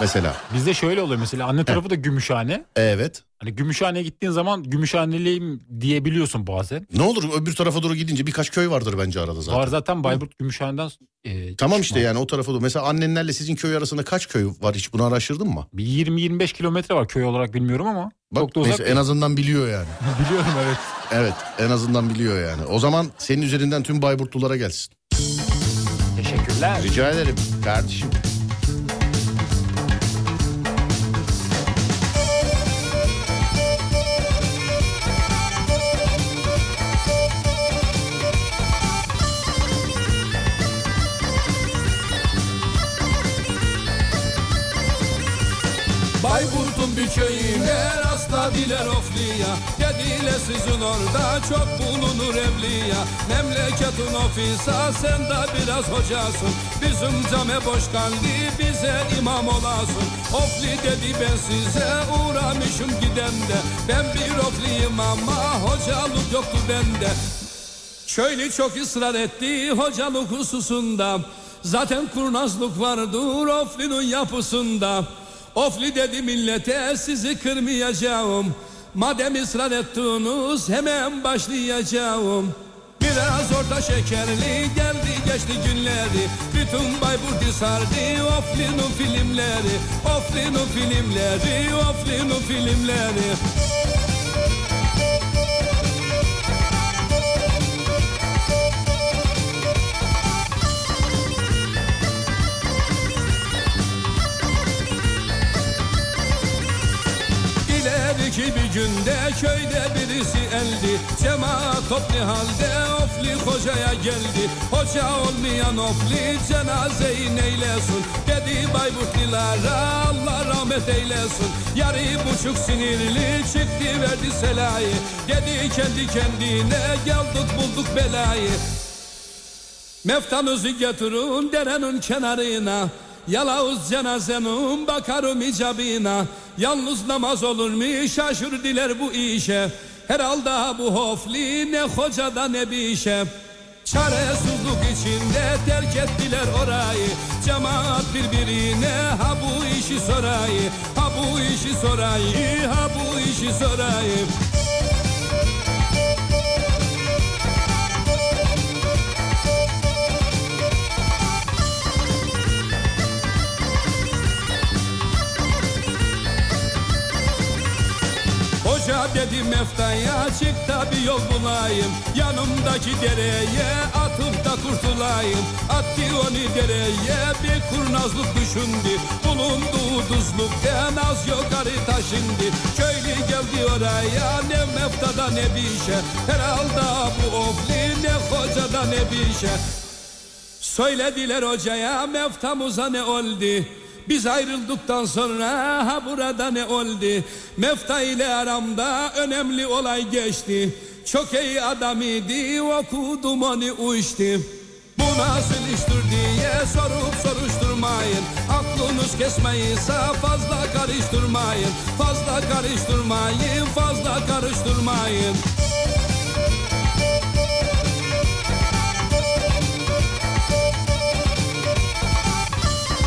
S2: Mesela
S3: Bizde şöyle oluyor mesela anne tarafı da Gümüşhane.
S2: evet.
S3: Hani Gümüşhane'ye gittiğin zaman Gümüşhaneliyim diyebiliyorsun bazen.
S2: Ne olur öbür tarafa doğru gidince birkaç köy vardır bence arada zaten.
S3: Var zaten Bayburt Gümüşhane'den e,
S2: Tamam
S3: çıkma.
S2: işte yani o tarafa doğru. Mesela annenlerle sizin köy arasında kaç köy var hiç bunu araştırdın mı?
S3: Bir 20-25 kilometre var köy olarak bilmiyorum ama.
S2: Bak
S3: çok da uzak.
S2: neyse en azından biliyor yani.
S3: değil. Biliyorum evet.
S2: Evet en azından biliyor yani. O zaman senin üzerinden tüm Bayburtlulara gelsin.
S3: Teşekkürler.
S2: Rica ederim kardeşim.
S1: Bayburt'un bir köyüne rastladılar ofliya Dediler sizin orada çok bulunur evliya Memleketin ofisa sen de biraz hocasın Bizim came boş kaldı bize imam olasın Ofli dedi ben size uğramışım giden de Ben bir ofliyim ama hocalık yoktu bende Köylü çok ısrar etti hocalık hususunda Zaten kurnazlık vardır oflinin yapısında Ofli dedi millete sizi kırmayacağım Madem ısrar ettiniz hemen başlayacağım Biraz orta şekerli geldi geçti günleri Bütün Bayburt'u sardı Oflin'in filmleri Oflin'in filmleri Oflin'in filmleri İleriki bir günde köyde birisi eldi Cemaat toplu halde ofli hocaya geldi Hoca olmayan ofli cenazeyi neylesin Dedi Bayburtlilara Allah rahmet eylesin Yarı buçuk sinirli çıktı verdi selayı Dedi kendi kendine geldik bulduk belayı Meftanızı götürün derenin kenarına Yalavuz cenazenin bakarım icabına Yalnız namaz olur mu şaşır diler bu işe Herhalde bu hofli ne hocada ne bir işe Çaresizlik içinde terk ettiler orayı Cemaat birbirine ha bu işi sorayı Ha bu işi sorayı ha bu işi sorayı Hoca dedi meftaya çık da bir yol bulayım Yanımdaki dereye atıp da kurtulayım Attı onu dereye bir kurnazlık düşündü Bulunduğu tuzlukten az yukarı taşındı Köylü geldi oraya ne meftada ne bir şey Herhalde bu ofli ne hocada ne bir şey Söylediler hocaya meftamuza ne oldu? Biz ayrıldıktan sonra ha burada ne oldu? Mefta ile aramda önemli olay geçti. Çok iyi adam idi okudum onu uçtum. Bu nasıl iştir diye sorup soruşturmayın. Aklınız kesmeyse fazla karıştırmayın. Fazla karıştırmayın, fazla karıştırmayın.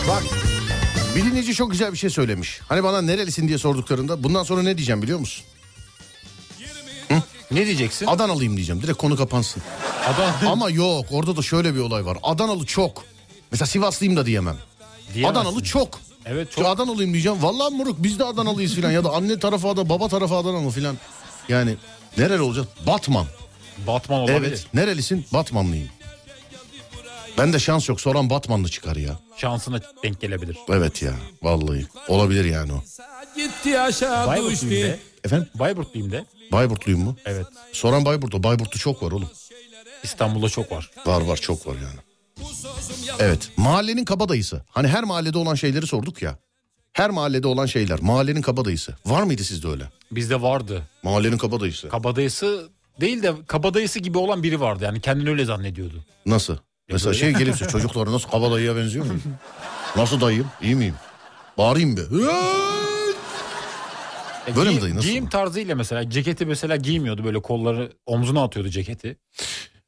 S2: Bak bir dinleyici çok güzel bir şey söylemiş. Hani bana nerelisin diye sorduklarında bundan sonra ne diyeceğim biliyor musun? Hı?
S3: Ne diyeceksin?
S2: Adanalıyım diyeceğim. Direkt konu kapansın.
S3: Adana.
S2: Ama yok orada da şöyle bir olay var. Adanalı çok. Mesela Sivaslıyım da diyemem.
S3: Diyemezsin.
S2: Adanalı çok.
S3: Evet
S2: Çok... Adanalıyım diyeceğim. Vallahi moruk biz de Adanalıyız filan. ya da anne tarafı Adana, baba tarafı Adanalı filan. Yani nereli olacak? Batman.
S3: Batman olabilir.
S2: Evet. Nerelisin? Batmanlıyım. Ben de şans yok. Soran Batmanlı çıkar ya.
S3: Şansına denk gelebilir.
S2: Evet ya. Vallahi. Olabilir yani o.
S1: Gitti aşağı düştü.
S3: Bayburtluyum de.
S2: Efendim?
S3: Bayburtluyum de.
S2: Bayburtluyum mu?
S3: Evet.
S2: Soran Bayburt'ta. Bayburt'ta çok var oğlum.
S3: İstanbul'da çok var.
S2: Var var çok var yani. Evet. Mahallenin kabadayısı. Hani her mahallede olan şeyleri sorduk ya. Her mahallede olan şeyler. Mahallenin kabadayısı. Var mıydı sizde öyle?
S3: Bizde vardı.
S2: Mahallenin kabadayısı.
S3: Kabadayısı değil de kabadayısı gibi olan biri vardı. Yani kendini öyle zannediyordu.
S2: Nasıl?
S3: E,
S2: Mesela şey gelirse çocuklara nasıl kabadayıya benziyor muyum? Nasıl dayıyım? İyi miyim? Bağırayım bir.
S3: E,
S2: Böyle mi
S3: giyim-
S2: dayı, nasıl?
S3: Giyim tarzıyla mesela ceketi mesela giymiyordu böyle kolları omzuna atıyordu ceketi.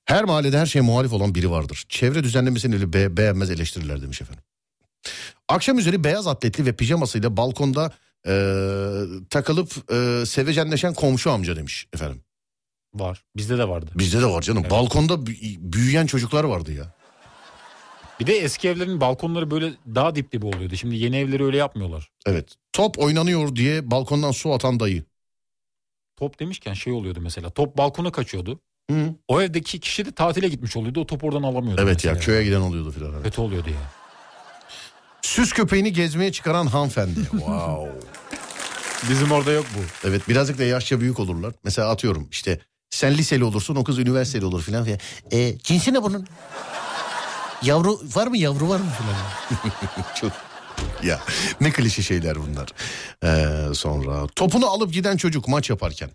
S2: Her mahallede her şeye muhalif olan biri vardır. Çevre düzenlemesini öyle be- beğenmez eleştirirler demiş efendim. Akşam üzeri beyaz atletli ve pijamasıyla balkonda eee, takılıp eee, sevecenleşen komşu amca demiş efendim.
S3: Var. Bizde de vardı.
S2: Bizde de var canım. Balkonda bü- büyüyen çocuklar vardı ya.
S3: Bir de eski evlerin balkonları böyle daha dip dibi oluyordu. Şimdi yeni evleri öyle yapmıyorlar.
S2: Evet. Top oynanıyor diye balkondan su atan dayı.
S3: Top demişken şey oluyordu mesela. Top balkona kaçıyordu.
S2: Hı.
S3: O evdeki kişi de tatile gitmiş oluyordu. O top oradan alamıyordu.
S2: Evet ya
S3: mesela.
S2: köye giden oluyordu filan. evet.
S3: Kötü oluyordu ya.
S2: Süs köpeğini gezmeye çıkaran hanımefendi. wow.
S3: Bizim orada yok bu.
S2: Evet birazcık da yaşça büyük olurlar. Mesela atıyorum işte sen liseli olursun o kız üniversiteli olur filan filan. E, cinsi ne bunun? Yavru var mı yavru var mı filan. Çok ya ne klişe şeyler bunlar. Ee, sonra topunu alıp giden çocuk maç yaparken.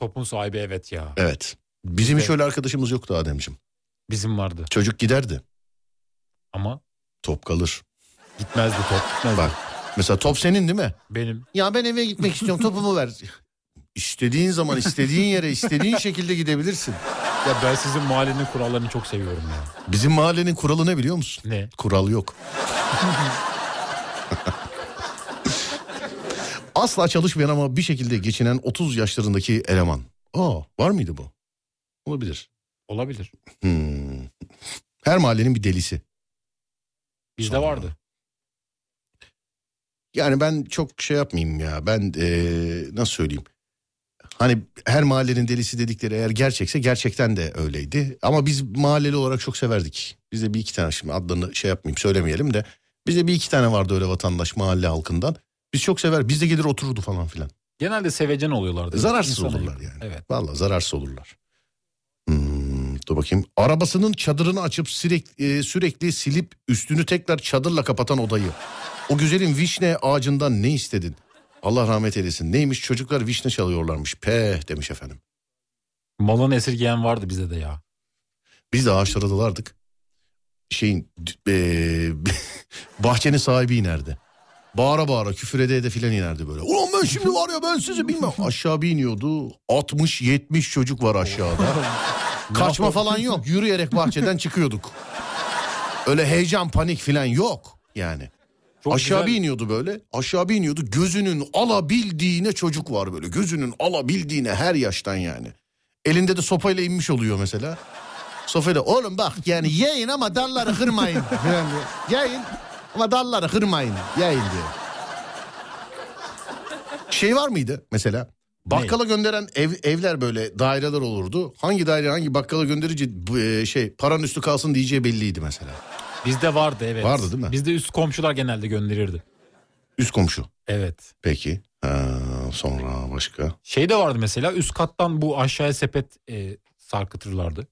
S3: Topun sahibi evet ya.
S2: Evet. Bizim hiç
S3: Evet.
S2: öyle arkadaşımız yoktu Ademciğim.
S3: Bizim vardı.
S2: Çocuk giderdi.
S3: Ama
S2: Top kalır.
S3: gitmezdi top. Gitmezdi.
S2: Bak mesela top senin değil mi?
S3: Benim
S2: Ya ben eve gitmek istiyorum topumu ver. İstediğin zaman istediğin yere istediğin şekilde gidebilirsin.
S3: ya ben sizin mahallenin kurallarını çok seviyorum ya.
S2: Bizim mahallenin kuralı ne biliyor musun?
S3: Ne?
S2: Kural yok. Asla çalışmayan ama bir şekilde geçinen 30 yaşlarındaki eleman. Aa var mıydı bu? Olabilir.
S3: Olabilir.
S2: Hmm. Her mahallenin bir delisi.
S3: Bizde vardı.
S2: Yani ben çok şey yapmayayım ya. Ben eee, nasıl söyleyeyim? Hani her mahallenin delisi dedikleri eğer gerçekse gerçekten de öyleydi. Ama biz mahalleli olarak çok severdik. Bizde bir iki tane şimdi adlarını şey yapmayayım söylemeyelim de. Bizde bir iki tane vardı öyle vatandaş mahalle halkından. Biz çok sever. Bizde gelir otururdu falan filan.
S3: Genelde sevecen oluyorlardı.
S2: Zararsız
S3: İnsan
S2: olurlar
S3: ayıp.
S2: yani.
S3: Evet.
S2: Vallahi zararsız olurlar. Hmm, dur bakayım. Arabasının çadırını açıp sürekli, e, sürekli silip üstünü tekrar çadırla kapatan odayı. O güzelin vişne ağacından ne istedin? Allah rahmet eylesin. Neymiş çocuklar vişne çalıyorlarmış. Peh demiş efendim.
S3: Malını esirgeyen vardı bize de ya.
S2: Biz de ağaçlara dalardık. Şeyin d- e, bahçenin sahibi inerdi. Bağıra bağıra küfür ede ede filan inerdi böyle. Ulan ben şimdi var ya ben sizi bilmem. Aşağı bir iniyordu. 60-70 çocuk var aşağıda. Kaçma falan yok. Yürüyerek bahçeden çıkıyorduk. Öyle heyecan panik filan yok yani.
S3: Çok
S2: aşağı
S3: güzel.
S2: bir iniyordu böyle. Aşağı bir iniyordu. Gözünün alabildiğine çocuk var böyle. Gözünün alabildiğine her yaştan yani. Elinde de sopayla inmiş oluyor mesela. Sopayla oğlum bak yani yayın ama dalları kırmayın. Yani yayın ama dalları kırmayın. Yayın diyor. Şey var mıydı mesela? Bakkala gönderen ev, evler böyle daireler olurdu. Hangi daire hangi bakkala gönderince bu, e, şey paranın üstü kalsın diyeceği belliydi mesela.
S3: Bizde vardı evet.
S2: Vardı değil mi?
S3: Bizde üst komşular genelde gönderirdi.
S2: Üst komşu.
S3: Evet.
S2: Peki. Ha, sonra başka.
S3: Şey de vardı mesela üst kattan bu aşağıya sepet e, sarkıtırlardı.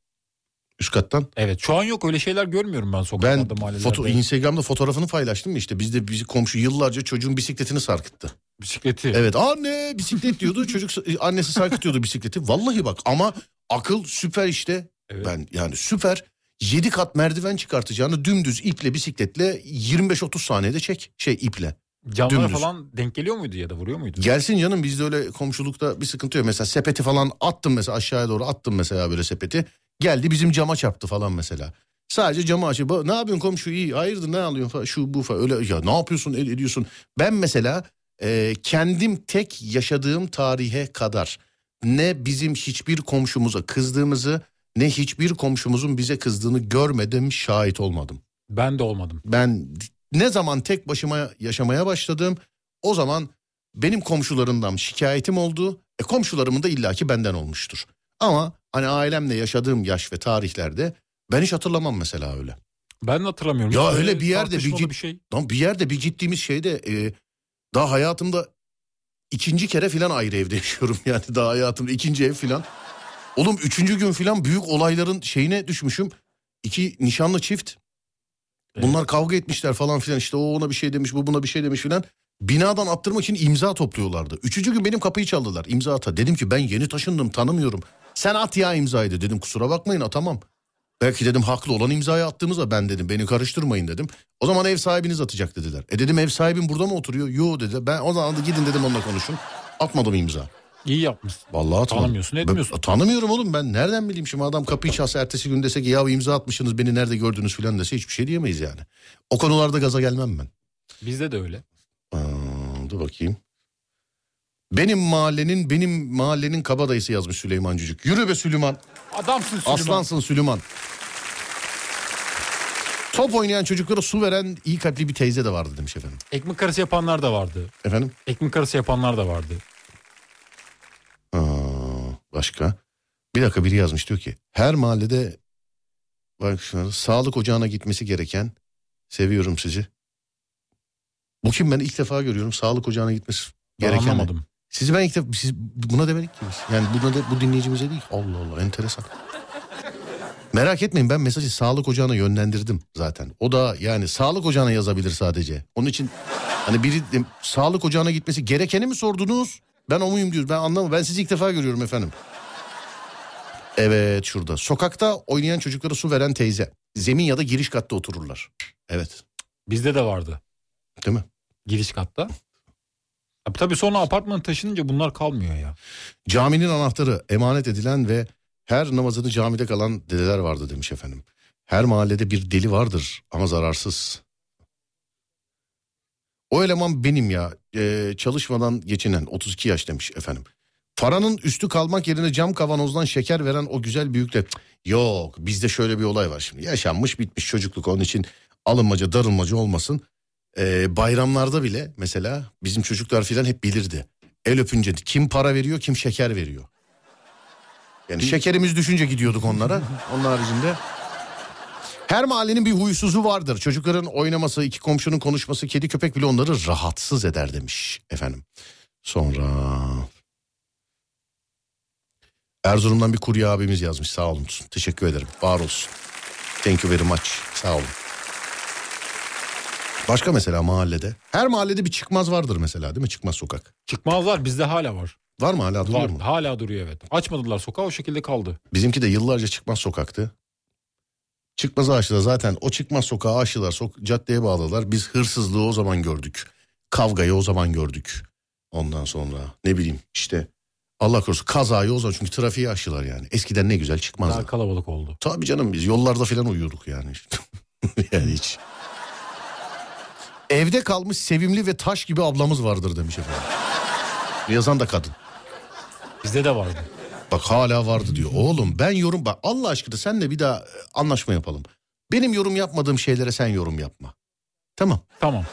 S2: Üst kattan.
S3: Evet şu an yok öyle şeyler görmüyorum ben sokaklarda
S2: Ben
S3: mahallelerde.
S2: foto, Instagram'da fotoğrafını paylaştım ya işte bizde bizi komşu yıllarca çocuğun bisikletini sarkıttı.
S3: Bisikleti.
S2: Evet anne bisiklet diyordu çocuk annesi sarkıtıyordu bisikleti. Vallahi bak ama akıl süper işte.
S3: Evet.
S2: Ben yani süper. 7 kat merdiven çıkartacağını dümdüz iple bisikletle 25-30 saniyede çek şey iple.
S3: Camlara
S2: dümdüz.
S3: falan denk geliyor muydu ya da vuruyor muydu?
S2: Gelsin canım bizde öyle komşulukta bir sıkıntı yok. Mesela sepeti falan attım mesela aşağıya doğru attım mesela böyle sepeti. Geldi bizim cama çarptı falan mesela. Sadece camı açıp "Ba- ne yapıyorsun komşu iyi hayırdır ne alıyorsun falan şu bu falan öyle ya ne yapıyorsun el ediyorsun. Ben mesela e, kendim tek yaşadığım tarihe kadar ne bizim hiçbir komşumuza kızdığımızı ne hiçbir komşumuzun bize kızdığını görmedim şahit olmadım.
S3: Ben de olmadım.
S2: Ben ne zaman tek başıma yaşamaya başladım o zaman benim komşularımdan şikayetim oldu. E komşularımın da illaki benden olmuştur. Ama hani ailemle yaşadığım yaş ve tarihlerde ben hiç hatırlamam mesela öyle.
S3: Ben de hatırlamıyorum.
S2: Ya
S3: Hiç
S2: öyle
S3: böyle
S2: bir yerde bir
S3: tartışmalı
S2: git-
S3: bir şey.
S2: Lan bir yerde bir gittiğimiz şeyde e, daha hayatımda ikinci kere filan ayrı evde yaşıyorum yani daha hayatımda ikinci ev filan. Oğlum üçüncü gün filan büyük olayların şeyine düşmüşüm. İki nişanlı çift bunlar kavga etmişler falan filan işte o ona bir şey demiş bu buna bir şey demiş filan. Binadan attırmak için imza topluyorlardı. Üçüncü gün benim kapıyı çaldılar imza ata. Dedim ki ben yeni taşındım tanımıyorum. Sen at ya imzaydı dedim kusura bakmayın atamam. Belki dedim haklı olan imzayı attığımızda ben dedim beni karıştırmayın dedim. O zaman ev sahibiniz atacak dediler. E dedim ev sahibim burada mı oturuyor? Yo dedi. Ben o zaman da gidin dedim onunla konuşun. Atmadım imza.
S3: İyi yapmışsın.
S2: Vallahi atmadım.
S3: Tanımıyorsun, etmiyorsun.
S2: Ben- tanımıyorum oğlum ben nereden bileyim şimdi adam kapıyı çalsa ertesi gün dese ki ya imza atmışsınız beni nerede gördünüz filan dese hiçbir şey diyemeyiz yani. O konularda gaza gelmem ben.
S3: Bizde de öyle.
S2: Aa, dur bakayım. Benim mahallenin benim mahallenin kabadayısı yazmış Süleyman Cücük. Yürü be Süleyman.
S3: Adamsın Süleyman.
S2: Aslansın Süleyman. Top oynayan çocuklara su veren iyi kalpli bir teyze de vardı demiş efendim.
S3: Ekmek arası yapanlar da vardı.
S2: Efendim?
S3: Ekmek arası yapanlar da vardı.
S2: Aa, başka. Bir dakika biri yazmış diyor ki her mahallede bak şunları, sağlık ocağına gitmesi gereken seviyorum sizi. Bu kim ben ilk defa görüyorum sağlık ocağına gitmesi
S3: Ben
S2: gereken.
S3: anlamadım.
S2: Sizi ben ilk defa siz buna demedik ki biz. Yani buna de, bu dinleyicimize değil. Allah Allah enteresan. Merak etmeyin ben mesajı sağlık ocağına yönlendirdim zaten. O da yani sağlık ocağına yazabilir sadece. Onun için hani biri de- sağlık ocağına gitmesi gerekeni mi sordunuz? Ben o muyum diyor. Ben anlamam. Ben sizi ilk defa görüyorum efendim. Evet şurada. Sokakta oynayan çocuklara su veren teyze. Zemin ya da giriş katta otururlar. Evet.
S3: Bizde de vardı.
S2: Değil mi?
S3: Giriş katta. Tabii, tabii sonra apartman taşınınca bunlar kalmıyor ya.
S2: Caminin anahtarı emanet edilen ve her namazını camide kalan dedeler vardı demiş efendim. Her mahallede bir deli vardır ama zararsız. O eleman benim ya. Ee, çalışmadan geçinen 32 yaş demiş efendim. Paranın üstü kalmak yerine cam kavanozdan şeker veren o güzel büyük de Cık, yok bizde şöyle bir olay var şimdi yaşanmış bitmiş çocukluk onun için alınmaca darılmaca olmasın. Ee, bayramlarda bile mesela bizim çocuklar filan hep bilirdi. El öpünce kim para veriyor kim şeker veriyor. Yani şekerimiz düşünce gidiyorduk onlara. Onun haricinde her mahallenin bir huysuzu vardır. Çocukların oynaması, iki komşunun konuşması, kedi köpek bile onları rahatsız eder demiş efendim. Sonra Erzurum'dan bir kurye abimiz yazmış. Sağ olun. Teşekkür ederim. Var olsun. Thank you very much. Sağ olun. Başka mesela mahallede. Her mahallede bir çıkmaz vardır mesela değil mi? Çıkmaz sokak.
S3: Çıkmazlar bizde hala var.
S2: Var mı hala duruyor
S3: Var,
S2: mu?
S3: hala duruyor evet. Açmadılar sokağı o şekilde kaldı.
S2: Bizimki de yıllarca çıkmaz sokaktı. Çıkmaz aşıda zaten o çıkmaz sokağı aşılar sok caddeye bağladılar. Biz hırsızlığı o zaman gördük. Kavgayı o zaman gördük. Ondan sonra ne bileyim işte Allah korusun kazayı o zaman çünkü trafiği aşılar yani. Eskiden ne güzel
S3: Daha
S2: çıkmazdı.
S3: kalabalık oldu.
S2: Tabii canım biz yollarda falan uyuyorduk yani. yani hiç. Evde kalmış sevimli ve taş gibi ablamız vardır demiş efendim. Yazan da kadın.
S3: Bizde de vardı.
S2: Bak hala vardı diyor. Oğlum ben yorum bak Allah aşkına senle bir daha e, anlaşma yapalım. Benim yorum yapmadığım şeylere sen yorum yapma. Tamam.
S3: Tamam.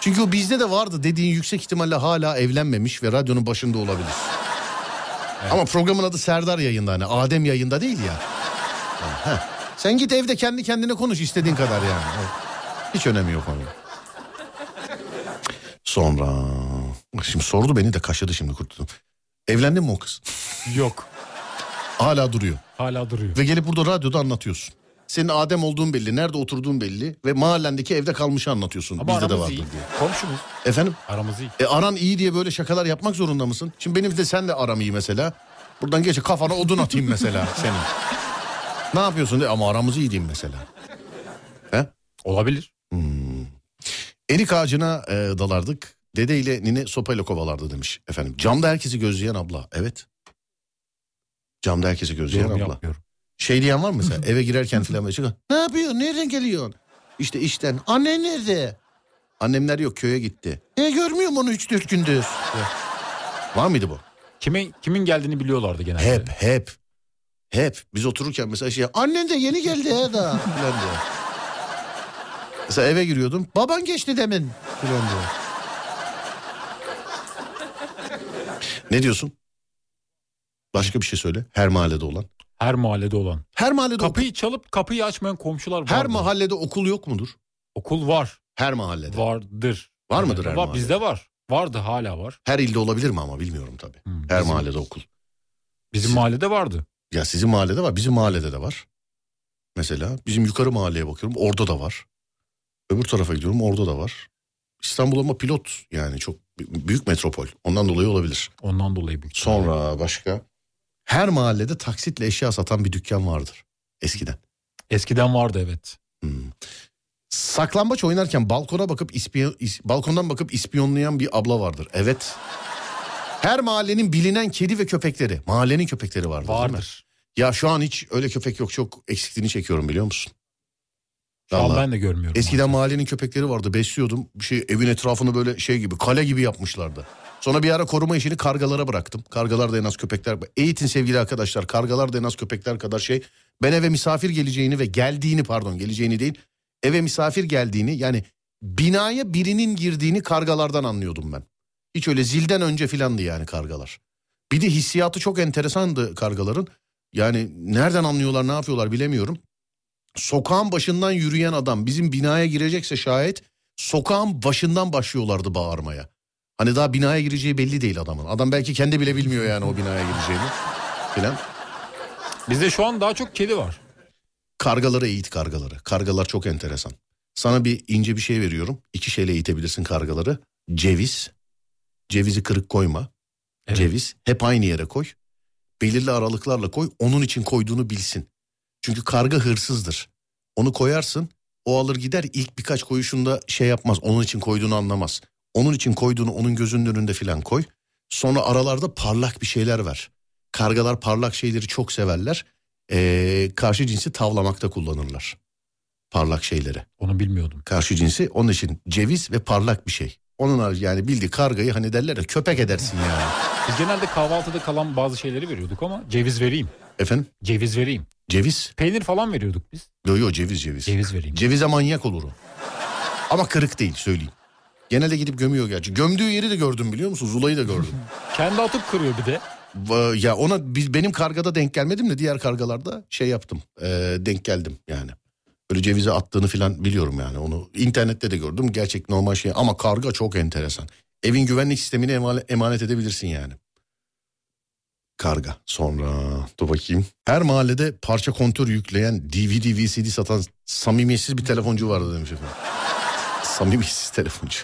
S2: Çünkü o bizde de vardı dediğin yüksek ihtimalle hala evlenmemiş ve radyonun başında olabilir. Ama programın adı Serdar yayında hani Adem yayında değil ya. Yani, heh. Sen git evde kendi kendine konuş istediğin kadar yani. Evet. Hiç önemi yok onun. Sonra şimdi sordu beni de kaşıdı şimdi kurtuldum. Evlendin mi o kız?
S3: Yok.
S2: Hala duruyor.
S3: Hala duruyor.
S2: Ve gelip burada radyoda anlatıyorsun. Senin Adem olduğun belli, nerede oturduğun belli ve mahallendeki evde kalmışı anlatıyorsun.
S3: Ama
S2: Bizde de
S3: aramız
S2: vardı
S3: iyi.
S2: diye.
S3: Komşumuz.
S2: Efendim?
S3: Aramız iyi.
S2: E aran iyi diye böyle şakalar yapmak zorunda mısın? Şimdi benim de senle aram iyi mesela. Buradan geç kafana odun atayım mesela senin. Ne yapıyorsun diye ama aramız iyi diyeyim mesela. Hmm.
S3: Olabilir.
S2: Erik ağacına e, dalardık. Dede ile nine sopayla kovalardı demiş efendim. Camda herkesi gözleyen abla. Evet. Camda herkesi gözleyen
S3: Yorum
S2: abla.
S3: yapmıyorum.
S2: Şey diyen var mı mesela eve girerken filan böyle çıkıyor. Ne yapıyorsun? Nereden geliyorsun? İşte işten. Anne nerede? Annemler yok köye gitti. E görmüyorum onu üç dört gündür. var mıydı bu?
S3: Kimin, kimin geldiğini biliyorlardı genelde.
S2: Hep hep. Hep. Biz otururken mesela şey annen de yeni geldi he da. filan diyor. Mesela eve giriyordum. Baban geçti demin. Filan diyor. ne diyorsun? Başka bir şey söyle. Her mahallede olan.
S3: Her mahallede olan.
S2: Her mahallede okul-
S3: Kapıyı çalıp kapıyı açmayan komşular vardı.
S2: her mahallede okul yok mudur?
S3: Okul var.
S2: Her mahallede.
S3: Vardır.
S2: Var mıdır her
S3: var, Bizde var. Vardı hala var.
S2: Her ilde olabilir mi ama bilmiyorum tabii.
S3: Hmm,
S2: Her
S3: bizim-
S2: mahallede okul.
S3: Bizim mahallede vardı.
S2: Ya sizin mahallede var, bizim mahallede de var. Mesela bizim yukarı mahalleye bakıyorum, orada da var. Öbür tarafa gidiyorum, orada da var. İstanbul ama pilot yani çok b- büyük metropol. Ondan dolayı olabilir.
S3: Ondan dolayı büyük. ihtimalle.
S2: Sonra başka? Her mahallede taksitle eşya satan bir dükkan vardır eskiden.
S3: Eskiden vardı evet.
S2: Hmm. Saklambaç oynarken balkona bakıp ispiyo- is- balkondan bakıp ispiyonlayan bir abla vardır. Evet. Her mahallenin bilinen kedi ve köpekleri, mahallenin köpekleri vardır. değil mi?
S3: Vardır.
S2: Ya şu an hiç öyle köpek yok. Çok eksikliğini çekiyorum biliyor musun?
S3: Şu an
S2: Vallahi.
S3: ben de görmüyorum.
S2: Eskiden mahallenin köpekleri vardı. Besliyordum. Bir şey evin etrafını böyle şey gibi, kale gibi yapmışlardı. Sonra bir ara koruma işini kargalara bıraktım. Kargalar da en az köpekler. Eğitin sevgili arkadaşlar. Kargalar da en az köpekler kadar şey. Ben eve misafir geleceğini ve geldiğini pardon geleceğini değil. Eve misafir geldiğini yani binaya birinin girdiğini kargalardan anlıyordum ben. Hiç öyle zilden önce filandı yani kargalar. Bir de hissiyatı çok enteresandı kargaların. Yani nereden anlıyorlar ne yapıyorlar bilemiyorum. Sokağın başından yürüyen adam bizim binaya girecekse şayet sokağın başından başlıyorlardı bağırmaya. Hani daha binaya gireceği belli değil adamın. Adam belki kendi bile bilmiyor yani o binaya gireceğini filan.
S3: Bizde şu an daha çok kedi var.
S2: Kargaları eğit kargaları. Kargalar çok enteresan. Sana bir ince bir şey veriyorum. İki şeyle eğitebilirsin kargaları. Ceviz. Cevizi kırık koyma.
S3: Evet.
S2: Ceviz. Hep aynı yere koy. Belirli aralıklarla koy. Onun için koyduğunu bilsin. Çünkü karga hırsızdır. Onu koyarsın. O alır gider ilk birkaç koyuşunda şey yapmaz. Onun için koyduğunu anlamaz. Onun için koyduğunu onun gözünün önünde filan koy. Sonra aralarda parlak bir şeyler ver. Kargalar parlak şeyleri çok severler. Ee, karşı cinsi tavlamakta kullanırlar. parlak şeylere.
S3: Onu bilmiyordum.
S2: Karşı cinsi onun için ceviz ve parlak bir şey. Onun harici yani bildiği kargayı hani derler ya köpek edersin yani.
S3: Biz genelde kahvaltıda kalan bazı şeyleri veriyorduk ama ceviz vereyim.
S2: Efendim
S3: Ceviz vereyim.
S2: ceviz.
S3: Peynir falan veriyorduk biz.
S2: Yo yo ceviz ceviz.
S3: Ceviz vereyim.
S2: Cevize manyak olurum. Ama kırık değil söyleyeyim. Genelde gidip gömüyor gerçi. Gömdüğü yeri de gördüm biliyor musun? Zula'yı da gördüm.
S3: Kendi atıp kırıyor bir de.
S2: Va- ya ona biz- benim kargada denk gelmedim de diğer kargalarda şey yaptım. e, denk geldim yani. Böyle cevize attığını filan biliyorum yani onu. internette de gördüm gerçek normal şey ama karga çok enteresan. Evin güvenlik sistemine emale- emanet edebilirsin yani. Karga. Sonra dur bakayım. Her mahallede parça kontör yükleyen DVD, VCD satan samimiyetsiz bir telefoncu vardı demiş efendim. samimiyetsiz telefoncu.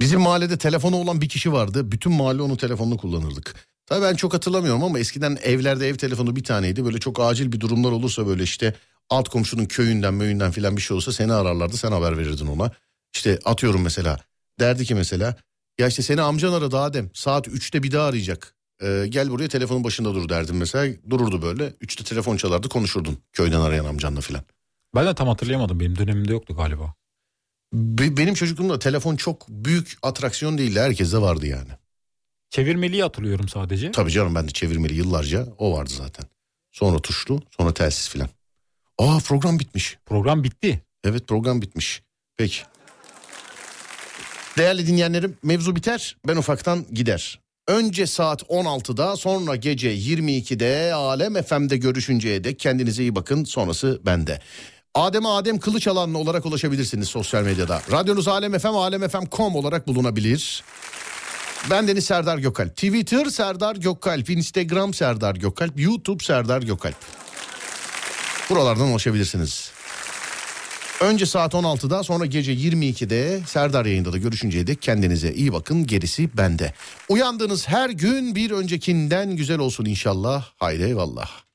S2: Bizim mahallede telefonu olan bir kişi vardı. Bütün mahalle onun telefonunu kullanırdık. Tabii ben çok hatırlamıyorum ama eskiden evlerde ev telefonu bir taneydi. Böyle çok acil bir durumlar olursa böyle işte alt komşunun köyünden möyünden filan bir şey olsa seni ararlardı. Sen haber verirdin ona. İşte atıyorum mesela. Derdi ki mesela ya işte seni amcan aradı Adem. Saat 3'te bir daha arayacak. Ee, gel buraya telefonun başında dur derdim mesela. Dururdu böyle. 3'te telefon çalardı konuşurdun köyden arayan amcanla filan.
S3: Ben de tam hatırlayamadım. Benim dönemimde yoktu galiba.
S2: Be- benim çocukluğumda telefon çok büyük atraksiyon değildi. Herkeste vardı yani.
S3: Çevirmeliyi hatırlıyorum sadece.
S2: Tabii canım ben de çevirmeli yıllarca o vardı zaten. Sonra tuşlu sonra telsiz filan. Aa program bitmiş.
S3: Program bitti.
S2: Evet program bitmiş. Peki. Değerli dinleyenlerim mevzu biter ben ufaktan gider. Önce saat 16'da sonra gece 22'de Alem FM'de görüşünceye dek kendinize iyi bakın sonrası bende. Adem'e Adem Kılıçalanlı olarak ulaşabilirsiniz sosyal medyada. Radyonuz Alem FM, alemfm.com olarak bulunabilir. Ben Deniz Serdar Gökalp. Twitter Serdar Gökalp, Instagram Serdar Gökalp, YouTube Serdar Gökalp. Buralardan ulaşabilirsiniz. Önce saat 16'da sonra gece 22'de Serdar yayında da görüşünceye dek kendinize iyi bakın gerisi bende. Uyandığınız her gün bir öncekinden güzel olsun inşallah. Haydi eyvallah.